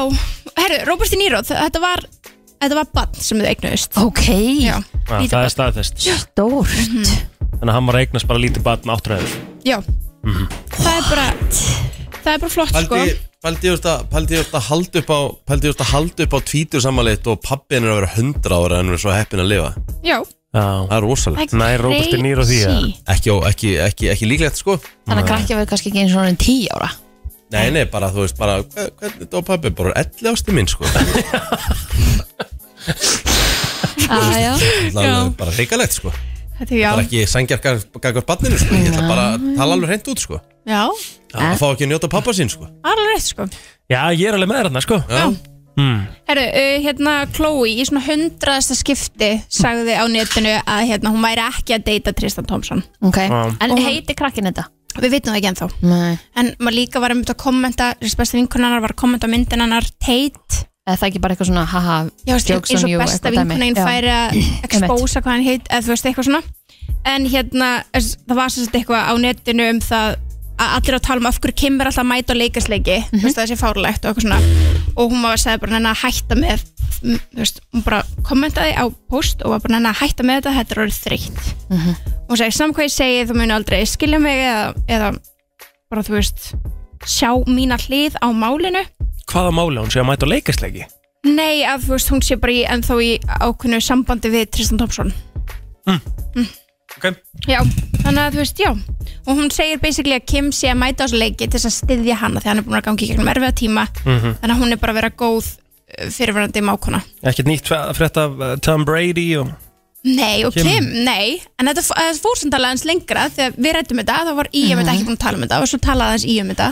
[SPEAKER 1] herru, Robert De Niro, þ- þetta var þetta var bann sem þau eignuðist
[SPEAKER 3] Ok,
[SPEAKER 1] Já.
[SPEAKER 5] Ja,
[SPEAKER 9] Lítið
[SPEAKER 5] það er staðfest
[SPEAKER 3] Stórt
[SPEAKER 5] Þannig að hann var að eignast bara lítið batn áttræður
[SPEAKER 9] Já, það er bara Það er bara flott sko
[SPEAKER 4] Paldi, paldi, þú ert að- paldi, þú ert að halda upp á Paldi, þú ert að halda upp á tvítur samanleitt og pappin er að vera 100 ára en við erum svo heppin að lifa
[SPEAKER 9] Já,
[SPEAKER 5] Já.
[SPEAKER 4] Það er rosalegt
[SPEAKER 3] Það er Nær Robert De Niro því, eða? crazy.
[SPEAKER 4] ekki, ó- ekki, ekki, ekki líklegt sko
[SPEAKER 3] Þannig að krakkja verður kannski ekki eins og hann tíu ára
[SPEAKER 4] Nei, nei, bara þú veist, bara hver- Hvernig dó pappi? Bara 11 ástu minn sko
[SPEAKER 3] ah, já.
[SPEAKER 4] Það er alveg bara reikalegt sko
[SPEAKER 9] Þetta er já
[SPEAKER 4] Bara ekki sengjar gagvart banninu sko Ég ætla bara að tala alveg hreint út sko
[SPEAKER 9] Já,
[SPEAKER 4] Að fá ekki að njóta pappa sín sko
[SPEAKER 9] það er alveg rétt sko
[SPEAKER 5] Já, ég er alveg með þér hérna sko
[SPEAKER 4] Já
[SPEAKER 9] Herru, uh, hérna Chloe í svona hundraðasta skipti sagði á netinu að hérna, hún væri ekki að deyta Tristan Thompson
[SPEAKER 3] Ok,
[SPEAKER 9] Já.
[SPEAKER 3] en heiti krakkin þetta?
[SPEAKER 9] Við veitum það ekki ennþá
[SPEAKER 3] Nei
[SPEAKER 9] En maður líka var einmitt að kommenta þessi besta vinkunar hennar var að kommenta á myndin hennar Tate
[SPEAKER 3] Eða það ekki bara eitthvað svona haha
[SPEAKER 9] Já, veist,
[SPEAKER 3] jokes
[SPEAKER 9] eins
[SPEAKER 3] on
[SPEAKER 9] og
[SPEAKER 3] you,
[SPEAKER 9] besta
[SPEAKER 3] eitthvað dæmi.
[SPEAKER 9] vinkunin
[SPEAKER 3] Já.
[SPEAKER 9] færi að expósa hvað hann heit eða þú veist eitthvað svona en hérna, þess- það var sérst eitthvað á netinu um það að allir að tala um af hverju Kim er alltaf að mæta á leikasleiki þú veist það sé fárlegt og eitthvað svona og hún var að segja bara henni að hætta með m, þú veist, hún bara kommentaði á post og var bara henni að hætta með þetta, þetta er orðið þreytt
[SPEAKER 3] Mhm.
[SPEAKER 9] og hún segi, saman hvað ég segi þú muni aldrei skilja mig eða, eða bara þú veist, sjá mína hlið á málinu
[SPEAKER 5] Hvaða máli á hún sé að mæta á leikasleiki?
[SPEAKER 9] Nei, að þú veist, hún sé bara í, ennþá í ákveðnu sambandi við Tristan Thompson.
[SPEAKER 5] Ok
[SPEAKER 9] Já, þannig að þú veist, já. Og hún segir basically að Kim sé að mæta á þessu leiki til þess að styðja hana þegar hann er búin að gangi í gegnum erfiða tíma.
[SPEAKER 5] Mhm.
[SPEAKER 9] Þannig að hún er bara að vera góð uh, fyrirverandi mákona.
[SPEAKER 5] Ekkert nýtt fe- frétt af uh, Tom Brady og
[SPEAKER 9] Nei, og
[SPEAKER 5] Kim.
[SPEAKER 9] Kim, nei. En þetta f- þetta fór samt alveg aðeins lengra þegar við rættum þetta, þá var í um þetta ekki búin að tala um þetta og svo talaði aðeins í um þetta.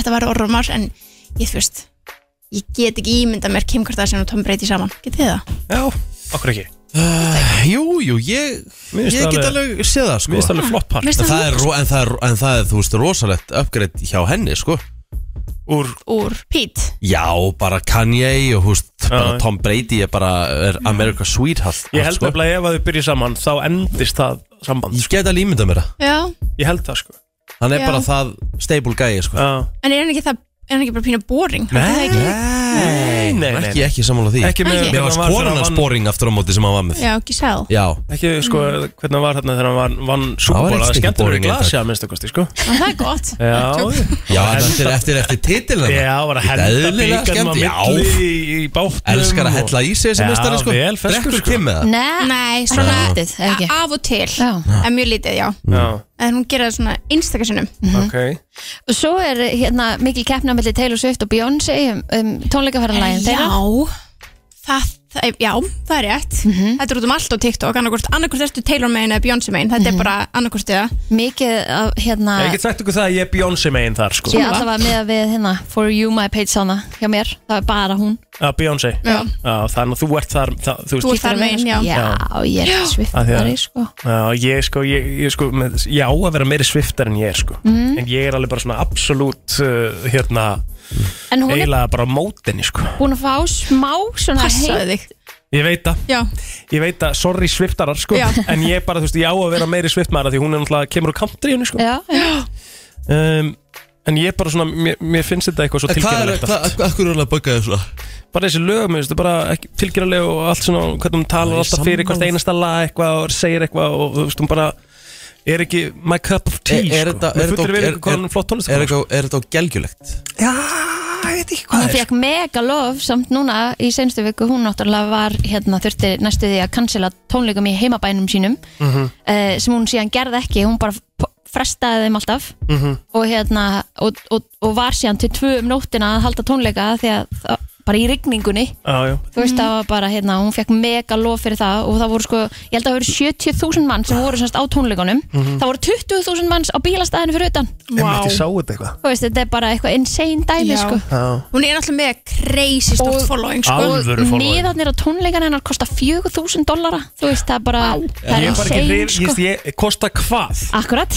[SPEAKER 9] Þetta var orðumar, en ég þú veist, ég get ekki ímynda mér Kim Kardashian og Tom Brady saman. Getið þið það?
[SPEAKER 5] Já, okkur ekki
[SPEAKER 4] Uh, jú, jú, ég,
[SPEAKER 5] Mér finnst
[SPEAKER 4] ég get
[SPEAKER 5] alveg-
[SPEAKER 4] alveg séð það sko
[SPEAKER 5] Mér finnst alveg flott part.
[SPEAKER 4] En
[SPEAKER 5] Mér finnst
[SPEAKER 4] það
[SPEAKER 5] alveg-
[SPEAKER 4] er, ro- en það er, en það er, þú veist, rosalegt uppgreitt hjá henni sko
[SPEAKER 5] Úr,
[SPEAKER 9] Úr Pete.
[SPEAKER 4] já, bara Kanye og húst, bara Tom Brady er bara er America Sweetheart sko.
[SPEAKER 5] Ég held nefnilega ef að þau byrja saman þá endist það samband sko.
[SPEAKER 4] Ég get alveg ímyndað mér það
[SPEAKER 9] Já,
[SPEAKER 5] Ég held það sko
[SPEAKER 4] Hann er
[SPEAKER 9] Já.
[SPEAKER 4] bara það stable guy sko
[SPEAKER 5] Já
[SPEAKER 9] en er hann ekki það er hann ekki bara pínu boring?
[SPEAKER 4] Nei,
[SPEAKER 9] Er það ekki?
[SPEAKER 4] Nei,
[SPEAKER 5] nei, nei.
[SPEAKER 4] Ekki, ekki sammála því
[SPEAKER 5] Ekki með- Ekki.
[SPEAKER 4] Mér var
[SPEAKER 5] Hann var
[SPEAKER 4] skoran
[SPEAKER 5] þegar
[SPEAKER 4] hans
[SPEAKER 5] hann vann-
[SPEAKER 4] boring aftur á móti sem hann var með
[SPEAKER 9] Já, ekki sæl
[SPEAKER 4] Já
[SPEAKER 5] Ekki sko hvernig hann var þarna þegar hann vann van súból
[SPEAKER 4] ekkert
[SPEAKER 5] Það
[SPEAKER 4] ekki
[SPEAKER 5] skemmtur
[SPEAKER 4] boring
[SPEAKER 5] verið glasi
[SPEAKER 4] eintak.
[SPEAKER 5] að minnsta kosti sko
[SPEAKER 9] En það er gott
[SPEAKER 5] Já
[SPEAKER 4] Já, en eftir, eftir, eftir titilina
[SPEAKER 5] Já, var að henda bíkarnum á milli
[SPEAKER 4] Já,
[SPEAKER 5] í, í bátnum
[SPEAKER 4] Elskar að hella í sig þessi
[SPEAKER 5] Já,
[SPEAKER 4] meistari, sko.
[SPEAKER 5] vel feskur
[SPEAKER 4] Drekkur
[SPEAKER 5] sko.
[SPEAKER 4] Kim eða?
[SPEAKER 3] Nei,
[SPEAKER 9] Nei, svona
[SPEAKER 3] lítið, eða ekki?
[SPEAKER 9] a- af og til
[SPEAKER 3] Já.
[SPEAKER 9] En mjög lítið, já
[SPEAKER 5] Já,
[SPEAKER 9] En hún gerir það svona einstakasunum
[SPEAKER 3] Mhm.
[SPEAKER 5] ok
[SPEAKER 3] Og svo er hérna mikil keppna mellir Taylor Swift og Beyoncé um, um tónleikaferðanlægin þeirra
[SPEAKER 9] það, það, já, það er rétt
[SPEAKER 3] Mhm.
[SPEAKER 9] Þetta er út um allt á TikTok Annarkvort, annarkvort ertu Taylor megin eða Beyoncé megin Þetta
[SPEAKER 3] Mhm.
[SPEAKER 9] er bara annarkvort eða
[SPEAKER 3] Mikið af hérna
[SPEAKER 5] Ég get sagt ykkur það að ég er Beyoncé megin þar sko
[SPEAKER 3] Ég allavega með að við hérna For you my page sána hjá mér Það er bara hún
[SPEAKER 5] Já, Beyoncé
[SPEAKER 9] Já.
[SPEAKER 5] Þannig að þú ert þar það, Þú veist
[SPEAKER 9] Þú ert þar megin, já
[SPEAKER 3] um sko. Já, ég er
[SPEAKER 5] Af því að-
[SPEAKER 3] sviftari sko
[SPEAKER 5] Já, ég sko, ég, ég sko með, Já, að vera meiri sviftar en ég er sko
[SPEAKER 3] Mhm.
[SPEAKER 5] En ég er alveg bara svona absolutt uh, Hérna,
[SPEAKER 3] En hún er
[SPEAKER 5] eiginlega bara á mótinni sko
[SPEAKER 3] búin að fá smá svona
[SPEAKER 9] Passaðu þig
[SPEAKER 5] Ég veit það
[SPEAKER 9] Já,
[SPEAKER 5] Ég veit að, sorry sviftarar sko
[SPEAKER 9] Já.
[SPEAKER 5] En ég bara, þú veist, ég á að vera meiri sviftmaður af Því hún er náttúrulega, kemur úr countryinu sko
[SPEAKER 3] Já, já.
[SPEAKER 5] um, En ég bara svona, mér, mér finnst þetta eitthvað svo
[SPEAKER 4] En Hvað er,
[SPEAKER 5] tilgjörnilegt
[SPEAKER 4] hvað,
[SPEAKER 5] allt.
[SPEAKER 4] hvað er alveg að bugga þessu?
[SPEAKER 5] Bara þessi lög, mér finnst þetta bara ekki- tilgjörnileg og allt svona Hvernig hún talar
[SPEAKER 4] Ég er
[SPEAKER 5] alltaf
[SPEAKER 4] sammála.
[SPEAKER 5] fyrir hvert einasta lag eitthvað Og segir eitthvað og þú veist, hún bara Er ekki my cup of tea
[SPEAKER 4] Er, er
[SPEAKER 5] sko
[SPEAKER 4] þetta, er
[SPEAKER 5] Mér
[SPEAKER 4] þetta,
[SPEAKER 5] fullir
[SPEAKER 4] er, er,
[SPEAKER 5] verið eitthvað hvað hún er flott tónlist sko.
[SPEAKER 4] er, eitthvað- er þetta á gelgjulegt?
[SPEAKER 5] Já, ég veit ekki hvað
[SPEAKER 3] Hún fekk mega lof samt núna í senstu viku hún náttúrulega var hérna þurfti næstu því að cancela tónleikum í heimabænum sínum mm
[SPEAKER 5] Mhm.
[SPEAKER 3] sem hún síðan gerði ekki, hún bara p- frestaði þeim alltaf
[SPEAKER 5] Mhm.
[SPEAKER 3] og hérna og, og, og var síðan til tvö um nóttina að halda tónleika því að það- bara í rigningunni
[SPEAKER 5] Já, já
[SPEAKER 3] þú veist það var bara hérna, hún fekk mega lof fyrir það og það voru sko, ég held að það voru 70.000 mann sem voru semst á tónleikunum það voru 20.000 manns á bílastæðinu fyrir utan
[SPEAKER 5] Einmitt, ég sá þetta eitthvað
[SPEAKER 3] þú veist, þetta er bara eitthvað insane dæmi
[SPEAKER 9] Já.
[SPEAKER 3] sko
[SPEAKER 5] Já,
[SPEAKER 9] hún er alltaf með crazy stort
[SPEAKER 3] Og-
[SPEAKER 9] following
[SPEAKER 5] Al-
[SPEAKER 9] sko.
[SPEAKER 5] Alvöru
[SPEAKER 3] og
[SPEAKER 5] formaður.
[SPEAKER 3] miðarnir á tónleikan hennar kosta 4.000 dollara þú veist það er bara það er
[SPEAKER 5] Ég er bara ekki
[SPEAKER 3] insane
[SPEAKER 5] hrif, ég,
[SPEAKER 3] sko
[SPEAKER 5] ég, kosta hvað?
[SPEAKER 3] akkurat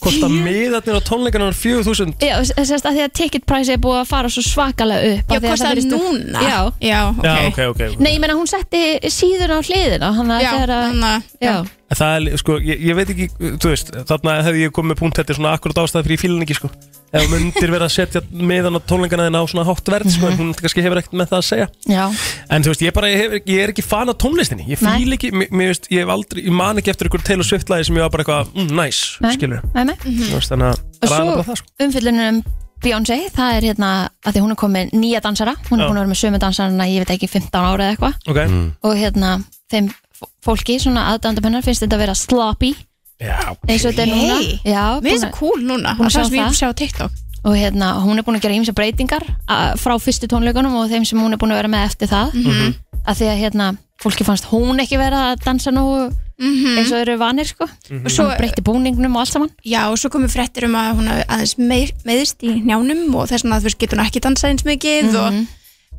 [SPEAKER 5] Kosta miðarnir á tónleikarnar 4000
[SPEAKER 3] já, þess að því að ticket price er búið að fara svo svakalega upp
[SPEAKER 9] Já,
[SPEAKER 3] af því að
[SPEAKER 9] hvort það er
[SPEAKER 3] virðist-
[SPEAKER 9] núna
[SPEAKER 3] já
[SPEAKER 9] já, ok,
[SPEAKER 5] Já, ok, ok, ok.
[SPEAKER 3] Nei, ég meina hún setti síðuna á hliðina hann að
[SPEAKER 9] Já,
[SPEAKER 3] þegar að
[SPEAKER 9] þannig að-
[SPEAKER 3] Já,
[SPEAKER 5] En það er, li- sko, ég, ég veit ekki, þú veist, þarna hefði ég komið með punkt þetta er svona akkurat ástæð fyrir ég fílin ekki, sko. Ef hún myndir vera að setja meðan á tónleikana þinn á svona hátt verð, sko, en hún kannski hefur ekkert með það að segja.
[SPEAKER 3] Já,
[SPEAKER 5] En þú veist, ég bara, ég, hef, ekki- ég er ekki fan af tónlistinni. Ég fíl ekki, mér, mér veist, ég hef aldrei, ég man ekki eftir ykkur Taylor Swift-læði sem ég var bara eitthvað, mm, nice,
[SPEAKER 3] Nei.
[SPEAKER 5] skilur.
[SPEAKER 3] nei, nei
[SPEAKER 5] Þú veist, þannig að,
[SPEAKER 3] Og
[SPEAKER 5] það er aðallega bara
[SPEAKER 3] svo
[SPEAKER 5] það, sko.
[SPEAKER 3] umfyllunum um Beyoncé, það er hérna að því hún er komið nýja dansara, hún
[SPEAKER 5] Já.
[SPEAKER 3] er búin að vera með sömu dansarana í, ég veit ekki 15 ára eða eitthvað
[SPEAKER 5] Ok. Mm.
[SPEAKER 3] og hérna þeim f- fólki, svona aðdændum hennar finnst þetta að vera sloppy
[SPEAKER 5] Já,
[SPEAKER 3] eins og þetta er núna Já,
[SPEAKER 9] Mér finnst það cool núna,
[SPEAKER 3] búin að
[SPEAKER 9] að það
[SPEAKER 3] sjá
[SPEAKER 9] sem ég
[SPEAKER 3] það.
[SPEAKER 9] er búin að sjá á TikTok
[SPEAKER 3] og hérna, hún er búin að gera ímsa breytingar a, frá fyrstu tónleikunum og þeim sem hún er búin að vera með eftir það
[SPEAKER 9] Mhm.
[SPEAKER 3] að því að hérna, fólki fannst hún ekki vera að dansa nú eins og eru vanir sko
[SPEAKER 9] Mhm.
[SPEAKER 3] og svo hún breytti búningnum og allt saman
[SPEAKER 9] Já, og svo komið fréttir um að hún hafi aðeins meir, meðist í njánum og þess vegna að þú veist getur hún ekki dansað eins mikið
[SPEAKER 3] Mhm.
[SPEAKER 9] og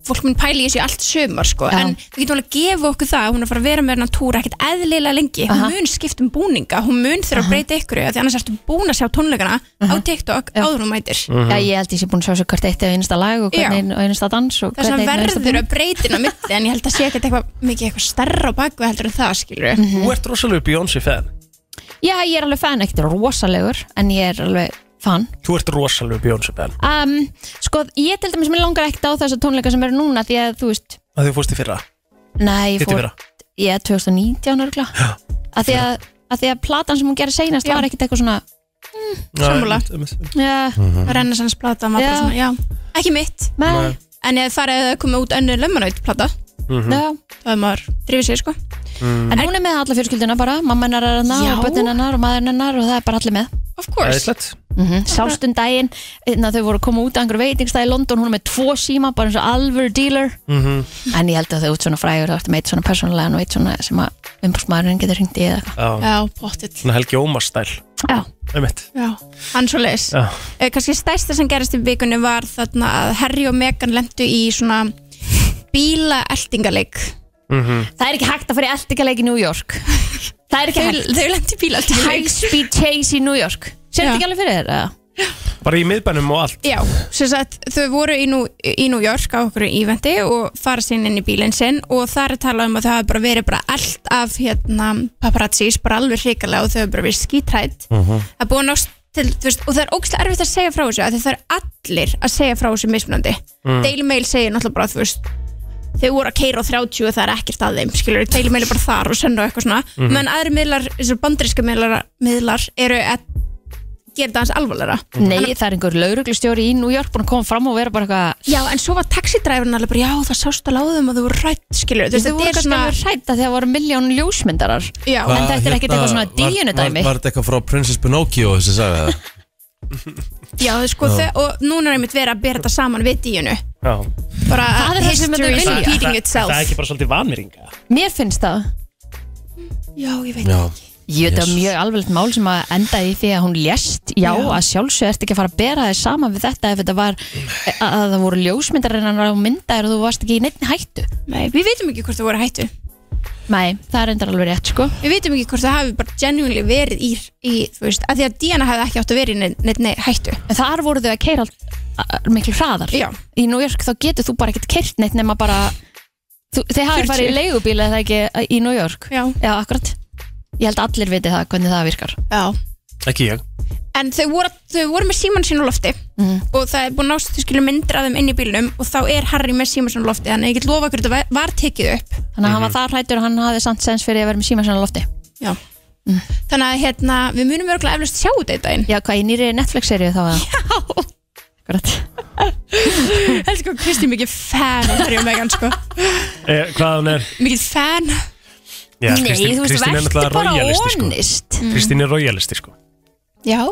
[SPEAKER 9] fólk mun pæli í þessu í allt sömur sko.
[SPEAKER 3] Já.
[SPEAKER 9] en við getum alveg að gefa okkur það að hún er að fara að vera með hennar túra ekkert eðlilega lengi
[SPEAKER 3] Aha.
[SPEAKER 9] hún mun skipta um búninga, hún mun þurfa að breyta ykkur því annars ertu búin að sjá tónleikana á TikTok áður en hún mætir
[SPEAKER 3] Já, ég held ég sé búin að sjá svo hvert eitt og einasta lag og
[SPEAKER 9] Mhm. Já.
[SPEAKER 3] hvern einn og einasta dans og
[SPEAKER 9] þess
[SPEAKER 3] hvern
[SPEAKER 9] að
[SPEAKER 3] einn og einasta
[SPEAKER 9] verður
[SPEAKER 3] búning.
[SPEAKER 9] að breytin á milli en ég held að sé ekkert eitthvað mikið eitthvað starra á baku heldur en það skilur
[SPEAKER 3] Mhm.
[SPEAKER 5] Þú ert rosalega Beyoncé-fan.
[SPEAKER 3] Já, ég er alveg fan, ekkert rosalegur en ég er alveg fan
[SPEAKER 5] Þú ert rosalega Beyoncé-fan.
[SPEAKER 3] um, Sko, ég til dæmis mér langar ekkert á þessa tónleika sem eru núna því að þú veist,
[SPEAKER 5] Að því þú fórst í fyrra.
[SPEAKER 3] nei, ég
[SPEAKER 5] Hittu
[SPEAKER 3] fór
[SPEAKER 5] fyrra.
[SPEAKER 3] ég er 2019 örgla að því að, að því að platan sem hún gerir seinast var ekkert eitthvað svona
[SPEAKER 9] Sammála.
[SPEAKER 5] Já, einmitt, einmitt.
[SPEAKER 3] Já,
[SPEAKER 5] Mhm.
[SPEAKER 9] Renaissance plata maður bara
[SPEAKER 3] Já.
[SPEAKER 9] svona, já, ekki mitt
[SPEAKER 5] Nei.
[SPEAKER 9] en ef farið að koma út önnur lemonade plata
[SPEAKER 5] Mhm.
[SPEAKER 9] það er maður drifið sér sko
[SPEAKER 5] Mm.
[SPEAKER 3] En hún er með alla fjölskylduna bara, mamma hennar er hennar
[SPEAKER 9] Já.
[SPEAKER 3] og bötnin hennar og maðurinn hennar og það er bara allir með
[SPEAKER 9] Of course
[SPEAKER 5] Æðislegt.
[SPEAKER 3] mm Sástun daginn, þegar þau voru að koma út að einhver veitingstæði í London, hún er með tvo síma bara eins og alvör dealer
[SPEAKER 5] Mhm.
[SPEAKER 3] En ég held að þau út svona frægur, þá ertu með eitt svona persónulegan og eitt svona sem að umbúrsmaðurinn getur hringt í eða eitthvað
[SPEAKER 5] Já,
[SPEAKER 9] Já, pottill
[SPEAKER 5] svona Helgi Ómars stæl.
[SPEAKER 3] Já.
[SPEAKER 5] Einmitt.
[SPEAKER 9] Já, hann svo leis
[SPEAKER 5] Já.
[SPEAKER 9] Kanski Eh, stærsta sem gerist í vikunni var þarna að Harry og Meghan lendu í svona bílaeltingaleik
[SPEAKER 5] Mhm.
[SPEAKER 3] Það er ekki hægt að fara í eldingaleik í New York Það er ekki
[SPEAKER 9] Þau-
[SPEAKER 3] hægt
[SPEAKER 9] Þau lendu í bílaeltingaleik
[SPEAKER 3] High speed chase í New York Sér
[SPEAKER 9] Já.
[SPEAKER 3] þetta ekki alveg fyrir þér? eða?
[SPEAKER 5] Bara í miðbænum og allt.
[SPEAKER 9] Já, sem sagt, þau voru í, nú, í New York á okkur íventi og fara sín inn í bílinn sinn og þar er talað um að þau hafa bara verið bara allt af hérna, paparazzis, bara alveg hrikalega og þau hafa bara verið skítrætt
[SPEAKER 5] Mhm.
[SPEAKER 9] það er búið að nást til, þú veist, og það er ógstlega erfitt að segja frá þessu af því það er allir að segja frá þessu mismunandi
[SPEAKER 5] Mm.
[SPEAKER 9] Daily Mail segir náttúrulega bara, þú veist þau voru að keira á 30 og það er ekkert að þeim skilur, Daily Mail er bara þar og senda á eitthvað svona
[SPEAKER 5] Mhm.
[SPEAKER 9] menn aðri miðlar, þessar bandaríska miðlar, miðlar eru að gera það hans alvarlega
[SPEAKER 3] Nei, það er einhver lauruglustjóri í New York búin að koma fram og vera bara eitthvað
[SPEAKER 9] Já, en svo var taxidræfurinn alveg bara, já, það sást alveg á þeim að þau voru rætt, skilur.
[SPEAKER 3] Þú veist, þau voru kannski alveg hrætt að það voru miljón ljósmyndarar
[SPEAKER 9] Já,
[SPEAKER 3] En þetta er ekkert
[SPEAKER 4] Hérna,
[SPEAKER 3] eitthvað svona
[SPEAKER 4] var- Var
[SPEAKER 3] díunudæmi
[SPEAKER 4] var þetta eitthvað frá Princess Pinocchio þessi saga það?
[SPEAKER 9] já, sko,
[SPEAKER 4] Já.
[SPEAKER 9] þau, og núna er einmitt verið að bera þetta saman við díunu.
[SPEAKER 5] Já.
[SPEAKER 9] Bara
[SPEAKER 3] Það er
[SPEAKER 9] að
[SPEAKER 3] það sem
[SPEAKER 9] history
[SPEAKER 3] þetta
[SPEAKER 9] is
[SPEAKER 3] vilja.
[SPEAKER 9] repeating
[SPEAKER 5] Það er
[SPEAKER 9] itself.
[SPEAKER 5] ekki bara svolítið vanmyringa.
[SPEAKER 3] Mér finnst það
[SPEAKER 9] Já, ég veit.
[SPEAKER 4] Já.
[SPEAKER 3] Ég veit að
[SPEAKER 4] Jesus.
[SPEAKER 3] mjög alveg mál sem að enda í því að hún lést Já,
[SPEAKER 9] Já.
[SPEAKER 3] að sjálfsög ert ekki að fara að bera þig saman við þetta ef þetta var að að það voru ljósmyndarinnar á myndaðir og þú varst ekki í neittni hættu
[SPEAKER 9] Nei, við veitum ekki hvort það voru hættu.
[SPEAKER 3] Nei, það er endar alveg rétt sko
[SPEAKER 9] Við veitum ekki hvort það hafi bara genuinely verið í, í þú veist, að því að díana hefði ekki átt að verið í neitt, neitt, neitt hættu.
[SPEAKER 3] En þar voru þau að keira miklu hraðar
[SPEAKER 9] Já.
[SPEAKER 3] Í New York þá getur þú bara ekkert keirt neitt nema bara þú, Þeir hafa
[SPEAKER 9] 40.
[SPEAKER 3] farið í leigubíl eða ekki í New York
[SPEAKER 9] Já.
[SPEAKER 3] Já, akkurat Ég held að allir viti það hvernig það virkar
[SPEAKER 9] Já.
[SPEAKER 5] Ekki ég.
[SPEAKER 9] En þau voru, þau voru með síman sín á lofti
[SPEAKER 3] Mhm.
[SPEAKER 9] og það er búin að nást, þau skilur myndir af þeim inn í bílnum og þá er Harry með síman sín á lofti, þannig að ég get lofa hverju þetta var- var tekið upp.
[SPEAKER 3] Þannig að hann var það hrættur og hann hafði samt sens fyrir að vera með síma sinna á lofti
[SPEAKER 9] Já Þannig að hérna, við munum örgulega eflust sjá þetta í daginn
[SPEAKER 3] Já, hvað í nýri Netflix-seríu þá var það Akkurat
[SPEAKER 9] Elsku, Kristi sko, er mikið fan af Harry og Meghan sko
[SPEAKER 5] Eh, hvað hún er?
[SPEAKER 9] Mikið fan
[SPEAKER 5] Já,
[SPEAKER 3] Nei,
[SPEAKER 5] Kristín-
[SPEAKER 3] þú veist,
[SPEAKER 5] Kristín er
[SPEAKER 3] verður
[SPEAKER 5] náttúrulega
[SPEAKER 3] bara
[SPEAKER 5] royalisti, sko.
[SPEAKER 3] honest
[SPEAKER 5] Kristín er royalisti, sko.
[SPEAKER 9] Já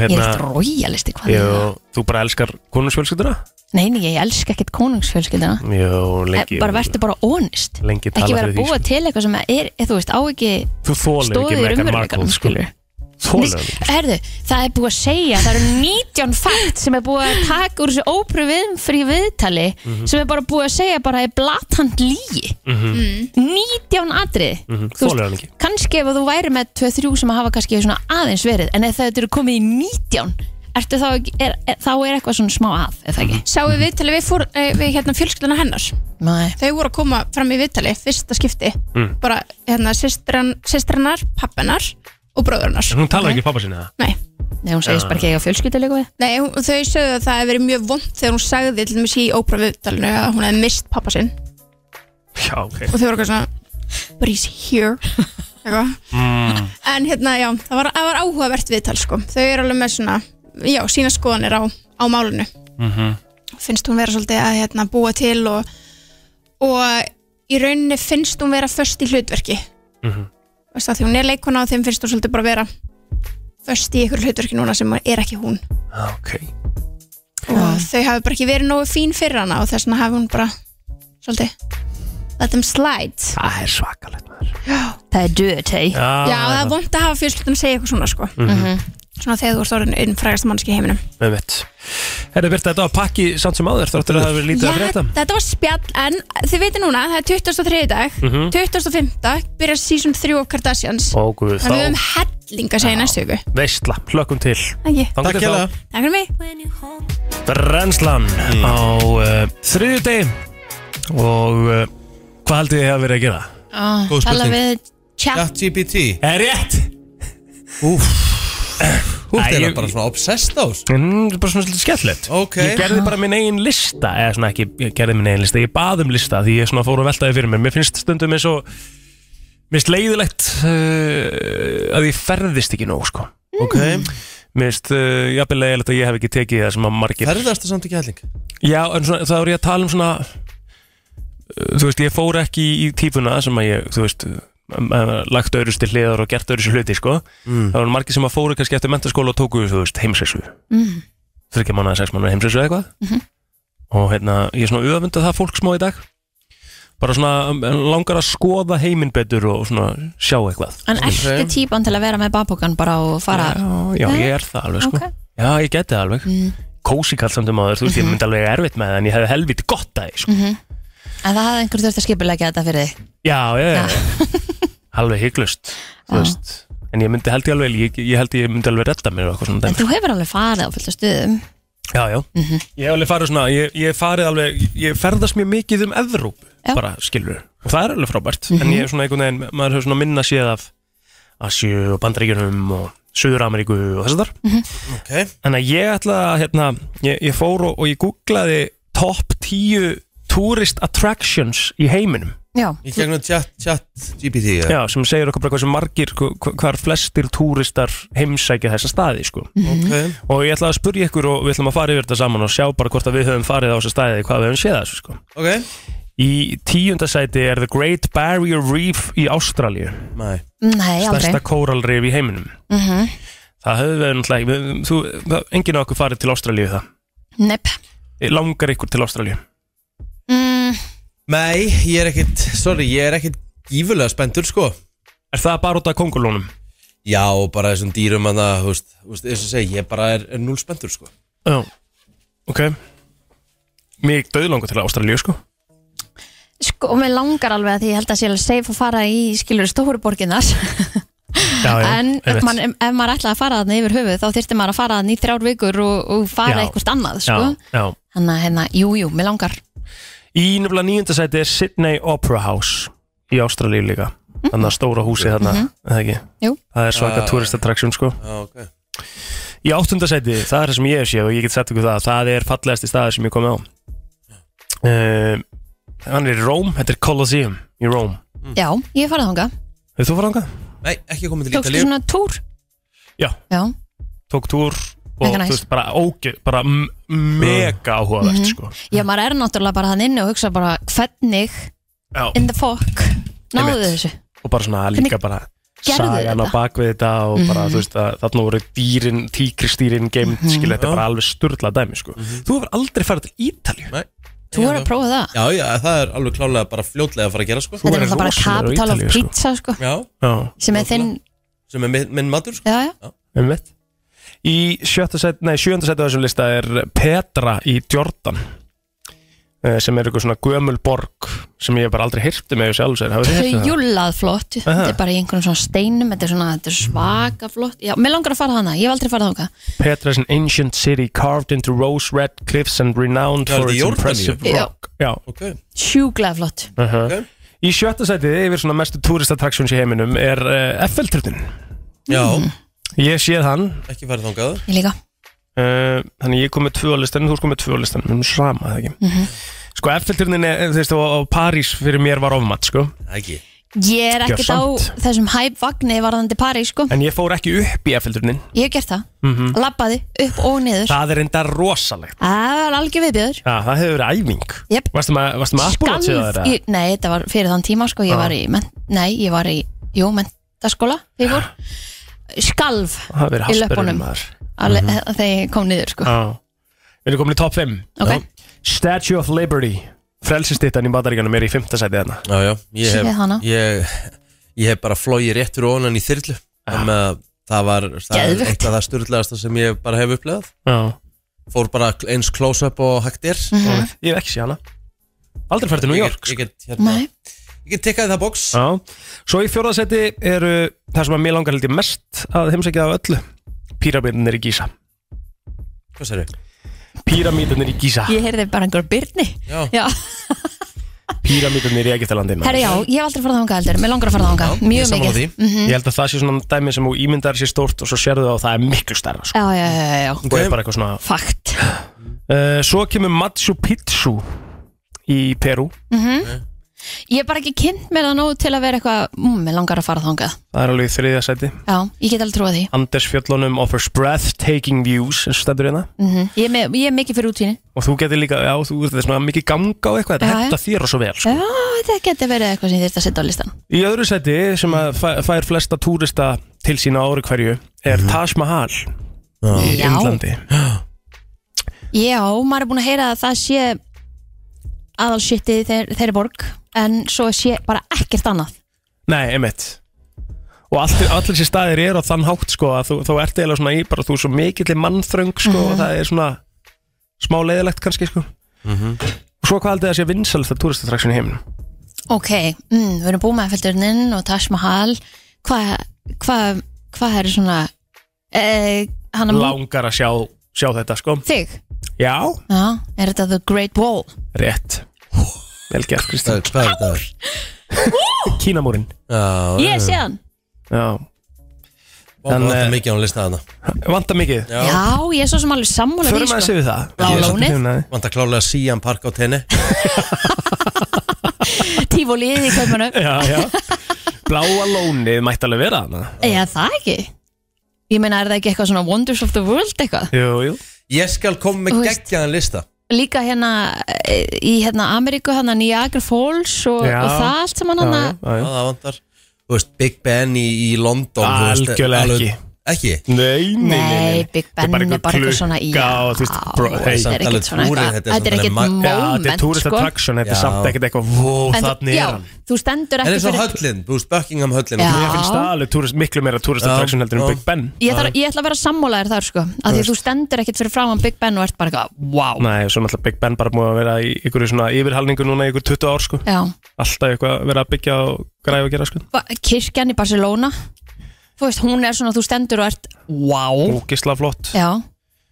[SPEAKER 3] Ég er
[SPEAKER 5] hérna,
[SPEAKER 3] ekkert royalisti hvað er það?
[SPEAKER 5] jú, þú bara elskar konungsfjölskylduna?
[SPEAKER 3] Nei, nei, ég elska ekkert konungsfjölskyldina
[SPEAKER 5] Jú, lengi.
[SPEAKER 3] Eh, Bara verður bara honest
[SPEAKER 5] Lengi
[SPEAKER 3] Ekki
[SPEAKER 5] tala
[SPEAKER 3] vera
[SPEAKER 5] fyrir
[SPEAKER 3] að
[SPEAKER 5] því,
[SPEAKER 3] búa
[SPEAKER 5] sko.
[SPEAKER 3] til eitthvað sem er, eh, þú veist, á ekki
[SPEAKER 5] Þú þólir
[SPEAKER 3] stóðir
[SPEAKER 5] ekki
[SPEAKER 3] í
[SPEAKER 5] Meghan
[SPEAKER 3] raunveruleikanum,
[SPEAKER 5] Markle, sko.
[SPEAKER 3] skilur.
[SPEAKER 5] Þólir ekki.
[SPEAKER 3] Herðu, það er búið að segja Það eru 19 fakt sem er búið að taka úr þessu ópröf viðfrí viðtali sem er bara búið að segja bara að er blatant lígi
[SPEAKER 5] Mhm,
[SPEAKER 3] Mm. 19 atrið
[SPEAKER 5] mhm,
[SPEAKER 3] Þú veist-
[SPEAKER 5] Þólir hann ekki.
[SPEAKER 3] kannski ef þú væri með 2-3 sem hafa kannski svona aðeins verið en ef þetta eru komið í 19 ertu þá, ekki- er, er, þá er eitthvað svona smá að, eða ekki?
[SPEAKER 9] Sáum við viðtalið við, fór, eh, við hérna, fjölskylduna hennar
[SPEAKER 5] Mhm.
[SPEAKER 3] Nei.
[SPEAKER 9] Þau voru að koma fram í viðtalið fyrsta skipti
[SPEAKER 5] Mm.
[SPEAKER 9] Bara hérna, sýstrannar, pappennar og bróðurnar
[SPEAKER 5] En hún talar ekki við pappa sinna það
[SPEAKER 9] Nei
[SPEAKER 3] Nei, hún segist
[SPEAKER 5] Já.
[SPEAKER 3] bara ekki eiga fjölskyldu líka við
[SPEAKER 9] Nei, hún- þau sögðu að það hefði verið mjög vond þegar hún sagði til dæmis í ópera viðtalinu að hún hefði mist pappa sinn
[SPEAKER 5] Já, ok
[SPEAKER 9] og þau voru eitthvað svona but he's here eitthvað
[SPEAKER 5] mm.
[SPEAKER 9] En hérna, já, það var, það var áhugavert viðtal sko. Þau eru alveg með svona, já, sína skoðanir á, á málinu.
[SPEAKER 5] mhm.
[SPEAKER 9] Finnst hún vera svolítið að hérna, búa til og, og í rauninni finnst hún vera föst í hlutverki.
[SPEAKER 5] Mhm.
[SPEAKER 9] Veist það, því hún er leikona og þeim finnst hún svolítið bara vera föst í ykkur hlutverki núna sem er ekki hún.
[SPEAKER 5] Ok
[SPEAKER 9] Og þau hafi bara ekki verið nógu fín fyrir hana og þess vegna hafi hún bara svolítið let them slide.
[SPEAKER 5] Það er svakalegt maður.
[SPEAKER 9] Já,
[SPEAKER 3] Það er döðtei
[SPEAKER 5] Já,
[SPEAKER 9] já það er vond að hafa fjölskyldun að segja eitthvað svona sko.
[SPEAKER 5] Mhm.
[SPEAKER 9] Svona þegar þú ert orðin einn frægasta mannski í heiminum.
[SPEAKER 5] Með mitt Herra Birta, þetta var pakki samt sem áður Þáttur að það hafi verið lítið að
[SPEAKER 9] Já,
[SPEAKER 5] frétta
[SPEAKER 9] þetta var spjall, en þið veitir núna, það er 23. dag,
[SPEAKER 5] Mhm.
[SPEAKER 9] 25. byrja season 3 of Kardashians.
[SPEAKER 5] Ó, guð,
[SPEAKER 9] Þannig við höfum
[SPEAKER 5] þá
[SPEAKER 9] helling að segja í næstu viku.
[SPEAKER 5] Veistla, hlökkum til
[SPEAKER 9] Takk
[SPEAKER 5] Þangað til þá.
[SPEAKER 9] Takk fyrir mig.
[SPEAKER 5] Brennslan á uh, þriðju degi Og uh, hvað haldið þið hafi verið að gera?
[SPEAKER 3] Ó,
[SPEAKER 5] Góð
[SPEAKER 3] Tala
[SPEAKER 5] spurning.
[SPEAKER 3] við chat
[SPEAKER 4] GPT
[SPEAKER 5] Er rétt
[SPEAKER 4] Úf Þú ert
[SPEAKER 5] Æ,
[SPEAKER 4] eiginlega
[SPEAKER 5] ég-
[SPEAKER 4] bara svona obsessed á þessu.
[SPEAKER 5] Mm, þetta er bara svona svolítið skemmtilegt
[SPEAKER 4] Ok.
[SPEAKER 5] Ég gerði bara minn eigin lista Eða svona ekki, ég gerði minn eigin lista Ég bað um lista því ég svona fór að velta því fyrir mér Mér finnst stundum eins og Mér finnst leiðilegt uh, Að ég ferðist ekki nóg sko
[SPEAKER 4] Ok
[SPEAKER 5] Mér finnst uh, jafnvel leiðilegt að ég hef ekki tekið það sem að margir
[SPEAKER 4] Ferðast það samt ekki helling
[SPEAKER 5] Já, en svona, þá er ég að tala um svona uh, Þú veist, ég fór ekki í, í típuna sem að ég, þú veist uh, um, uh, lagt öðru til hliðar og gert öðru sér hluti sko.
[SPEAKER 4] Mm.
[SPEAKER 5] það var margir sem að fóru kannski eftir mentaskóla og tóku, þú veist, heimsessu
[SPEAKER 3] mm.
[SPEAKER 5] þryggja mánuða, sex mánuða heimsins eða eitthvað
[SPEAKER 3] Mhm.
[SPEAKER 5] og hérna, ég er svona öfund að það fólk smá í dag bara svona um, langar að skoða heiminn betur og svona sjá eitthvað
[SPEAKER 3] En ertu típan til að vera með babokan bara og fara
[SPEAKER 5] Já, ég er það alveg sko
[SPEAKER 3] Ok.
[SPEAKER 5] Já, ég geti það alveg
[SPEAKER 3] mm.
[SPEAKER 5] Kósi kall samt um aður, þú veist, ég myndi alveg erfitt með það en ég hefði helviti gott að því sko.
[SPEAKER 3] Mhm. En það hafði einhver þurft að skipulegja þetta fyrir þig
[SPEAKER 5] Já, já, já Alveg hygglust, þú veist En ég myndi held ég alveg, ég, ég held ég myndi alveg redda mér og eitthvað
[SPEAKER 3] En
[SPEAKER 5] svona dæmi.
[SPEAKER 3] þú Mhm. hefur alveg farið á fullt af stuðum
[SPEAKER 5] Já, já Ég hef alveg farið svona, ég, ég hef farið alveg Ég ferðast mjög mikið um Evrópu
[SPEAKER 3] Já. Mhm.
[SPEAKER 5] Bara skilur Og það er alveg frábært En ég er svona einhvern veginn, maður hefur svona minna séð af Asju og Bandaríkjunum og Suður-Ameríku og þess að þar
[SPEAKER 3] Mhm.
[SPEAKER 4] Ok
[SPEAKER 5] Þannig að ég ætla að, hérna Ég, ég fór og, og ég googlaði Top 10 tourist attractions Í heiminum
[SPEAKER 3] Já,
[SPEAKER 4] Í gegnum chat, chat GPT eða?
[SPEAKER 5] Já, sem segir okkur bara hvað sem margir hv- hv- Hvar flestir túristar heimsækja þessa staði sko.
[SPEAKER 3] Mm.
[SPEAKER 4] Ok
[SPEAKER 5] Og ég ætla að spurja ykkur og við ætlum að fara yfir þetta saman Og sjá bara hvort að við höfum farið á þessa staði Hvað við höfum séð af þessu sko.
[SPEAKER 4] Ok
[SPEAKER 5] Í tíunda sæti er The Great Barrier Reef í Ástralju
[SPEAKER 4] Nei
[SPEAKER 3] nei, aldrei
[SPEAKER 5] Stærsta kóralrif í heiminum
[SPEAKER 3] mm
[SPEAKER 5] Það höfðu við náttúrulega ekki við- þú, það- Enginn af okkur farið til Ástralju það
[SPEAKER 3] Nepp
[SPEAKER 5] Langar ykkur til Ástralju
[SPEAKER 3] mm.
[SPEAKER 4] Nei, ég er ekkit, sorry, ég er ekkit gífulega spenntur sko
[SPEAKER 5] Er það bara út af kongulónum?
[SPEAKER 4] Já, bara þessum dýrum að það, þú veist, þú veist, eins og segi, ég bara er, er núl spenntur sko
[SPEAKER 5] Já, ok Mér döðu langar til Ástralju sko
[SPEAKER 3] Sko, og mér langar alveg að því ég held að sé alveg safe að fara í skilur stóru borginar
[SPEAKER 5] já, já,
[SPEAKER 3] En ef,
[SPEAKER 5] einmitt.
[SPEAKER 3] man, ef, ef maður ætlaði að fara þarna yfir höfuð þá þyrfti maður að fara þarna í þrjár vikur og, og fara
[SPEAKER 5] Já.
[SPEAKER 3] eitthvað annað sko.
[SPEAKER 5] já, já.
[SPEAKER 3] Þannig að hérna, jú, jú, mér langar
[SPEAKER 5] Í nefnilega nýjunda sæti er Sydney Opera House í Ástralíu líka þannig að stóra húsi þarna mm
[SPEAKER 3] Mhm. Jú.
[SPEAKER 5] -hmm. það er svaka
[SPEAKER 4] Já.
[SPEAKER 5] tourist attraction sko.
[SPEAKER 4] Já, ok
[SPEAKER 5] í áttunda sæti, það er það sem ég hef séð og ég get sett ykkur það, það er fallegasti staður sem ég kom á uh, hann er í Róm, þetta er Colosseum í Róm,
[SPEAKER 3] Já, ég hef farið þangað
[SPEAKER 5] hefur þú farað þangað?
[SPEAKER 4] Nei, ekki komið til
[SPEAKER 3] Tókstu
[SPEAKER 4] Ítalíu
[SPEAKER 3] svona túr?
[SPEAKER 5] Já.
[SPEAKER 3] Já,
[SPEAKER 5] tók túr og
[SPEAKER 3] Mega næs.
[SPEAKER 5] þú veist, bara, óge, bara m- mega áhugavert
[SPEAKER 3] Mhm.
[SPEAKER 5] sko.
[SPEAKER 3] Já, maður er náttúrulega bara hann inni og hugsa bara hvernig
[SPEAKER 5] Já,
[SPEAKER 3] in the fuck náðu
[SPEAKER 5] Einmitt.
[SPEAKER 3] þessu
[SPEAKER 5] og bara svona líka bara
[SPEAKER 3] gerðu þau
[SPEAKER 5] sagan á
[SPEAKER 3] þetta?
[SPEAKER 5] bakvið þetta og bara
[SPEAKER 3] Mhm.
[SPEAKER 5] þú veist að þarna voru dýrin, tíkristýrin geimt, mm þetta er bara alveg styrla dæmi sko. Þú hefur aldrei farið til Ítalju
[SPEAKER 3] Þú voru að prófa það
[SPEAKER 4] Já, já, það er alveg klálega bara fljótlega að fara að gera sko
[SPEAKER 5] Þú
[SPEAKER 3] Þetta er
[SPEAKER 5] værir
[SPEAKER 3] náttúrulega bara
[SPEAKER 5] rosalegur á
[SPEAKER 3] capital of
[SPEAKER 5] Ítalíu, sko.
[SPEAKER 3] pizza sko.
[SPEAKER 4] Já,
[SPEAKER 5] Já,
[SPEAKER 3] sem er þinn
[SPEAKER 4] sem er minn, minn matur sko
[SPEAKER 3] já, já.
[SPEAKER 5] um veit Í sjötta set, nei, sjönda setja á þessum lista er Petra í Jordan eh, sem er eitthvað svona gömul borg sem ég hef bara aldrei um hirti með sjálfsögur hafið þið heyrt um það?
[SPEAKER 3] Hjúlað flott,
[SPEAKER 5] Aha.
[SPEAKER 3] þetta er bara í einhvern svona steinum, þetta er svona þetta er svaka flott, já, mér langar að fara hana, ég hef aldrei farið þangað
[SPEAKER 5] Petra is an ancient city carved into rose red cliffs and renowned
[SPEAKER 4] Já, er
[SPEAKER 5] for
[SPEAKER 4] þetta í
[SPEAKER 5] its
[SPEAKER 4] Jórdaníu?
[SPEAKER 5] impressive
[SPEAKER 3] Já.
[SPEAKER 5] rock Já,
[SPEAKER 4] okay.
[SPEAKER 3] Sjúglega flott
[SPEAKER 5] uh Í sjötta sætið yfir svona mestu turistattractions í heiminum er uh, Eiffelturnin
[SPEAKER 4] Já,
[SPEAKER 5] Ég séð hann
[SPEAKER 4] ekki farið þangað
[SPEAKER 3] Ég líka
[SPEAKER 5] uh, Þannig ég kom með tvö á listan, þú sko með tvö á listan Mér erum sama, eða ekki
[SPEAKER 3] Mhm.
[SPEAKER 5] Sko Eiffelturnin, er, þú veist, og, og París fyrir mér var ofmatt, sko
[SPEAKER 4] Ekki
[SPEAKER 3] Ég er ekkert á
[SPEAKER 5] Gjörsamt.
[SPEAKER 3] þessum hæp vagni varðandi París, sko
[SPEAKER 5] En ég fór ekki upp í Eiffelturnin
[SPEAKER 3] Ég hef gert það,
[SPEAKER 5] mm
[SPEAKER 3] labbaði upp og niður
[SPEAKER 5] Það er enda rosalegt
[SPEAKER 3] Það var algjör viðbjöður
[SPEAKER 5] Já, það hefur verið æfing
[SPEAKER 3] Jep.
[SPEAKER 5] Varstu með, varstu með Apollo til það?
[SPEAKER 3] Skalf,
[SPEAKER 5] eða?
[SPEAKER 3] ég, nei, þetta var fyrir þann tíma, sko, ég
[SPEAKER 5] Já.
[SPEAKER 3] var í mennt, nei, ég var í, jú, mentaskóla þegar ég fór, skalf
[SPEAKER 5] Það hefur verið
[SPEAKER 3] í
[SPEAKER 5] hasperinn
[SPEAKER 3] löpunum
[SPEAKER 5] maður
[SPEAKER 3] alveg-
[SPEAKER 5] Mhm.
[SPEAKER 3] þegar ég kom niður, sko
[SPEAKER 5] Já Við erum komin í top 5
[SPEAKER 3] Ok.
[SPEAKER 5] Statue of Liberty Frelsistittan í bandaríkanum er í 5. sæti þarna
[SPEAKER 4] Já, já, ég
[SPEAKER 3] Séð
[SPEAKER 4] hef,
[SPEAKER 3] hana.
[SPEAKER 4] ég, ég hef bara flóið réttur og onan í þyrlu Þannig að það var það er
[SPEAKER 3] Geðveikt.
[SPEAKER 4] eitt af það styrlaðasta sem ég bara hef upplegað
[SPEAKER 5] Já
[SPEAKER 4] Fór bara eins close-up og hægt er
[SPEAKER 3] Mhm.
[SPEAKER 5] Ég hef ekki séð hana Aldrei fært til New
[SPEAKER 4] Ég
[SPEAKER 5] York sko.
[SPEAKER 4] get- Ég get, hérna,
[SPEAKER 3] Nei,
[SPEAKER 4] ég get tekkaði það box
[SPEAKER 5] Já Svo í fjórða sæti eru Það sem að mér langar held ég mest að heimsækja af öllu Píramíðunir í Gísa
[SPEAKER 4] Hvað sér þau?
[SPEAKER 5] Píramíðunir í Gísa
[SPEAKER 3] ég heyrði bara einhver byrni
[SPEAKER 4] Já.
[SPEAKER 3] Já,
[SPEAKER 5] Píramíðunir í Egiptalandi maður.
[SPEAKER 3] herri já, ég hef aldrei farið þangað heldur Mér langar að fara
[SPEAKER 4] Já,
[SPEAKER 3] þangað,
[SPEAKER 4] ég er
[SPEAKER 3] mjög
[SPEAKER 4] sammála
[SPEAKER 3] mikið
[SPEAKER 4] því.
[SPEAKER 3] Mhm.
[SPEAKER 5] Ég held að það sé svona dæmi sem þú ímyndar sér stórt og svo sérðu það og það er miklu stærra sko.
[SPEAKER 3] Já, já, já, já, já,
[SPEAKER 5] og er bara eitthvað svona
[SPEAKER 3] fakt
[SPEAKER 5] uh, Svo kemur Machu Picchu í Peru
[SPEAKER 3] Ég hef bara ekki kynnt mér það nóg til að vera eitthvað mm, Mér langar að fara þangað
[SPEAKER 5] Það er alveg í þriðja sæti
[SPEAKER 3] Já, ég get alveg trúið því
[SPEAKER 5] Andesfjöllunum offers breathtaking views eins og stendur hérna
[SPEAKER 3] mm ég, er með, ég er mikið fyrir útvíni
[SPEAKER 5] og þú getur líka, já, þú veist, það er svona mikið ganga og eitthvað,
[SPEAKER 3] Já,
[SPEAKER 5] þetta
[SPEAKER 3] já.
[SPEAKER 5] henda þér og svo vel sko.
[SPEAKER 3] Já, þetta geti verið eitthvað sem ég þyrst að setja á listan
[SPEAKER 5] Í öðru seti sem að fæ- fær flesta túrista til sína á ári hverju er Taj Mahal í
[SPEAKER 3] Já.
[SPEAKER 5] Indlandi
[SPEAKER 3] Já, maður er búin að heyra að það sé aðalsýtti þeir, þeirri borg En svo sé bara ekkert annað
[SPEAKER 5] Nei, emitt Og allir, allir sér staðir eru á þann hátt sko að þú, þá ert eiginlega svona í bara þú er svo mikill mannþröng sko
[SPEAKER 3] Mhm.
[SPEAKER 5] og það er svona smá leiðilegt kannski sko Og svo hvað haldið það sé vinsal það túristatraksin í heiminum?
[SPEAKER 3] Ok, mm, við erum búin með Eiffelturninn og Taj Mahal Hvað hva, hva er svona eh, Hanna Mú-
[SPEAKER 5] Langar að sjá, sjá þetta sko
[SPEAKER 3] Þig?
[SPEAKER 5] Já,
[SPEAKER 3] Já, er þetta The Great Wall?
[SPEAKER 5] rétt Vel gert
[SPEAKER 4] Það
[SPEAKER 5] Kristján
[SPEAKER 4] er hvað er þetta?
[SPEAKER 5] Kínamúrin
[SPEAKER 4] Já,
[SPEAKER 3] Ég sé hann
[SPEAKER 5] Já,
[SPEAKER 4] Þannig að
[SPEAKER 5] Þannig-
[SPEAKER 4] mikið án að lista þarna
[SPEAKER 5] vantar mikið
[SPEAKER 4] Já.
[SPEAKER 3] Já, ég er svo sem alveg sammála því
[SPEAKER 5] Förum aðeins
[SPEAKER 3] sko.
[SPEAKER 5] yfir það
[SPEAKER 3] Já,
[SPEAKER 5] Ég er svolítið
[SPEAKER 3] lónið.
[SPEAKER 5] hrifinn af því.
[SPEAKER 4] Vant að klálega síjan park á tenni
[SPEAKER 3] Tífólið í kaupmanum
[SPEAKER 5] Já, já Bláa lónið mætti alveg vera þarna
[SPEAKER 3] Eða það ekki Ég meina, er það ekki eitthvað svona Wonders of the World eitthvað?
[SPEAKER 5] Jú, jú
[SPEAKER 4] Ég skal koma með
[SPEAKER 3] Þú veist-
[SPEAKER 4] geggjaðan lista
[SPEAKER 3] Líka hérna eh, í hérna Ameríku, hérna Niagara Falls og,
[SPEAKER 5] Já.
[SPEAKER 3] og það allt saman hann
[SPEAKER 5] Já, já,
[SPEAKER 4] Já,
[SPEAKER 5] já.
[SPEAKER 4] það vantar Þú veist, Big Ben í, í London þú veist,
[SPEAKER 5] Algjörlega
[SPEAKER 4] alveg-
[SPEAKER 5] ekki.
[SPEAKER 4] Ekki?
[SPEAKER 5] Nei, nei, nei,
[SPEAKER 3] Nei, Big Ben er bara eitthvað svona í
[SPEAKER 5] Já, þú veist, bro, hey,
[SPEAKER 3] Þetta er
[SPEAKER 4] samt alveg
[SPEAKER 3] ekkert svona
[SPEAKER 4] túrið,
[SPEAKER 3] eitthvað
[SPEAKER 4] þetta er samt
[SPEAKER 3] Þetta er
[SPEAKER 4] alveg
[SPEAKER 3] ekkert
[SPEAKER 4] mag-
[SPEAKER 5] Já, þetta er
[SPEAKER 3] moment
[SPEAKER 5] tourist
[SPEAKER 3] sko
[SPEAKER 5] attraction, þetta er
[SPEAKER 4] Já.
[SPEAKER 5] samt ekkert eitthvað Vó,
[SPEAKER 3] En þú-
[SPEAKER 5] þannig
[SPEAKER 3] já,
[SPEAKER 5] er hann
[SPEAKER 3] Þú stendur
[SPEAKER 4] En
[SPEAKER 3] ekki
[SPEAKER 4] eins og
[SPEAKER 3] fyrir
[SPEAKER 4] höllin, þú veist, Buckingham höllin
[SPEAKER 3] Já.
[SPEAKER 5] Mér finnst það alveg tourist, miklu meira tourist
[SPEAKER 4] Já,
[SPEAKER 5] attraction heldur en
[SPEAKER 4] já.
[SPEAKER 5] Big Ben
[SPEAKER 3] Ég ætla, ég ætla að vera sammálaður þar sko að því að þú stendur ekkert fyrir framann Big Ben og ert bara eitthvað, wow
[SPEAKER 5] Nei, svo náttúrulega Big Ben bara múið að vera í ykkur svona yfirhalningu núna í ykkur 20 ár sko
[SPEAKER 3] Já,
[SPEAKER 5] Alltaf eitthvað að vera að byggja og græfa að gera sko
[SPEAKER 3] Ba- kirkjan í Barcelona þú veist, hún er svona, þú stendur og ert wow,
[SPEAKER 5] Ógisla flott
[SPEAKER 3] já,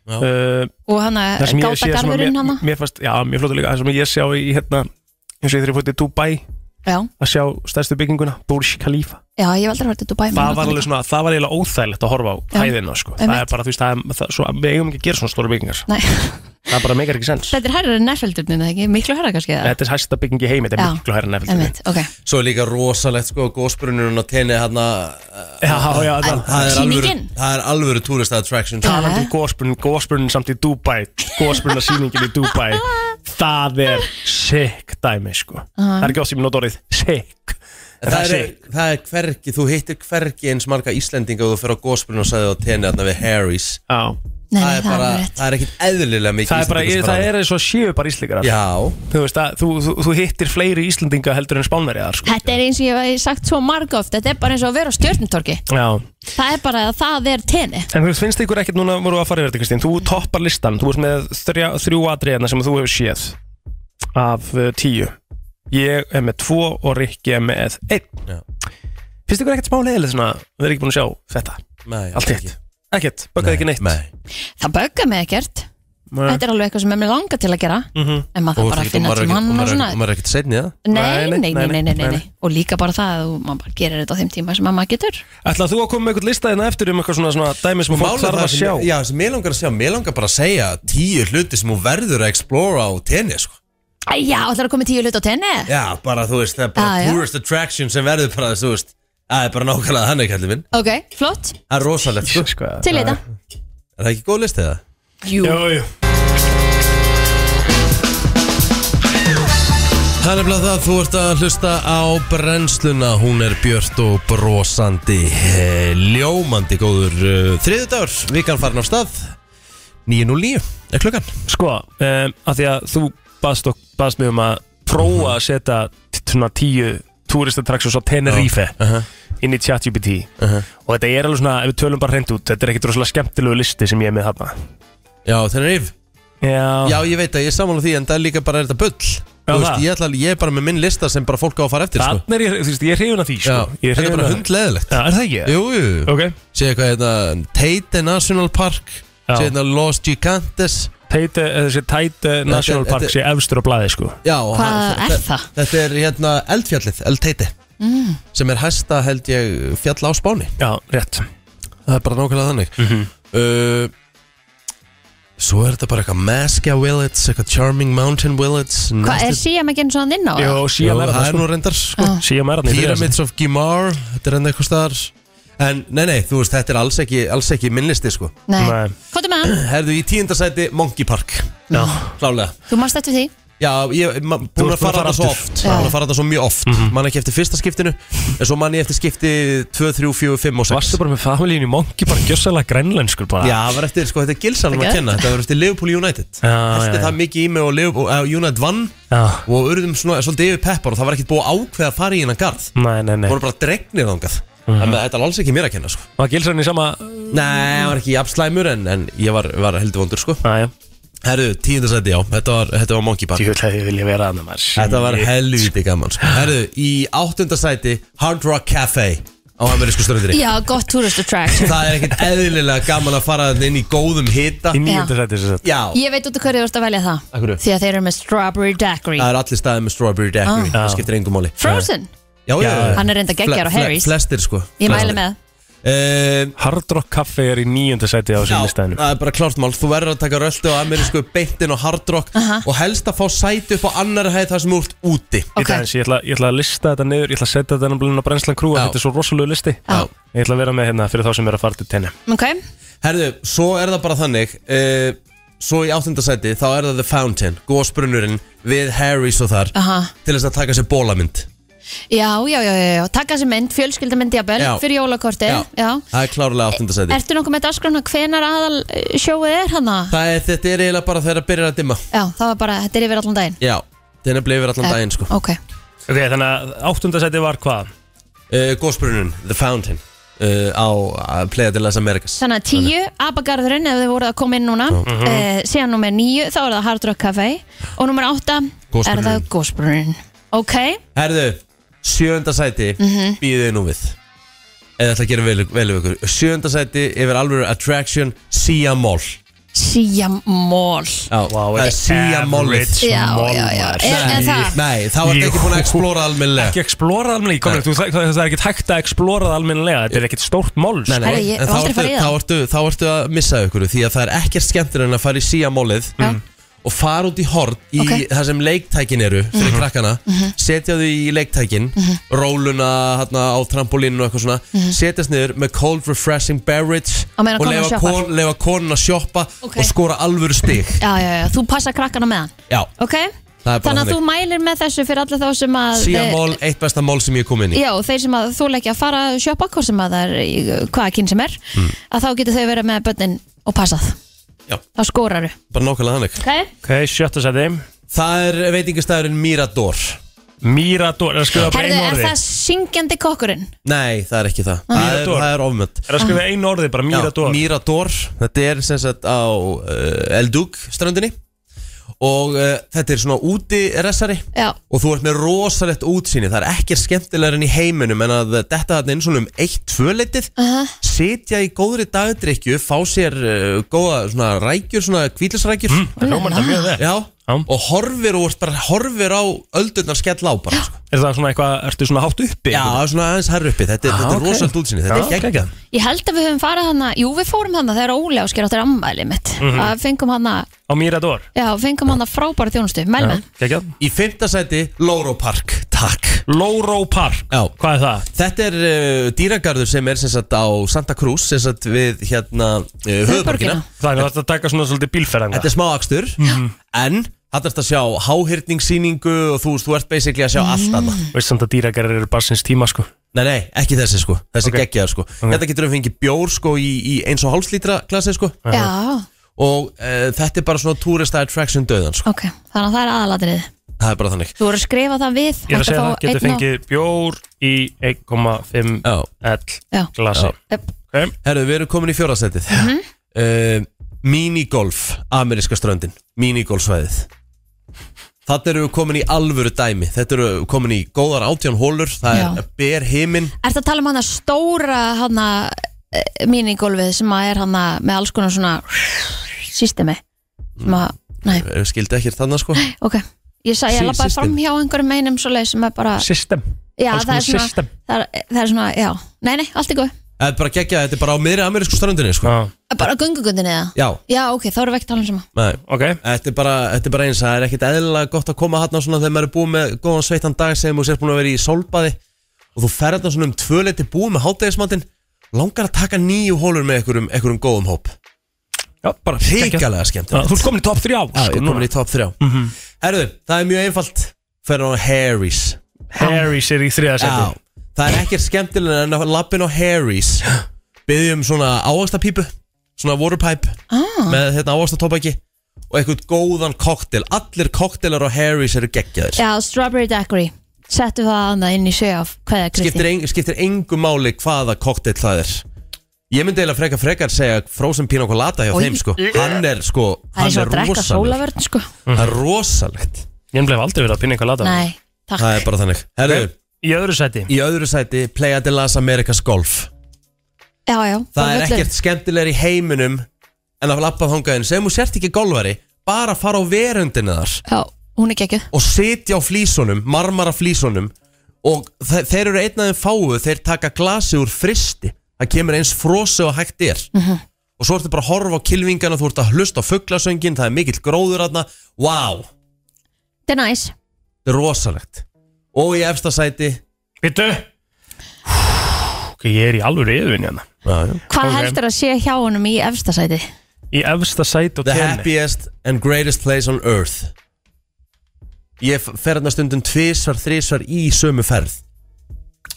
[SPEAKER 5] uh,
[SPEAKER 3] og hann að
[SPEAKER 5] Það sem ég sé sem að
[SPEAKER 3] gátagarðurinn hann
[SPEAKER 5] mér, mér fannst, já, mér flottu líka Það sem ég sjá í hérna, eins og ég þegar ég fótt í Dubai
[SPEAKER 3] já,
[SPEAKER 5] að sjá stærstu bygginguna, Burj Khalifa
[SPEAKER 3] já, ég hef aldrei verið til Dubai mér
[SPEAKER 5] það
[SPEAKER 3] langar
[SPEAKER 5] var alveg
[SPEAKER 3] líka.
[SPEAKER 5] svona, það var eiginlega óþægilegt að horfa á
[SPEAKER 3] Mm. Já.
[SPEAKER 5] hæðina sko. það
[SPEAKER 3] Einmitt.
[SPEAKER 5] er bara, þú veist, það er, það, svo, við eigum ekki að gera svona stóra byggingar
[SPEAKER 3] Nei,
[SPEAKER 5] það bara meikar ekki sens
[SPEAKER 3] þetta er hærra en nærfjöldurnin, eða ekki? Miklu hærra kannski eða?
[SPEAKER 5] þetta er hæsta bygging í heimi, þetta
[SPEAKER 3] Já.
[SPEAKER 5] er miklu hærra nefnilega
[SPEAKER 3] Einmitt, ok
[SPEAKER 4] Svo er líka rosalegt, sko, gósbrunurinn á tenni hérna
[SPEAKER 5] já, já, það
[SPEAKER 4] Það er alvöru,
[SPEAKER 3] Sýningin?
[SPEAKER 4] það er alvöru tourist attraction
[SPEAKER 3] Já.
[SPEAKER 5] talandi um gósbrunn, gósbrunn samt í Dubai gósbrunna sýningin í Dubai það er sick dæmi sko, það er ekki oft sem ég nota orðið sick, En
[SPEAKER 4] Það er,
[SPEAKER 5] sick
[SPEAKER 4] það er hvergi, þú hittir hvergi eins marga Íslendinga og þú fyrir á gósbrunn og sagði á tenni hérna við Harry's
[SPEAKER 5] Já.
[SPEAKER 3] Nei,
[SPEAKER 4] Það er bara,
[SPEAKER 3] alveg rétt
[SPEAKER 4] það er ekkit eðlilega mikið
[SPEAKER 5] það er bara,
[SPEAKER 4] Íslendinga sem
[SPEAKER 5] það
[SPEAKER 4] fara
[SPEAKER 5] er eins og séu bara íslíkarar
[SPEAKER 4] Já,
[SPEAKER 5] þú veist að þú, þú, þú hittir fleiri íslendinga heldur en spánverjaðar sko.
[SPEAKER 3] Þetta er eins og ég hef sagt svo marg oft Þetta er bara eins og að vera á stjörnutorki
[SPEAKER 5] Já.
[SPEAKER 3] Það er bara að það er tenni
[SPEAKER 5] En þú finnst ykkur ekkert núna voru að fara yfir þetta Kristín Þú toppar listan, þú ert með þrjá, þrjú atriðina sem þú hefur séð af uh, tíu Ég er með tvo og Rikki er með einn Finnst ykkur ekkert smá leiðilegt svona Við erum ekki búin að sjá þetta
[SPEAKER 4] Nei,
[SPEAKER 5] Allt hitt, ekkert, böggaði ekki neitt Nei.
[SPEAKER 3] Það böggar mig ekkert Þetta er alveg eitthvað sem er mér langar til að gera
[SPEAKER 4] Mhm.
[SPEAKER 3] En maður
[SPEAKER 4] Og þú
[SPEAKER 3] þarf
[SPEAKER 4] ert
[SPEAKER 3] bara að
[SPEAKER 4] ekkert- og maður
[SPEAKER 3] finna
[SPEAKER 4] er
[SPEAKER 3] tímann
[SPEAKER 4] ekkert-
[SPEAKER 3] og
[SPEAKER 4] maður er-
[SPEAKER 3] svona.
[SPEAKER 4] Maður er ekkert seinni það
[SPEAKER 3] Nei, nei, nei, nei, nei, nei, nei. Og líka bara það að þú- maður bara gerir þetta á þeim tíma sem að maður getur
[SPEAKER 5] Ætlað þú að koma með eitthvað lista hérna eftir um eitthvað svona, svona dæmi sem fólk
[SPEAKER 4] Málið er
[SPEAKER 5] þarf
[SPEAKER 4] það
[SPEAKER 5] að
[SPEAKER 4] sem-
[SPEAKER 5] sjá
[SPEAKER 4] Já, sem ég langar að sjá, ég langar bara að segja tíu hluti sem hún verður að explora á tennis sko.
[SPEAKER 3] Æ, Já, ætlar að koma í tíu hlut á tenni
[SPEAKER 4] Já, bara þú veist, það er bara
[SPEAKER 3] Ah, já.
[SPEAKER 4] tourist attraction sem verður bara, þú veist Það er bara nákvæmlega þannig, kallið minn
[SPEAKER 3] Ok, flott,
[SPEAKER 4] Það er rosalegt, sko
[SPEAKER 3] til í þetta
[SPEAKER 4] Er það ekki góð listið það?
[SPEAKER 3] Jú,
[SPEAKER 5] jú
[SPEAKER 4] Það er nefnilega það, þú ert að hlusta á brennsluna, hún er björt og brosandi, eh, ljómandi góður uh, þriðudagur, vikan farin af stað, 9.09 er klukkan.
[SPEAKER 5] Sko, um, að því að þú baðst, ok, baðst mig um að prófa að setja t- svona tíu turistattraksjós á Tenerife inn í ChatGPT og þetta er alveg svona, ef við tölum bara hreint út þetta er ekkit rosalega skemmtilegu listi sem ég er með þarna
[SPEAKER 4] Já, Tenerife
[SPEAKER 5] Já.
[SPEAKER 4] Já, ég veit að ég er samanlega því en það er líka bara er þetta bull
[SPEAKER 5] Já,
[SPEAKER 4] Þú veist,
[SPEAKER 5] það.
[SPEAKER 4] ég, ætla, ég er bara með minn lista sem bara fólk á að fara eftir sko.
[SPEAKER 5] Þarna er ég, þú veist, ég er hrifun af því sko.
[SPEAKER 4] Já,
[SPEAKER 5] Ég
[SPEAKER 4] þetta er
[SPEAKER 5] hrifinn
[SPEAKER 4] bara
[SPEAKER 5] af-
[SPEAKER 4] hundleðilegt
[SPEAKER 5] Já, er það ekki?
[SPEAKER 4] Jú, jú, jú.
[SPEAKER 5] Ok.
[SPEAKER 4] Sér eitthvað hérna, Tate National Park
[SPEAKER 5] Já.
[SPEAKER 4] Sér hérna Los Gigantes
[SPEAKER 5] Teite, eh, þessi Teite National
[SPEAKER 4] Þetta-
[SPEAKER 5] Park
[SPEAKER 4] þetta-
[SPEAKER 5] sé efstur á blaði sko
[SPEAKER 4] Já,
[SPEAKER 3] Hvað er það?
[SPEAKER 4] Þetta er hérna eldfjallið, El Teite
[SPEAKER 3] Mm.
[SPEAKER 4] sem er hæsta held ég fjall á Spáni
[SPEAKER 5] Já, rétt
[SPEAKER 4] Það er bara nákvæmlega þannig
[SPEAKER 5] Mhm.
[SPEAKER 4] uh, Svo er þetta bara eitthvað Masca Willets, eitthvað Charming Mountain Willets
[SPEAKER 3] Hvað er síðan ekki eins og hann inn á?
[SPEAKER 5] Jó,
[SPEAKER 4] Jó,
[SPEAKER 5] síðan er
[SPEAKER 4] Ah. það
[SPEAKER 5] það
[SPEAKER 4] er nú reyndar sko.
[SPEAKER 3] Já.
[SPEAKER 5] Síamararnir fyrir
[SPEAKER 4] Pyramids of Gimar Þetta er enda eitthvað staðar En nei, nei, þú veist, þetta er alls ekki, alls ekki minnlisti sko
[SPEAKER 3] Nei,
[SPEAKER 5] Nei.
[SPEAKER 3] hvað er með hann?
[SPEAKER 4] Herðu í tíundasæti Monkey Park
[SPEAKER 5] Já.
[SPEAKER 4] Klálega
[SPEAKER 3] Þú manst eftir því?
[SPEAKER 4] Já, ég er búin
[SPEAKER 5] ert
[SPEAKER 4] að fara þetta svo oft
[SPEAKER 3] Já.
[SPEAKER 4] Búin að fara þetta svo mjög oft
[SPEAKER 5] Mhm.
[SPEAKER 4] Man ekki eftir fyrsta skiptinu En svo man ég eftir skipti 2, 3, 4, 5 og 6
[SPEAKER 5] Varstu bara með familíinu í Monkey bara gjössalega grænlenskur bara
[SPEAKER 4] Já, það var eftir, sko, þetta er gilsalum að
[SPEAKER 3] Ekki?
[SPEAKER 4] kenna Þetta var eftir Liverpool United
[SPEAKER 5] Já,
[SPEAKER 4] Þetta
[SPEAKER 5] já,
[SPEAKER 4] það mikið í mig og Liverpool, uh, United vann
[SPEAKER 5] já.
[SPEAKER 4] Og urðum svona, svolítið yfir peppar Og það var ekkit búið að ákveða að fara í hennan garð
[SPEAKER 5] Nei, nei, Mhm. nei
[SPEAKER 4] Voru bara dregnir þangað Þannig að þetta er alls ekki mér að kenna, sko
[SPEAKER 5] Var Gilsson í sama
[SPEAKER 4] Nei, það var ekki jafnslæmur en, en ég var, var heldur vondur, sko
[SPEAKER 5] Næja
[SPEAKER 4] Herðu, tíundasæti, já, þetta var, þetta var Monkey Bar
[SPEAKER 5] Tjóðlega ég vilja vera að maður
[SPEAKER 4] Þetta var helviti gaman sko. Herðu, í áttundasæti Hard Rock Cafe á amerísku ströndri
[SPEAKER 3] Já, gott tourist attraction
[SPEAKER 4] Það er ekkert eðlilega gaman að fara þarna inn í góðum hita
[SPEAKER 5] Í nýjöndasæti sem sagt
[SPEAKER 4] Já,
[SPEAKER 3] Ég veit út af hverju þú ert að velja það
[SPEAKER 4] Af hverju?
[SPEAKER 3] Því að þeir eru með Strawberry Daiquiri
[SPEAKER 4] það er allir staðið með Strawberry Daiquiri
[SPEAKER 5] Ah.
[SPEAKER 4] Það skiptir engum máli
[SPEAKER 3] Frozen,
[SPEAKER 4] Já, já, já.
[SPEAKER 3] hann er reynda geggjar á
[SPEAKER 4] Fle- fle-
[SPEAKER 3] Harry's
[SPEAKER 4] Flestir sko
[SPEAKER 3] Ég mæli með
[SPEAKER 4] Ehm,
[SPEAKER 5] Hard Rock Café er í nýjöndasæti á
[SPEAKER 4] Já,
[SPEAKER 5] þessum listæðinu
[SPEAKER 4] það er bara klárt mál Þú verður að taka röldu á amerísku beintin og hardrock Og helst að fá sæti upp á annar hæð þar sem úr úti
[SPEAKER 5] Í
[SPEAKER 3] Ok,
[SPEAKER 5] dagins, ég ætla, ég ætla að lista þetta niður Ég ætla að setja þetta náttúrulega á brennslan krú
[SPEAKER 4] Já.
[SPEAKER 5] Þetta er svo rosalegu listi
[SPEAKER 3] Já.
[SPEAKER 5] Ég ætla að vera með hérna fyrir þá sem er að fara til tenni
[SPEAKER 3] ok
[SPEAKER 4] Herðu, svo er það bara þannig uh, Svo í áttundasæti þá er það The Fountain Gósbrunnurinn við Harry's og þar
[SPEAKER 3] Aha.
[SPEAKER 4] Til þess að taka sér bólamynd
[SPEAKER 3] Já, já, já, já, já, taka sér mynd, fjölskyldamynd jafnvel
[SPEAKER 4] Já.
[SPEAKER 3] fyrir jólakorti já.
[SPEAKER 4] Það er klárlega áttundasæti
[SPEAKER 3] Ertu nokkuð með dasgrána hvenar aðal eh, sjóið er hana?
[SPEAKER 4] Það er, þetta er eiginlega bara þegar það byrjar að dimma
[SPEAKER 3] Já, það var bara, þetta er yfir allan daginn
[SPEAKER 4] Já, þetta er bleið yfir allan
[SPEAKER 3] Eh,
[SPEAKER 4] daginn sko
[SPEAKER 3] Ok,
[SPEAKER 5] Ok, þannig að áttundasæti var hvað?
[SPEAKER 4] uh, Gósbrunnurinn, The Fountain uh, Á uh, Playa de las Americas
[SPEAKER 3] þannig að tíu, abagarðurinn ef þið voruð að koma inn núna eh, síðan nummer níu, þá er það Hard Rock Café og nummer átta er það
[SPEAKER 4] Gosbrunnurinn.
[SPEAKER 3] Gósbrunnin Ok,
[SPEAKER 4] Herðu, sjöundasæti mm
[SPEAKER 3] Mhm.
[SPEAKER 4] -hmm. Býðið nú við Eða ætla að gera vel, vel við ykkur Sjöundasæti yfir alveg attraction Sia Mall
[SPEAKER 3] Siamól
[SPEAKER 4] Já, það er Sia Mallið
[SPEAKER 3] Já, já, já, er, er það?
[SPEAKER 4] Nei, þá ertu ekki búin að explóra almennilega
[SPEAKER 5] Ekki explórað almennilega Komur, þú, það, það er ekkit hægt að explórað almennilega Þetta er ekkit stórt mál
[SPEAKER 4] Eh. Nei,
[SPEAKER 5] sko.
[SPEAKER 4] nei,
[SPEAKER 3] Herri, ég
[SPEAKER 4] en
[SPEAKER 3] hef
[SPEAKER 4] þá
[SPEAKER 3] aldrei
[SPEAKER 4] ertu,
[SPEAKER 3] farið í
[SPEAKER 4] þá,
[SPEAKER 3] það.
[SPEAKER 4] ertu, þá ertu að missa ykkur Því að það er ekkert skemmtir en að fara í síamólið
[SPEAKER 3] Já.
[SPEAKER 4] Og fara út í horn Í
[SPEAKER 3] Ok. Mhm.
[SPEAKER 4] það sem leiktækin eru Fyrir krakkana Setja þau í leiktækin Róluna hérna, á trampolínu og eitthvað svona Setjast niður með cold refreshing beverage
[SPEAKER 3] Mhm. Á meðan
[SPEAKER 4] Og
[SPEAKER 3] konan
[SPEAKER 4] leifa,
[SPEAKER 3] shoppar.
[SPEAKER 4] kon, leifa konun að sjoppa
[SPEAKER 3] Ok.
[SPEAKER 4] Og skora alvöru stig
[SPEAKER 3] Já, já, já, þú passa krakkana með hann
[SPEAKER 4] Já,
[SPEAKER 3] Ok,
[SPEAKER 4] það er bara
[SPEAKER 3] þannig að þú mælir með þessu fyrir alla þá sem að eh,
[SPEAKER 4] Síamól, eitt besta mól sem ég kom inn í
[SPEAKER 3] Já, þeir sem að þú leggja að fara að shoppa hvort sem að það er í hvaða kyn sem er að þá getur þau verið með börnin og passað
[SPEAKER 4] Hmm. Já.
[SPEAKER 3] Þá skóraru
[SPEAKER 4] Bara nákvæmlega þannig
[SPEAKER 3] okay?
[SPEAKER 5] Ok, sjötta sæti
[SPEAKER 4] Það er veitingastæðurinn Mirador
[SPEAKER 5] Mirador, er að skrifa bara
[SPEAKER 3] Herðu,
[SPEAKER 5] einu
[SPEAKER 3] er
[SPEAKER 5] orði
[SPEAKER 3] það syngjandi kokkurinn?
[SPEAKER 4] Nei, það er ekki það Það er,
[SPEAKER 5] Mirador.
[SPEAKER 4] það er ofmönd
[SPEAKER 5] Er að
[SPEAKER 3] Ah.
[SPEAKER 5] skrifa einu orði, bara
[SPEAKER 4] Já,
[SPEAKER 5] Mirador
[SPEAKER 4] eh, Mirador, þetta er sem sagt á uh, El Duc strandinni og uh, þetta er svona úti resari
[SPEAKER 3] Já.
[SPEAKER 4] og þú ert með rosalegt útsýni það er ekkert skemmtilegar enn í heiminum en að detta þarna inn svona um eitt tvöleitið
[SPEAKER 3] Aha.
[SPEAKER 4] sitja í góðri dagdrykju fá sér uh, góða svona rækjur svona kvílisrækjur mm,
[SPEAKER 5] það hljómar þetta mjög vel.
[SPEAKER 4] Já, og horfir og ert bara horfir á öldurnar skell á bara sko.
[SPEAKER 5] Er það svona eitthvað, ertu svona hátt uppi?
[SPEAKER 4] Já, það er svona aðeins hær uppi, þetta, er- þetta er
[SPEAKER 5] Ah, ok.
[SPEAKER 4] rosalegt útsýni þetta
[SPEAKER 5] Já,
[SPEAKER 4] er geggjað
[SPEAKER 3] Ég held að við höfum farið hana, jú við fórum hana þegar Óli ásker áttir ammæli mitt mm
[SPEAKER 4] Mhm.
[SPEAKER 3] fengum hana,
[SPEAKER 5] Á Mirador
[SPEAKER 3] já, fengum hana frábæra þjónustu, mælum við
[SPEAKER 5] Kekjað.
[SPEAKER 4] Í fymta sæti, Lóró Park Takk
[SPEAKER 5] Lóró Park,
[SPEAKER 4] Já.
[SPEAKER 5] hvað er það?
[SPEAKER 4] Þetta er uh, dýragarður sem er sem sagt, á Santa Cruz sem sagt, við hérna uh, höfuborgina
[SPEAKER 5] Það er þetta að taka svona svolítið bílferðan
[SPEAKER 4] Þetta er smá akstur En þetta er að sjá háhyrningssýningu og þú, veist, þú ert basically að sjá allt annað
[SPEAKER 5] Veist samt að dýragarðir eru bara sinns tíma sko
[SPEAKER 4] Nei, nei, ekki þessi sko, þessi okay. sko Þetta getur við fengið bjór sko í, í eins og hálslítra glasi sko
[SPEAKER 3] Já,
[SPEAKER 4] Og uh, þetta er bara svona tourist attraction döðan sko
[SPEAKER 3] ok, þannig að það er aðalatrið
[SPEAKER 4] Það er bara þannig
[SPEAKER 3] Þú voru að skrifa það við
[SPEAKER 5] Ég er að
[SPEAKER 3] hægt
[SPEAKER 5] segja
[SPEAKER 3] fá
[SPEAKER 5] það, getur
[SPEAKER 3] einn og-
[SPEAKER 5] fengið bjór í 1,5
[SPEAKER 3] Já.
[SPEAKER 5] L glasi
[SPEAKER 3] Jöp.
[SPEAKER 5] okay.
[SPEAKER 4] Herðu, við erum komin í fjórðasætið mm Minigolf, ameríska ströndin Minigolfsvæðið Þetta eru við komin í alvöru dæmi Þetta eru við komin í góðar átján hólur Það
[SPEAKER 3] Já.
[SPEAKER 4] er ber himin
[SPEAKER 3] Ertu að tala um hana stóra hana eh, minigolfið sem að er hana með alls konar svona systemi sem að, nei,
[SPEAKER 4] Skildi ekki þannig sko
[SPEAKER 3] ok ég, sa, ég
[SPEAKER 4] Sí-
[SPEAKER 3] labbaði
[SPEAKER 4] system.
[SPEAKER 3] fram hjá einhverjum einum svo leið sem er bara
[SPEAKER 5] System
[SPEAKER 3] já,
[SPEAKER 4] Alls
[SPEAKER 3] það
[SPEAKER 4] konar
[SPEAKER 3] er, svona,
[SPEAKER 4] system.
[SPEAKER 3] það, er, það er svona, já nei, nei, allt í góð,
[SPEAKER 4] Það er bara geggjað, þetta er bara á miðri amerísku ströndinni sko
[SPEAKER 5] Já,
[SPEAKER 3] bara göngugundinni eða
[SPEAKER 4] Já
[SPEAKER 3] já, ok, þá erum við ekki að tala um sama
[SPEAKER 4] Nei,
[SPEAKER 5] okay.
[SPEAKER 4] þetta, er bara, þetta er bara eins Það er ekkit eðlilega gott að koma hann svona Þegar maður er búið með góðan sveittan dag sem þú sérst búin að vera í sólbaði Og þú ferð hann svona um tvöleiti búið með hátægismatinn Langar að taka nýju hólur með einhverjum, einhverjum góðum hóp
[SPEAKER 5] Já, bara
[SPEAKER 4] Ríkalega
[SPEAKER 5] Já,
[SPEAKER 4] skemmtilegt
[SPEAKER 5] Þú ert komin í sko, top 3 á
[SPEAKER 4] Já, ég er komin í top 3 mm
[SPEAKER 5] Mhm.
[SPEAKER 4] Herðu, það er mjög einfalt Ferðan á Harry's
[SPEAKER 5] Harry's er í
[SPEAKER 4] Já,
[SPEAKER 5] þriðasetti
[SPEAKER 4] það er ekkert skemmtilega en að lappin á Harry's Byggjum svona ávaxtapípu Svona waterpipe
[SPEAKER 3] ah,
[SPEAKER 4] Með hérna ávaxtatobaki Og eitthvað góðan koktel Allir koktelar á Harry's eru geggjaðir
[SPEAKER 3] já, strawberry daiquiri settu það hana inn í sjöf hvað er
[SPEAKER 4] skiptir,
[SPEAKER 3] Kristi?
[SPEAKER 4] ein, skiptir engu máli hvaða koktel það er Ég myndi eiginlega frekar frekar segja Frozen Pina Colada hjá
[SPEAKER 3] Oj.
[SPEAKER 4] þeim sko Hann er sko
[SPEAKER 3] það er
[SPEAKER 4] Hann er
[SPEAKER 3] svo að drekka
[SPEAKER 4] rosalegur
[SPEAKER 3] sólavörn sko
[SPEAKER 4] Það er rosalegt
[SPEAKER 5] Ég hef aldrei verið að pinna eitthvað lata
[SPEAKER 3] nei, takk,
[SPEAKER 4] Það er bara þannig Herðu,
[SPEAKER 5] Í öðru sæti
[SPEAKER 4] í öðru sæti Playa de las Americas Golf
[SPEAKER 3] já, já
[SPEAKER 4] Það
[SPEAKER 3] bara
[SPEAKER 4] er
[SPEAKER 3] völlurinn.
[SPEAKER 4] ekkert skemmtilegur í heiminum En að lappa þangaðin Sem þú sért ekki golfari Bara fara á verundinu þar
[SPEAKER 3] já, hún er geggjöð
[SPEAKER 4] Og sitja á flísunum, marmara flísunum Og þe þeir eru einn af þeim fáu Þeir taka glasi úr fristi Það kemur eins frosi og hægt er Og svo ertu bara að horfa á kilvingana Þú ert að hlusta á fugglasöngin Það er mikill gróður aðna Vá, wow,
[SPEAKER 3] þetta er næs
[SPEAKER 4] þetta er rosalegt Og í efsta sæti
[SPEAKER 5] Bittu Ok, ég er í alvöru yfirvinni hérna
[SPEAKER 4] já, já.
[SPEAKER 3] Hvað
[SPEAKER 5] Ok.
[SPEAKER 3] heldur að sé hjá honum í efsta sæti?
[SPEAKER 5] Í efsta sæti og
[SPEAKER 4] The
[SPEAKER 5] tenni
[SPEAKER 4] happiest and greatest place on earth Ég f- fer hérna stundum tvisvar, þrisvar í sömu ferð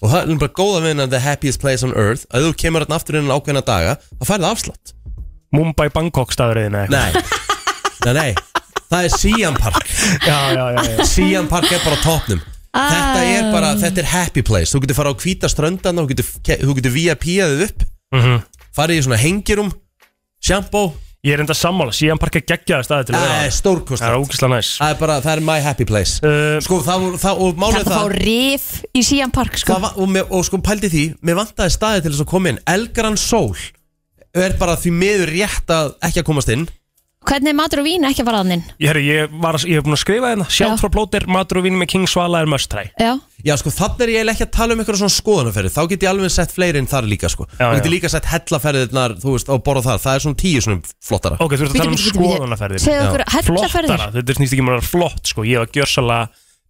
[SPEAKER 4] Og það er bara góða vinna The happiest place on earth Að þú kemur hérna aftur innan ákveðna daga Það færði afslátt
[SPEAKER 5] Mumbai Bangkok staðurinn eða
[SPEAKER 4] Nei, nei, nei Það er Sian Park
[SPEAKER 5] eitthvað Já, já, já, já.
[SPEAKER 4] Sian Park er bara á topnum Þetta
[SPEAKER 5] Ah.
[SPEAKER 4] er bara, þetta er happy place Þú getur fara á hvíta ströndana Þú getur, þú getur VIP-aðið upp
[SPEAKER 5] Mhm.
[SPEAKER 4] Farið í svona hengirum Sjampó
[SPEAKER 5] Ég er enda sammála, síðan parka geggjaði staði til að
[SPEAKER 4] Það
[SPEAKER 5] vera á.
[SPEAKER 4] er
[SPEAKER 5] Það er
[SPEAKER 4] stórkostlegt
[SPEAKER 5] ógislega næs
[SPEAKER 4] Það er bara, það er my happy place
[SPEAKER 5] Uh,
[SPEAKER 4] Sko, það voru, það, og málið
[SPEAKER 3] Þetta fá
[SPEAKER 4] það,
[SPEAKER 3] rif í síðan park sko.
[SPEAKER 4] það var, og, með, og sko pældi því Mér vantaði staði til þess að koma inn Elgaran Sól er bara því miður rétt að ekki að komast inn
[SPEAKER 3] Hvernig er matur og vín ekki að fara þannig?
[SPEAKER 5] Ég, herri, ég, var, ég hef búin að skrifa hérna Sjátt
[SPEAKER 3] Já.
[SPEAKER 5] frá blótir, matur og vinn með King Svala er möstræ
[SPEAKER 3] Já,
[SPEAKER 4] Já sko, þannig er ég eiginlega ekki að tala um eitthvað svona skoðanaferði Þá get ég alveg sett fleiri inn þar líka sko Þú
[SPEAKER 5] Já,
[SPEAKER 4] get
[SPEAKER 5] já.
[SPEAKER 4] ég líka sett hellaferðirnar, þú veist, á borða þar Það er svona tíu svona flottara
[SPEAKER 5] Ok, þú ert að tala um skoðanaferðir
[SPEAKER 3] Segðu okkur, hellaferðir
[SPEAKER 5] Flottara, þetta snýst ekki mér að flott sko Ég var gjörsalega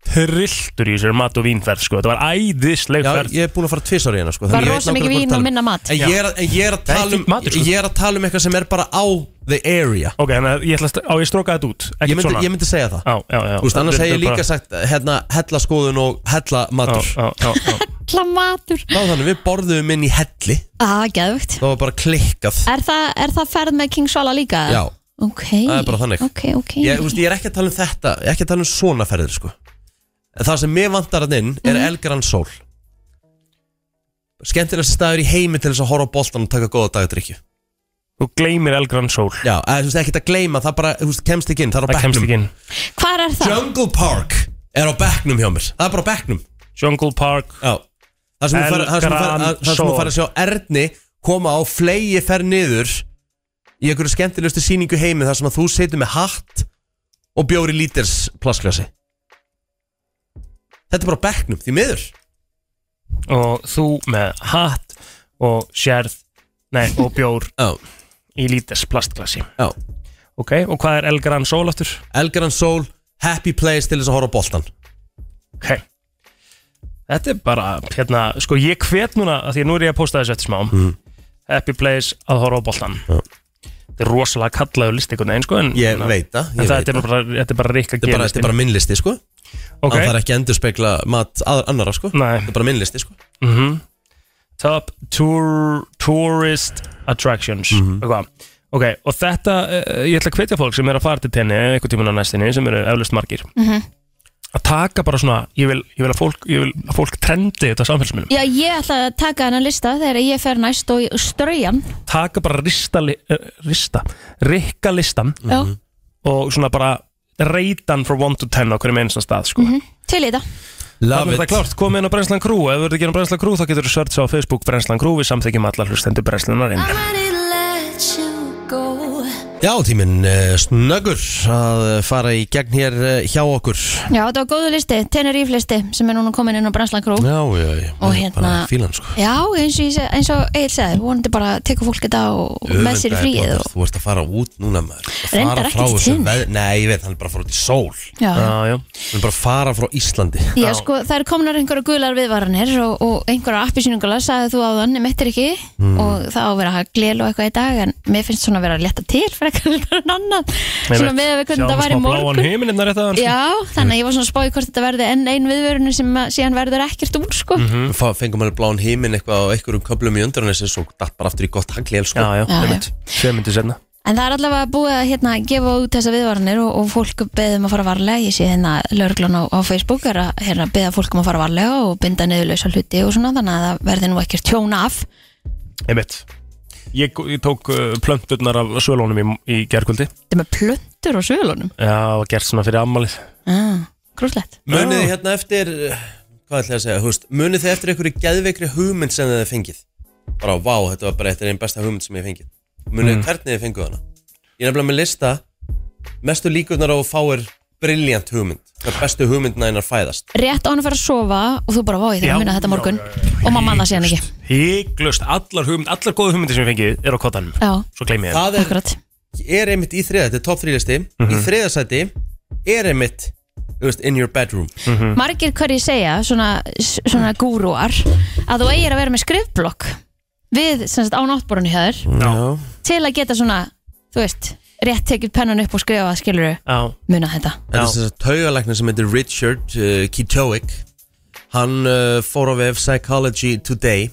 [SPEAKER 5] trilltur í þessari mat og vínferð sko Þetta var æðisleg
[SPEAKER 4] Já,
[SPEAKER 5] ferð
[SPEAKER 4] ég er búin að fara tvisar í hérna sko
[SPEAKER 3] Var
[SPEAKER 4] þannig ég veit
[SPEAKER 3] rosa
[SPEAKER 4] nákvæmlega
[SPEAKER 3] mikið
[SPEAKER 4] hvað
[SPEAKER 3] vín
[SPEAKER 4] þú ert að tala um.
[SPEAKER 3] og minna mat?
[SPEAKER 4] En ég er, að- en ég er að
[SPEAKER 5] Það er
[SPEAKER 4] tala um
[SPEAKER 5] fínn matur, sko.
[SPEAKER 4] Ég er að tala um eitthvað sem er bara á the area
[SPEAKER 5] Ok, þannig að ég ætla að st- á ég að stróka þetta út
[SPEAKER 4] Ég
[SPEAKER 5] Ekki
[SPEAKER 4] myndi,
[SPEAKER 5] svona
[SPEAKER 4] ég myndi segja það
[SPEAKER 5] Já, já, já
[SPEAKER 4] Þú veist, annars hef
[SPEAKER 5] Þetta er
[SPEAKER 4] ég líka
[SPEAKER 5] bara-
[SPEAKER 4] sagt hérna, hellaskoðun og hellamatur
[SPEAKER 5] Já, já, já, já.
[SPEAKER 3] Hella matur
[SPEAKER 4] Þá þannig, við borðum inn í helli
[SPEAKER 3] Á, geðvögt
[SPEAKER 4] Það var bara klikkað
[SPEAKER 3] er, það- er það ferð með King Svala líka?
[SPEAKER 4] Já,
[SPEAKER 3] Ok
[SPEAKER 4] það er bara þannig
[SPEAKER 3] Ok, ok
[SPEAKER 4] ég, þú veist, ég er ekki að tala um þetta Ég er ekki að tala um svona ferðir sko. En Það sem mér vantar hann inn
[SPEAKER 3] Mhm.
[SPEAKER 4] er Elgran Sól Skemmtilegst staður í heimi til þess að horfa á boltan og taka góða dagadrykju
[SPEAKER 5] Þú þú gleymir El Gran Sol
[SPEAKER 4] Já, eða, þú veist ekkert að gleyma, það bara, þú veist, kemst ekki inn, það er á
[SPEAKER 5] Það kemst
[SPEAKER 4] bekknum
[SPEAKER 5] ekki inn
[SPEAKER 3] Hvar er það?
[SPEAKER 4] Jungle Park er á bekknum hjá mér, það er bara á bekknum
[SPEAKER 5] Jungle Park
[SPEAKER 4] Já, það sem þú fara- það sem þú fara- það- það sem þú fara að sjá Erni koma á flegi fer niður í einhverju skemmtilegustu sýningu heimi þar sem að þú setur með hatt og bjóri líters plasklasi Þetta er bara á bekknum, því miður
[SPEAKER 5] og þú með hatt og sérð nei, og bjór í líters plastglasi
[SPEAKER 4] Já.
[SPEAKER 5] ok, og hvað er El Gran Sol aftur?
[SPEAKER 4] El Gran Sol, happy place til þess að horfa á boltan
[SPEAKER 5] ok þetta er bara, hérna, sko ég hvet núna af því að nú er ég að posta þessu eftir smá
[SPEAKER 4] Mm.
[SPEAKER 5] happy place að horfa á boltan þetta er rosalega kallaðu list einhvern veginn sko en,
[SPEAKER 4] Ég veit það,
[SPEAKER 5] en
[SPEAKER 4] ég
[SPEAKER 5] það
[SPEAKER 4] veit
[SPEAKER 5] þetta er bara, þetta er bara rík að
[SPEAKER 4] Þetta er bara, þetta er bara minnlisti, sko
[SPEAKER 5] Ok.
[SPEAKER 4] Það er ekki að endurspegla mat aðra annara, sko
[SPEAKER 5] Nei.
[SPEAKER 4] Þetta er bara minnlisti, sko
[SPEAKER 5] top tour, tourist attractions eitthvað ok, og þetta, eh, ég ætla að hvetja fólk sem er að fara til tenni einhvern tímann á næstinni sem eru eflust margir að taka bara svona, ég vil, ég vil, að, fólk, ég vil að fólk trendi þetta samfélsmiðlum
[SPEAKER 3] Já, ég ætla að taka hennar lista þegar ég fer næst og straujan
[SPEAKER 5] taka bara rista, li- eh, rista rikka listan
[SPEAKER 3] Já,
[SPEAKER 5] og svona bara reytan frá 1 to 10 á hverjum einasta stað sko. mm
[SPEAKER 3] til í það
[SPEAKER 5] Þannig er þetta klárt, komið inn á Brenslan Crew ef þú ert ekki inn á Brenslan Crew þá getur þú search á Facebook Brenslan Crew, við samþykjum allar hlustendur Brenslunar inn
[SPEAKER 4] Já, tíminn uh, snöggur að eh, fara í gegn hér uh, hjá okkur
[SPEAKER 3] Já, þetta var góðu listi, Teneríf listi sem er núna komin inn á Branslan Kró
[SPEAKER 4] Já, já, já
[SPEAKER 3] Og
[SPEAKER 4] ég er bara
[SPEAKER 3] hérna-
[SPEAKER 4] Fílan, sko
[SPEAKER 3] Já, eins og, ég seg- eins og Egil segði, vonandi bara tekur fólk þetta og með sér í
[SPEAKER 4] Öfundaði
[SPEAKER 3] fríið
[SPEAKER 4] Blóðberg,
[SPEAKER 3] og...
[SPEAKER 4] Þú ert að fara út núna maður Að
[SPEAKER 3] Reyndar
[SPEAKER 4] fara frá
[SPEAKER 3] ekkert
[SPEAKER 4] þessu
[SPEAKER 3] til.
[SPEAKER 4] veð- Nei, ég veit, hann er bara að fara út í sól
[SPEAKER 3] Já, já.
[SPEAKER 5] já, já.
[SPEAKER 4] Hann er bara að fara frá Íslandi
[SPEAKER 3] Já, sko, það er komnar einhverja gular viðvaranir og, og einhverja appisýnungala sagði þú áðan, ég mettir ekki
[SPEAKER 5] Hmm.
[SPEAKER 3] og það á að vera að glelu eitthvað í dag en mér finnst svona að vera að leta til frekar heldur en annað, svona með að við hvernig það var í morgun
[SPEAKER 5] Sjáum smá bláan heiminn hérna rétt að
[SPEAKER 3] Já, þannig að ég var svona að spáði hvort þetta verði enn ein viðvörunum sem að, síðan verður ekkert úr, sko
[SPEAKER 5] Hmm.
[SPEAKER 4] Mm. Fengum hann bláan heiminn eitthvað á einhverjum köflum í undrarnessi Svo datt bara aftur í gott haglél, sko
[SPEAKER 5] Já, já,
[SPEAKER 3] Já,
[SPEAKER 5] einmitt. Tvö myndir senna
[SPEAKER 3] En það er allavega búið að hérna, gefa út þessa viðvaranir og, og fólk beðum að fara varlega. Ég sé hérna lörglun á, á Facebook er að hérna, beða fólk um að fara varlega og binda niðurlausa hluti og svona þannig að það verði nú ekkert tjóna af.
[SPEAKER 5] Einmitt Ég, ég tók uh, plönturnar af svölunum í, í gerkvöldi
[SPEAKER 3] Þetta er með plöntur á svölunum.
[SPEAKER 5] Já, og gert svona fyrir ammalið
[SPEAKER 3] Ah, Grúslegt.
[SPEAKER 4] Munið þið hérna eftir eh, Hvað ætla ég að segja, þú veist Munið þið eftir einhverju geðveikri hugmynd sem þið hafið fengið Bara, vá, þetta var bara eitt einn besta hugmynd sem ég hef fengið Munið þið hvernig þið fenguð hana Ég er nefnilega með lista Mestu líkurnar á að fáir briljant hugmynd Það bestu hugmyndna einar fæðast
[SPEAKER 3] Rétt á hann að fara að sofa og þú bara váið þegar
[SPEAKER 5] Já,
[SPEAKER 3] að minna þetta morgun og maður manna síðan ekki.
[SPEAKER 5] Hygglust, allar hugmynd, allar góðu hugmyndir sem ég fengið er á kottanum
[SPEAKER 3] Já,
[SPEAKER 5] Svo gleymi ég
[SPEAKER 4] Það er,
[SPEAKER 3] akkurat.
[SPEAKER 4] er einmitt í þriða, þetta er top 3 listi Í þriða sæti er einmitt Þú veist, in your bedroom
[SPEAKER 3] Margir hverju segja, svona, svona gúrúar, að þú eigir að vera með skrifblokk við, sem sagt, á náttborunni hjá þér
[SPEAKER 5] Já,
[SPEAKER 3] til að geta svona, þú veist, rétt tekið pennan upp og skrifa, skilur
[SPEAKER 5] já,
[SPEAKER 3] muna þetta
[SPEAKER 4] Þetta er þess að taugalækna sem heitir Richard uh, Kitoic Hann uh, fór á vef Psychology Today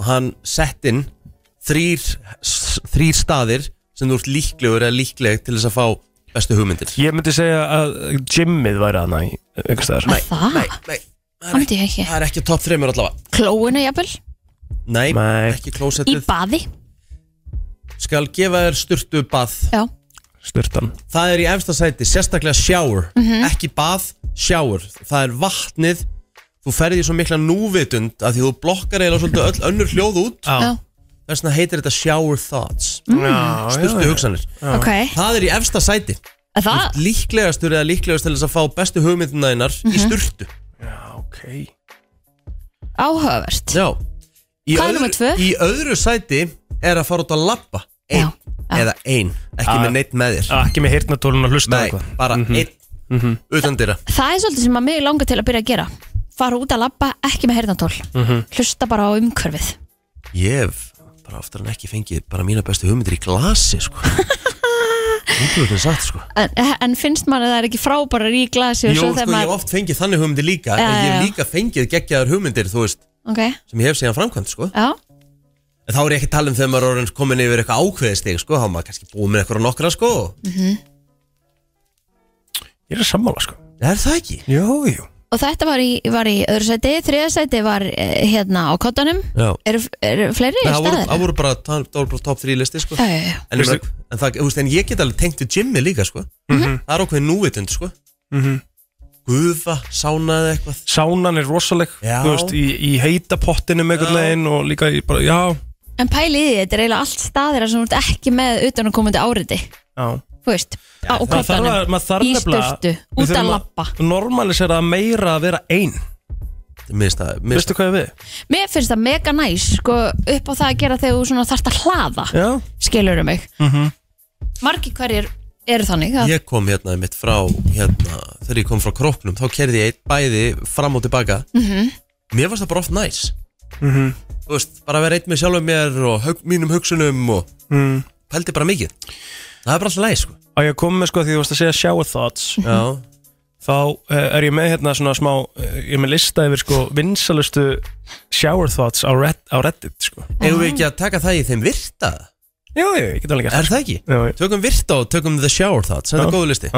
[SPEAKER 4] og hann sett inn þrýr, þrýr staðir sem þú ert líklegur eða líkleg til þess að fá bestu hugmyndir
[SPEAKER 5] Ég myndi segja að gymmið væri hana í einhvers staðar
[SPEAKER 4] Nei,
[SPEAKER 3] Það?
[SPEAKER 4] nei, nei
[SPEAKER 3] Það myndi ég ekki
[SPEAKER 4] Það er ekki top 3 allavega
[SPEAKER 3] Klóinu jafnvel,
[SPEAKER 4] Nei,
[SPEAKER 5] Nei.
[SPEAKER 4] ekki
[SPEAKER 3] í
[SPEAKER 4] klósettið
[SPEAKER 3] baði
[SPEAKER 4] Skal gefa þér sturtu bað
[SPEAKER 3] Já,
[SPEAKER 5] Styrtan
[SPEAKER 4] Það er í efsta sæti, sérstaklega shower Ekki bað, shower Það er vatnið Þú ferði í svo mikla núvitund að því þú blokkar eiginlega svolítið öll önnur hljóð út
[SPEAKER 3] já, Mm.
[SPEAKER 4] þess vegna heitir þetta shower thoughts
[SPEAKER 5] Styrtu
[SPEAKER 4] Sturtu hugsanir
[SPEAKER 3] ok
[SPEAKER 4] Það er í efsta sæti
[SPEAKER 3] Er Það,
[SPEAKER 4] Líklegastur eða líklegast til þess að fá bestu hugmyndina þinnar
[SPEAKER 3] Mhm.
[SPEAKER 4] í sturtu
[SPEAKER 5] Ok
[SPEAKER 3] áhugavert
[SPEAKER 4] Já í
[SPEAKER 3] Hvað er númer tvö?
[SPEAKER 4] Í öðru sæti er að fara út að labba
[SPEAKER 3] Já,
[SPEAKER 4] Einn eða ein Ekki
[SPEAKER 5] Ah.
[SPEAKER 4] með neitt með þér
[SPEAKER 5] Ekki með hirtnatólun að hlusta á
[SPEAKER 4] Nei,
[SPEAKER 5] eitthvað Mhm.
[SPEAKER 4] bara
[SPEAKER 3] Mhm.
[SPEAKER 4] einn Utan dýra
[SPEAKER 3] Það er svolítið sem að mig langar til að byrja að gera Fara út að labba, ekki með hernatól Hlusta bara á umhverfið
[SPEAKER 4] Ég hef bara aftur en ekki fengið bara mína bestu hugmyndir í glasi sko Útlöðin satt sko
[SPEAKER 3] En, en finnst mann að það er ekki frábærar í glasi og
[SPEAKER 4] Jó,
[SPEAKER 3] svo
[SPEAKER 4] sko, ég
[SPEAKER 3] þegar
[SPEAKER 4] hef
[SPEAKER 3] maður
[SPEAKER 4] oft fengið þannig hugmyndir líka
[SPEAKER 3] Já,
[SPEAKER 4] En ég hef
[SPEAKER 3] já, já.
[SPEAKER 4] líka fengið geggjaðar hugmyndir, þú veist
[SPEAKER 3] Ok,
[SPEAKER 4] Sem ég hef segjað framkvæmt, sko
[SPEAKER 3] já,
[SPEAKER 4] En þá er ég ekki að tala um þegar maður er orðinn komin yfir eitthvað ákveðistig sko, þá er maður kannski búið með eitthvað nokkra sko
[SPEAKER 3] Mm.
[SPEAKER 5] Ég er að sammála sko
[SPEAKER 4] Er það ekki?
[SPEAKER 5] Jú, jú
[SPEAKER 3] og þetta var í, var í öðru sæti, þriða sæti var eh, hérna á kottanum
[SPEAKER 4] Já.
[SPEAKER 3] eru er fleiri
[SPEAKER 4] Nei, það voru,
[SPEAKER 3] staðir?
[SPEAKER 4] það voru bara, það voru bara top 3 listi sko.
[SPEAKER 3] Já, já, já.
[SPEAKER 4] En, en, en, það, þú veist, en ég get alveg tengt við Jimmy líka sko.
[SPEAKER 3] Mhm.
[SPEAKER 4] Það er okkur núvitund sko. Gufa, sána eða eitthvað
[SPEAKER 5] Sánan er rosaleg
[SPEAKER 4] Já.
[SPEAKER 5] þú veist, í, í heita pottinu með einhvern veginn og líka í bara, já,
[SPEAKER 3] En pælið í því, þetta er eiginlega allt staðir sem þú ert ekki með utan að komandi áriti
[SPEAKER 5] já
[SPEAKER 3] Þú veist, á
[SPEAKER 5] Maður þarf að-
[SPEAKER 3] kottanum
[SPEAKER 5] maður þarf
[SPEAKER 3] Í
[SPEAKER 5] nefnilega-
[SPEAKER 3] störtu,
[SPEAKER 5] við
[SPEAKER 3] út
[SPEAKER 5] þurfum
[SPEAKER 3] að lappa
[SPEAKER 5] normalisera það meira að vera ein
[SPEAKER 4] Mista, mista.
[SPEAKER 5] Veistu hvað ég við?
[SPEAKER 3] Mér finnst það mega næs sko, upp á það að gera þegar þú svona þarft að hlaða
[SPEAKER 5] Já. Mhm.
[SPEAKER 3] Skilurðu mig Margi hverjir eru þannig að
[SPEAKER 4] Ég kom hérna mitt frá hérna, Þegar ég kom frá króknum Þá kerði ég einn bæði fram og tilbaka
[SPEAKER 3] Mhm.
[SPEAKER 4] Mér varst það bara oft næs
[SPEAKER 5] Mhm.
[SPEAKER 4] Þú veist, bara að vera einn með sjálfum mér Og hug, mínum hugsunum og Mhm.
[SPEAKER 5] Mm.
[SPEAKER 4] Pældi bara mikið Það er bara alltaf læg sko
[SPEAKER 5] Á ég kom með sko því þú varst að segja shower thoughts
[SPEAKER 4] Já.
[SPEAKER 5] Þá eh, er ég með hérna svona smá eh, Ég er með lista yfir sko vinsalustu shower thoughts á, red, á Reddit sko
[SPEAKER 4] Eigum við ekki að taka það í þeim virta?
[SPEAKER 5] Jú, jú, ég get alveg gert
[SPEAKER 4] Er það ekki?
[SPEAKER 5] Jú, jú.
[SPEAKER 4] Tökum virta og tökum the shower thoughts Það er
[SPEAKER 5] sko. Já.
[SPEAKER 4] góðu listi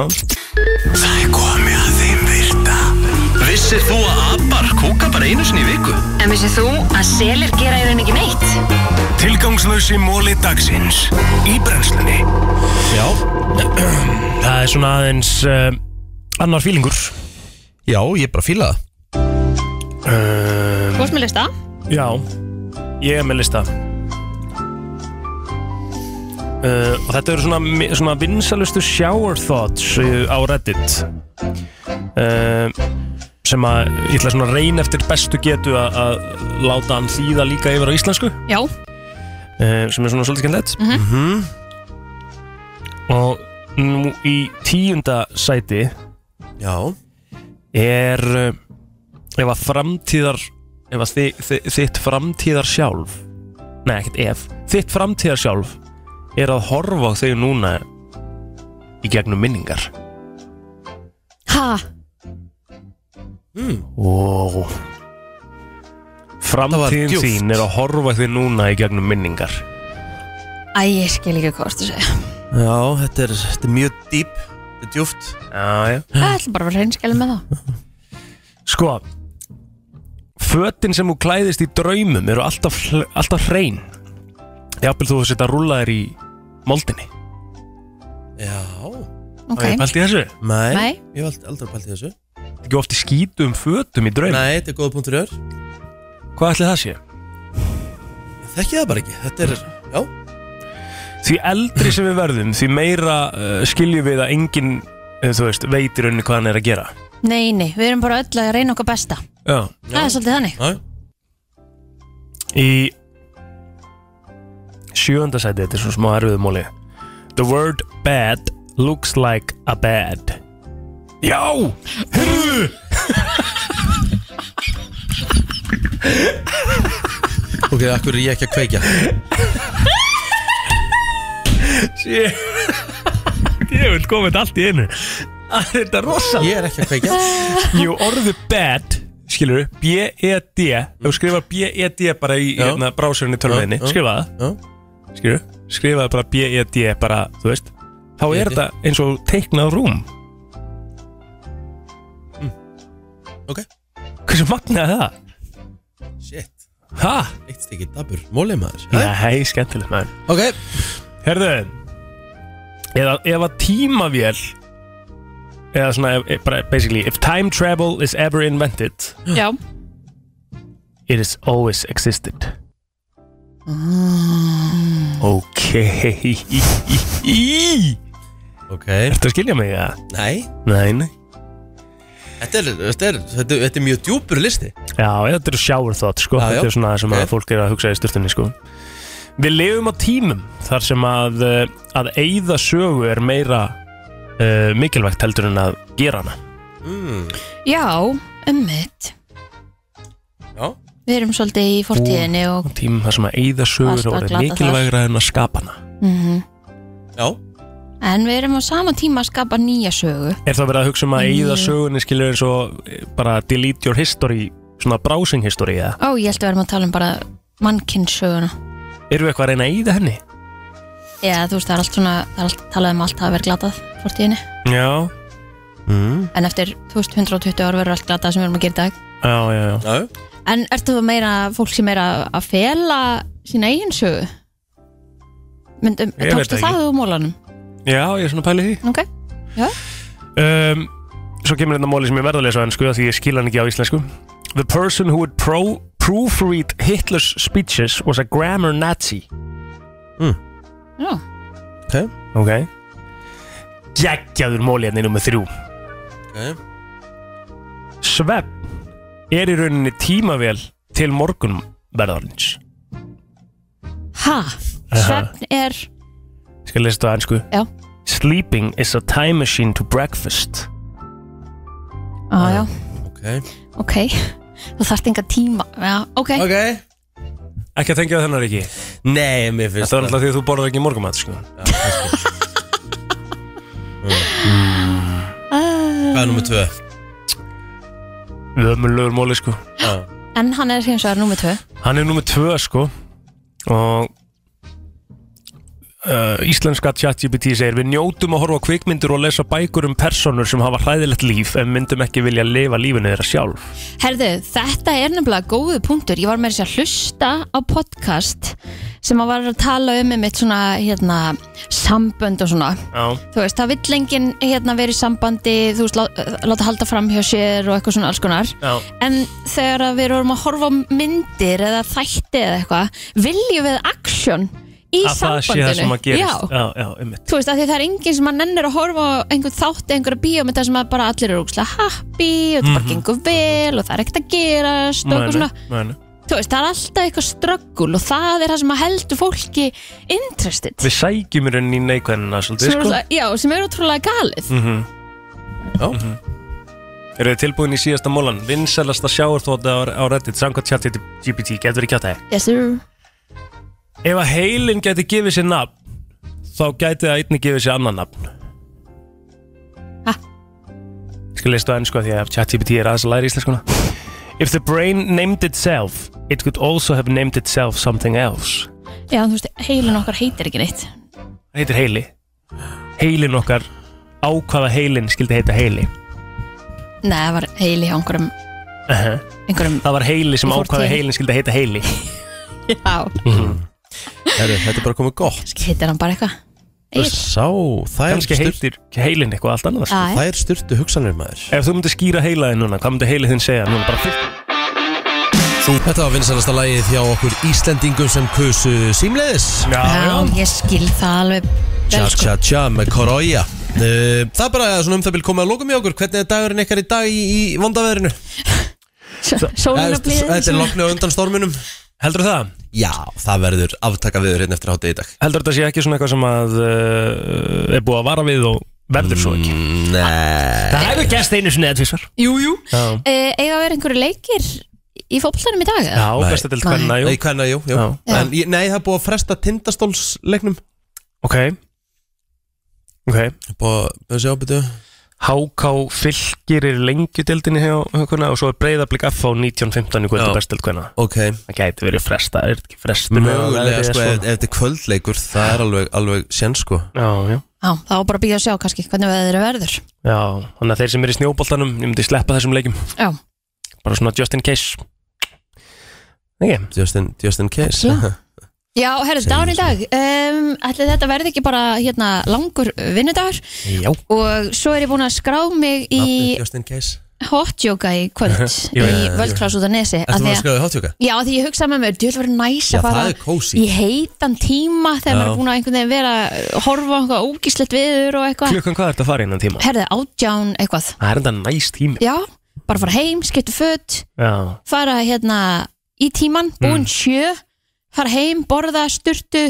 [SPEAKER 2] Það er komið að þeim virta Vissir þú að abar kúka bara einu sinni í viku?
[SPEAKER 11] En vissið þú að selir gera í raun ekki neitt?
[SPEAKER 2] Tilgangslösi móli dagsins Í brennslunni
[SPEAKER 4] Já
[SPEAKER 5] Það er svona aðeins uh, annar fílingur
[SPEAKER 4] Já, ég bara fíla það
[SPEAKER 5] um,
[SPEAKER 2] Eh,
[SPEAKER 3] Þú veist mér lista
[SPEAKER 5] Já, ég er með lista uh, Og þetta eru svona, mi- svona vinsalustu shower thoughts uh, á Reddit uh, sem að ég ætla svona að reyna eftir bestu getu að- að láta hann þýða líka yfir á íslensku
[SPEAKER 3] Já,
[SPEAKER 5] uh, sem er svona svolítið kennlegt og nú í tíunda sæti
[SPEAKER 4] Já
[SPEAKER 5] er uh, ef að framtíðar ef að þi, þi, þitt framtíðar sjálf nei, ekkert ef þitt framtíðar sjálf er að horfa á þau núna í gegnum minningar
[SPEAKER 3] ha,
[SPEAKER 5] wow.
[SPEAKER 4] var
[SPEAKER 5] framtíðin
[SPEAKER 4] djúpt.
[SPEAKER 5] þín er að horfa á þau núna í gegnum minningar
[SPEAKER 3] æ, ég skil ekki hvað þú ert að segja
[SPEAKER 4] Já, þetta er, þetta er mjög dýp Þetta er djúft
[SPEAKER 5] já, já
[SPEAKER 3] Það ætla bara að vera hreinskjæli með það
[SPEAKER 5] Sko Fötin sem þú klæðist í draumum eru alltaf, hl- alltaf hrein Jafnvel þú setja rúlaðir í moldinni
[SPEAKER 4] Já
[SPEAKER 3] Ok,
[SPEAKER 5] Ég pælt í þessu
[SPEAKER 4] Nei,
[SPEAKER 3] Nei.
[SPEAKER 4] ég hef aldrei, aldrei pælt í þessu
[SPEAKER 5] Ekki ofti skítum um fötum í draumum
[SPEAKER 4] Nei, þetta er góða punktur ör
[SPEAKER 5] Hvað ætli það sé?
[SPEAKER 4] Þekki það bara ekki, þetta er, já
[SPEAKER 5] Því eldri sem við verðum Því meira uh, skiljum við að enginn uh, Þú veist, veitir unni hvað hann er að gera
[SPEAKER 3] nei, nei, við erum bara öll að reyna okkar besta
[SPEAKER 5] Já
[SPEAKER 3] Það er svolítið þannig
[SPEAKER 4] Já,
[SPEAKER 5] Í sjöunda sæti, þetta er svona smá erfiðumóli The word bad looks like a bad Já! Hörðu!
[SPEAKER 4] ok, akkur er ég ekki að kveikja
[SPEAKER 5] Shit. Ég vil koma þetta allt í einu Þetta er rosalega
[SPEAKER 4] Ég er ekki að kveikja
[SPEAKER 5] Jú, orðu bad Skilur við, B-E-D Ef Þú skrifar B-E-D bara í
[SPEAKER 4] Já.
[SPEAKER 5] hérna, brásurinn í tölvæðinni
[SPEAKER 4] Já, já.
[SPEAKER 5] Skrifa það
[SPEAKER 4] Já,
[SPEAKER 5] skilur, skrifaði bara B-E-D bara, þú veist þá
[SPEAKER 4] B.E.D..
[SPEAKER 5] er þetta eins og teiknað rúm
[SPEAKER 4] ok,
[SPEAKER 5] hversu magnaði það?
[SPEAKER 4] shit
[SPEAKER 5] Ha?
[SPEAKER 4] Eitt stikki dabur, mólið maður
[SPEAKER 5] Já, hei, skemmtilegt maður
[SPEAKER 4] Ok,
[SPEAKER 5] Herðu eða, ef að tímavél eða svona, ef, ef- bara basically if time travel is ever invented
[SPEAKER 3] Já,
[SPEAKER 5] it has always existed Ok
[SPEAKER 4] ok
[SPEAKER 5] Ertu að skilja mig það?
[SPEAKER 4] Nei,
[SPEAKER 5] Nei, nei
[SPEAKER 4] þetta er, þetta er, þetta er, þetta er mjög djúpur listi
[SPEAKER 5] Já, þetta eru shower thought sko.
[SPEAKER 4] Já, já.
[SPEAKER 5] Þetta er svona það sem
[SPEAKER 4] Ok.
[SPEAKER 5] að fólk er að hugsa í styrtunni sko. Við lifum á tímum þar sem að eh, að eigða sögu er meira uh, mikilvægt heldur en að gera hana
[SPEAKER 4] mm.
[SPEAKER 3] já, um ummitt
[SPEAKER 4] Já
[SPEAKER 3] Við erum svolítið í fortíðinni og
[SPEAKER 5] á tímum þar sem að eigða sögu
[SPEAKER 3] Varstu
[SPEAKER 5] er
[SPEAKER 3] að
[SPEAKER 5] orðið
[SPEAKER 3] glata
[SPEAKER 5] mikilvægra en að skapa hana
[SPEAKER 3] mhm.
[SPEAKER 4] Já,
[SPEAKER 3] En við erum á sama tíma að skapa nýja sögu
[SPEAKER 5] Er það verið að hugsa um að
[SPEAKER 3] Ný.
[SPEAKER 5] eigða sögunni skilur eins og eh, bara delete your history svona browsing history eða
[SPEAKER 3] Ó, ég held að við erum að tala um bara mannkynnsöguna
[SPEAKER 5] Erum við eitthvað að reyna að eigða henni?
[SPEAKER 3] Já, þú veist, það er allt svona, það er allt talað um allt að vera glatað fortíðinni
[SPEAKER 5] Já Mm.
[SPEAKER 3] en eftir 1120 ár verður allt glata sem við erum að gera í dag
[SPEAKER 5] Já, já, já, já.
[SPEAKER 3] en ert þú meira fólk sem er að, að fela sína eigin sögu Myndum,
[SPEAKER 5] Ég veit
[SPEAKER 3] tókstu
[SPEAKER 5] það
[SPEAKER 3] það
[SPEAKER 5] ekki.
[SPEAKER 3] úr mólanum
[SPEAKER 5] Já, ég er svona pælið því
[SPEAKER 3] ok, já
[SPEAKER 5] um, Svo kemur hérna móli sem ég verða að lesa á ennsku af Því ég skil hann ekki á íslensku The person who would pro proofread Hitler's speeches was a grammar Nazi mm.
[SPEAKER 3] Já.
[SPEAKER 5] Ok Ok Gekkjaður móli hérna í nummer þrjú Ok Svepp er í rauninni tímavél til morgunverðarins
[SPEAKER 3] ha, svefn er
[SPEAKER 5] Ég skal lesa þetta á ennsku
[SPEAKER 3] Já.
[SPEAKER 5] Sleeping is a time machine to breakfast
[SPEAKER 3] á, já,
[SPEAKER 5] Ok
[SPEAKER 3] ok þú þarft enga tíma já, ok,
[SPEAKER 4] okay.
[SPEAKER 5] Ekki að tengja það þennar ekki
[SPEAKER 4] Nei, mér finnst
[SPEAKER 5] Þetta er alltaf því að þú borðar ekki morgumat sko.
[SPEAKER 4] Hvað er nummið tvö?
[SPEAKER 5] Ömurlegur móli sko Já.
[SPEAKER 3] en hann er hins vegar númer 2
[SPEAKER 5] Hann er nummið tvö sko Og uh, Íslenska ChatGPT segir Við njótum að horfa á kvikmyndir og lesa bækur um personur sem hafa hræðilegt líf en myndum ekki vilja lifa lífinu þeirra sjálf
[SPEAKER 3] Herðu, þetta er nefnilega góðu punktur. Ég var með þess að segja að hlusta á podcast sem að var að tala um mitt svona hérna, sambönd og svona.
[SPEAKER 5] Já
[SPEAKER 3] Þú veist, það vill enginn hérna, verið sambandi, þú veist, lá- láta halda fram hjá sér og eitthvað svona alls konar.
[SPEAKER 5] Já.
[SPEAKER 3] En þegar að við erum að horfa á myndir eða þætti eða eitthvað, viljum við action í
[SPEAKER 5] Að það
[SPEAKER 3] sambandinu.
[SPEAKER 5] sé það sem að gerist
[SPEAKER 3] Já.
[SPEAKER 5] Já, já, einmitt
[SPEAKER 3] Þú veist, af því það er enginn sem að nennir að horfa á einhvern þátt eða einhverja bíómynda sem að bara allir eru úkslega happy og þetta bara
[SPEAKER 5] Mhm.
[SPEAKER 3] gengur vel og það er ekkert að gerast og eitthvað svona.
[SPEAKER 5] mæni.
[SPEAKER 3] Þú veist, það er alltaf eitthvað ströggul og það er það sem að heldur fólki interested.
[SPEAKER 5] Við sækjum í rauninni í neikvæðina
[SPEAKER 3] Sem
[SPEAKER 5] svolítið
[SPEAKER 3] er,
[SPEAKER 5] sko
[SPEAKER 3] ótrúlega- já, sem er ótrúlega galið.
[SPEAKER 5] mm -hmm. Já mm Eru þið tilbúin í síðasta mólan? Vinsælasta sjáarþóta á, á Reddit samkvæmt chat GPT, getur ekki á það
[SPEAKER 3] Yes, sir.
[SPEAKER 5] Ef að heilin geti gefið sér nafn þá gæti það einnig gefið sér annan nafn Ég skal leysa það enn sko því að chat GPT er aðeins að læra íslenskuna If the brain named itself it could also have named itself something else
[SPEAKER 3] Já, en þú veist, heilin okkar heitir ekki neitt.
[SPEAKER 5] Það heitir heili Heilin okkar ákvaða heilin skildi heita heili
[SPEAKER 3] Nei, það var heili hjá einhverjum.
[SPEAKER 5] -huh. Það var heili sem
[SPEAKER 3] Í fortíðinni.
[SPEAKER 5] ákvaða heilin skildi heita heili
[SPEAKER 3] Já,
[SPEAKER 4] Heru, Þetta er bara komið gott
[SPEAKER 3] kannski heitir hann bara eitthvað.
[SPEAKER 4] Það
[SPEAKER 3] Egill.
[SPEAKER 4] sá, það er
[SPEAKER 5] Kannski heitir heilin eitthvað allt annað sko.
[SPEAKER 3] Já, já.
[SPEAKER 4] Það er styrtu hugsanir maður
[SPEAKER 5] Ef þú myndir skýra heilaði núna, hvað myndir heilið þinn segja núna? Bara fyrst
[SPEAKER 4] Þú, þetta var vinsalasta lagið hjá okkur Íslendingum sem kusu símleiðis
[SPEAKER 3] Já, ég skil það alveg.
[SPEAKER 4] Tja,
[SPEAKER 3] vel, sko.
[SPEAKER 4] tja, tja, með Koroja Uh, Það er bara svona um það vil koma að lokum í okkur Hvernig er dagurinn ykkar í dag í, í vondaveðrinu?
[SPEAKER 3] Sólin og
[SPEAKER 4] Þetta
[SPEAKER 3] blíðan.
[SPEAKER 4] þetta er
[SPEAKER 3] svona.
[SPEAKER 4] loknu undan storminum
[SPEAKER 5] Heldur það?
[SPEAKER 4] Já, það verður aftaka viður hérna eftir hátta í dag
[SPEAKER 5] Heldur þetta sé ekki svona eitthvað sem að uh, er búið að vara við og verður svo ekki?
[SPEAKER 4] Nei
[SPEAKER 5] Það hefur gæst einu sinni eða tvisvar
[SPEAKER 3] Jú, jú.
[SPEAKER 5] Já,
[SPEAKER 3] Eh, Eiga að vera einhverju leikir í fótboltanum í dag?
[SPEAKER 5] já
[SPEAKER 3] eða?
[SPEAKER 5] besta til hvenna, jú
[SPEAKER 4] Nei, hvenna, jú, jú.
[SPEAKER 5] Já.
[SPEAKER 4] En, ég- Nei, það er búið að fresta tindastólsleiknum
[SPEAKER 5] Ok, ok
[SPEAKER 4] Búið að sjá, betu
[SPEAKER 5] HK fylgir er lengju deildinni hjá huguna og svo er breyðablík FH 1915 í kvöldu
[SPEAKER 4] Já.
[SPEAKER 5] bestild hvenna
[SPEAKER 4] Ok,
[SPEAKER 5] Það gæti verið fresta, er þetta ekki fresta
[SPEAKER 4] mögulega sko, ef, ef þetta er kvöldleikur það er alveg, alveg sén sko
[SPEAKER 5] Já, já
[SPEAKER 3] Já, það var bara að býja að sjá kannski hvernig veður verður.
[SPEAKER 5] Já, þannig að þeir sem eru í snjóboltanum, ég myndi sleppa þessum leikjum
[SPEAKER 3] Já.
[SPEAKER 5] Bara svona just in case Ekki,
[SPEAKER 4] Just in, just in case
[SPEAKER 3] Absolutt. Já, herrðu, dán í dag um, Ætli þetta verði ekki bara hérna, langur vinnudagur
[SPEAKER 5] já
[SPEAKER 3] og svo er ég búin að skrá mig í
[SPEAKER 4] Nafnið Just in case
[SPEAKER 3] hot yoga í kvöld
[SPEAKER 4] Ég veit
[SPEAKER 3] í
[SPEAKER 4] það.
[SPEAKER 3] völdklás út af nesi af
[SPEAKER 4] Ertu
[SPEAKER 3] því
[SPEAKER 4] maður að
[SPEAKER 3] að-
[SPEAKER 4] skráða hátjóka?
[SPEAKER 3] Já, af því ég hugsaði með mér, djöld verið næs
[SPEAKER 4] Já,
[SPEAKER 3] að fara
[SPEAKER 4] það er kósí.
[SPEAKER 3] í heitan tíma þegar
[SPEAKER 5] Já.
[SPEAKER 3] maður er búin að einhvern veginn vera að horfa á eitthvað ógíslegt viður og eitthvað
[SPEAKER 5] Klukkan hvað ertu að fara innan tíma?
[SPEAKER 3] Herðu, átján eitthvað
[SPEAKER 5] Það er enda næst tími
[SPEAKER 3] Já, bara fara heim, skipta föt
[SPEAKER 5] Já,
[SPEAKER 3] fara hérna í tíman búin sjö, fara heim, borða sturtu,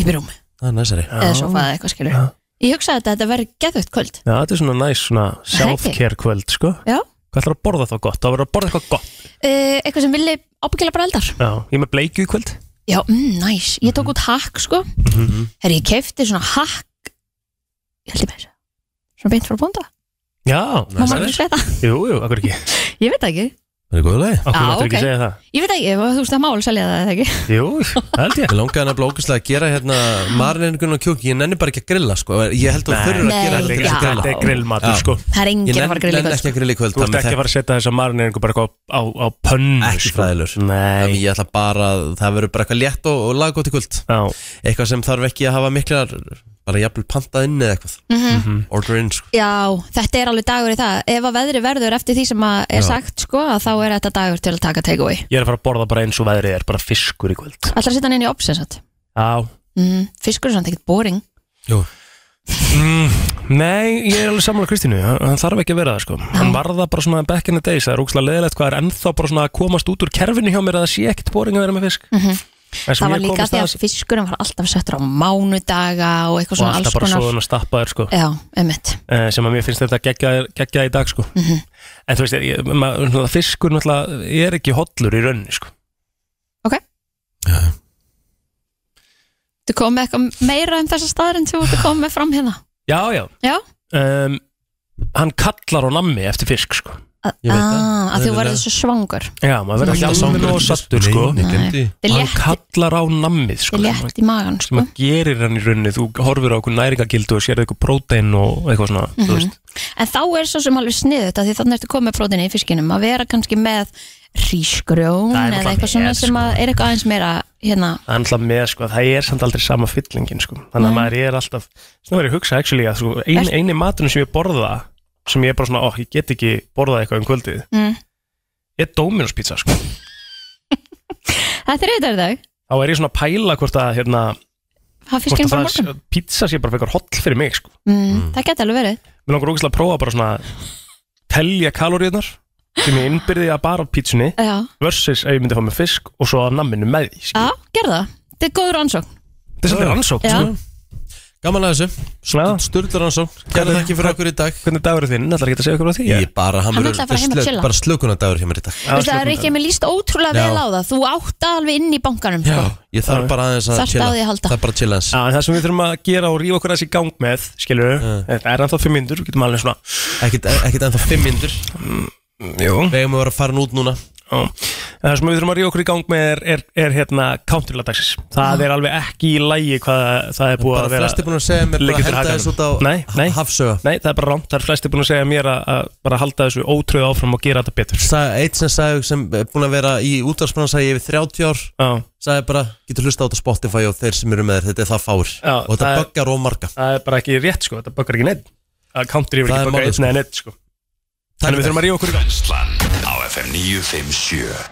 [SPEAKER 3] upp í rúm
[SPEAKER 4] Það er næsari
[SPEAKER 5] já.
[SPEAKER 3] eða sofa eða eitthvað skilur ég hugsaði þetta að þetta verði geðvögt kvöld
[SPEAKER 5] Já, þetta er svona næst svona self-care kvöld, sko
[SPEAKER 3] já,
[SPEAKER 5] Hvað ætlar að borða þá gott? Það verður að borða eitthvað gott
[SPEAKER 3] uh, eitthvað sem villi ábyggilega bara eldar
[SPEAKER 5] Já, ég er með bleikju í kvöld
[SPEAKER 3] já, mm, næs, ég tók út hakk sko herri, ég kefti svona hakk ég held ég með þessu svona beint frá bónda,
[SPEAKER 5] Já,
[SPEAKER 3] má maður ekki segja það
[SPEAKER 5] Jú, jú, akkur ekki
[SPEAKER 3] ég veit það ekki,
[SPEAKER 4] Það er góðlega
[SPEAKER 5] Af hverju máttu ekki segja það?
[SPEAKER 3] Ég veit ekki, þú veist að mál selja það eða ekki
[SPEAKER 5] Jú, held ég
[SPEAKER 4] Ég langaði nefnilega ógæslega að gera hérna mariniringun og kjúk Ég nenni bara ekki að grilla sko Ég held að þú þurfur að
[SPEAKER 3] Nei,
[SPEAKER 4] gera þetta til þess að
[SPEAKER 3] já.
[SPEAKER 4] grilla.
[SPEAKER 5] Þetta er grillmatur,
[SPEAKER 4] Já.
[SPEAKER 5] sko.
[SPEAKER 3] Það er enginn
[SPEAKER 4] Ég
[SPEAKER 3] að
[SPEAKER 4] nenn-
[SPEAKER 3] fara að grilla sko. í
[SPEAKER 4] nenni
[SPEAKER 3] kvöld,
[SPEAKER 4] ekki að grilla í kvöld
[SPEAKER 5] Þú ert
[SPEAKER 4] þannig
[SPEAKER 5] ekki að
[SPEAKER 4] þetta-
[SPEAKER 5] fara að setja þessa marineringu bara eitthvað á, á, á pönnu sko.
[SPEAKER 4] ekki fræðilur
[SPEAKER 5] Nei
[SPEAKER 4] Ég ætla bara að það verður bara eitthvað létt og, og laggótt í kvöld
[SPEAKER 5] Já.
[SPEAKER 4] Eitthvað sem þarf ekki að hafa miklar bara jafnvel pantað inn eða eitthvað
[SPEAKER 3] Mhm.
[SPEAKER 4] Order in sko
[SPEAKER 3] Já, þetta er alveg dagur í það Ef að veðri verður eftir því sem að er
[SPEAKER 5] Já.
[SPEAKER 3] sagt sko, að þá er þetta dagur til að taka takeaway
[SPEAKER 5] Ég er að fara að borða bara eins og veðrið er, bara fiskur í kvöld
[SPEAKER 3] Alltaf að setja hann inn í obsessat
[SPEAKER 5] Já
[SPEAKER 3] mm, Fiskur er samt ekkert boring
[SPEAKER 5] Nei, ég er alveg samanlega Kristínu, hann hann þarf ekki að vera það sko Hann var það bara svona back in the days, það er ógslag leðilegt hvað er ennþá bara svona að komast út úr kerfinu hjá mér að það sé ekkit boring að vera með fisk
[SPEAKER 3] Mhm.
[SPEAKER 5] En sem
[SPEAKER 3] Það var
[SPEAKER 5] ég
[SPEAKER 3] líka
[SPEAKER 5] komist
[SPEAKER 3] því
[SPEAKER 5] að
[SPEAKER 3] að fiskurinn var alltaf settur á mánudaga og eitthvað
[SPEAKER 5] og
[SPEAKER 3] svona alls
[SPEAKER 5] alltaf bara
[SPEAKER 3] konar
[SPEAKER 5] svoðun og stappaður sko
[SPEAKER 3] Já, einmitt
[SPEAKER 5] Eh, sem að mér finnst þetta geggjað geggja í dag sko
[SPEAKER 3] Mhm.
[SPEAKER 5] En þú veist, ég, ma, svona, fiskur náttúrulega er ekki hollur í rauninni sko
[SPEAKER 3] Þú komið eitthvað meira um þessa staðarinn sem þú ert að koma með fram hérna
[SPEAKER 5] Já, já,
[SPEAKER 3] Já,
[SPEAKER 5] um, hann kallar á nammi eftir fisk sko
[SPEAKER 3] Ég veit það. Ah, að þú verður svo svangur
[SPEAKER 5] Já, maður verður ekki
[SPEAKER 4] Nei,
[SPEAKER 5] alveg
[SPEAKER 4] nei,
[SPEAKER 5] nóg sattur sko
[SPEAKER 4] nei, gleymdi því.
[SPEAKER 3] Þetta er
[SPEAKER 5] Hann
[SPEAKER 3] létt-
[SPEAKER 5] kallar á nammið sko
[SPEAKER 3] Þetta er létt í magan
[SPEAKER 5] sem
[SPEAKER 3] sko.
[SPEAKER 5] að gerir hann í rauninni þú horfir á okkur næringagildu og sér eitthvað prótein og eitthvað svona mm
[SPEAKER 3] Mhm.
[SPEAKER 5] veist,
[SPEAKER 3] En þá er svo sem alveg sniðut þetta því þannig ertu komið með prótinu í fiskinum að vera kannski með rísgrjón
[SPEAKER 5] Það er
[SPEAKER 3] eða
[SPEAKER 5] náttúrulega sko.
[SPEAKER 3] eitthvað svona
[SPEAKER 5] með,
[SPEAKER 3] sem að er eitthvað aðeins meira hérna,
[SPEAKER 5] það er alltaf með sko, það er samt aldrei sama fyllingin sko. þannig að
[SPEAKER 3] Nei.
[SPEAKER 5] maður er alltaf svona verið að hugsa actually að sko, ein,
[SPEAKER 3] Ert-
[SPEAKER 5] eini maturinn sem ég borða sem ég er bara svona, ó, ég get ekki borðað eitthvað um kvöldið
[SPEAKER 3] mm.
[SPEAKER 5] er Dominos pizza sko.
[SPEAKER 3] Þetta er auðvitað í dag
[SPEAKER 5] þá er ég svona að pæla hvort að hérna,
[SPEAKER 3] Hafa
[SPEAKER 5] hvort
[SPEAKER 3] fiskinn
[SPEAKER 5] að
[SPEAKER 3] frá
[SPEAKER 5] það
[SPEAKER 3] morgun
[SPEAKER 5] er, pizza sé bara frekar holl fyrir mig sko.
[SPEAKER 3] mm. Það geti alveg verið
[SPEAKER 5] mér langar ógæslega að prófa bara svona að telja kaloríunar sem ég innbyrði að bara af pítsunni
[SPEAKER 3] Já,
[SPEAKER 5] versus ef ég myndi að fá með fisk og svo að namminu með því
[SPEAKER 3] Já gerða það Þetta er góður ansókn
[SPEAKER 5] þetta er svolítið rannsókn
[SPEAKER 3] Ah. Já.
[SPEAKER 5] sko.
[SPEAKER 4] Gaman að þessu Sturlar hans og Kæra þakki fyrir okkur í dag
[SPEAKER 5] Hvernig dagur er þinn? Ætlar ekki að segja okkur á því?
[SPEAKER 4] Ég bara, hann
[SPEAKER 3] Hann
[SPEAKER 4] verður-
[SPEAKER 3] ætlaði að fara heim að
[SPEAKER 4] slök-
[SPEAKER 3] chilla.
[SPEAKER 4] bara slökunadagur hjá mér í dag
[SPEAKER 3] Þú veist það er ekki með líst ótrúlega
[SPEAKER 4] Já.
[SPEAKER 3] vel á það Þú átt alveg inn í bankanum
[SPEAKER 4] Já,
[SPEAKER 3] sko.
[SPEAKER 4] ég þarf bara aðeins að
[SPEAKER 3] Þarft á því að halda.
[SPEAKER 4] Það er bara að chilla hans
[SPEAKER 5] Já, en það sem við þurfum að gera og rífa okkur aðeins í gang með, skilur við, þetta er ennþá fimm myndur, getum alveg svona,
[SPEAKER 4] Ekkert ekkert ennþá fimm myndur
[SPEAKER 5] jú,
[SPEAKER 4] Við eigum að vera að fara út núna
[SPEAKER 5] já. En það sem við þurfum að rífa okkur í gang með er, er, er hérna counterladagsins. Það er alveg ekki í lægi hvað það er búið
[SPEAKER 4] Bara
[SPEAKER 5] að vera.
[SPEAKER 4] flesti búin að segja mér bara
[SPEAKER 5] liggur
[SPEAKER 4] að
[SPEAKER 5] fyrir
[SPEAKER 4] henda
[SPEAKER 5] hakanum.
[SPEAKER 4] þessu út á
[SPEAKER 5] Nei, nei.
[SPEAKER 4] hafsöga
[SPEAKER 5] Nei, það er bara rámt. Það er flesti búin að segja mér að, að bara halda þessu ótröð áfram og gera þetta betur.
[SPEAKER 4] Sa- Eitt sem sagði sem er búin að vera í útvarsbransa í yfir 30 ár
[SPEAKER 5] Já,
[SPEAKER 4] sagði bara, getur hlusta á þetta á Spotify og þeir sem eru með þér, þetta er það fáir
[SPEAKER 5] Já,
[SPEAKER 4] og þetta
[SPEAKER 5] það er-
[SPEAKER 4] böggar og marga
[SPEAKER 5] það er bara ekki rétt, sko. Þetta bökkar ekki neitt. Að counter yfir
[SPEAKER 4] Það er
[SPEAKER 5] ekki bökkar
[SPEAKER 4] málið,
[SPEAKER 5] eitt,
[SPEAKER 4] sko.
[SPEAKER 5] nei, neitt, sko. Þannig við þurfum að rífa okkur í gang.
[SPEAKER 2] Brennslan á FM 957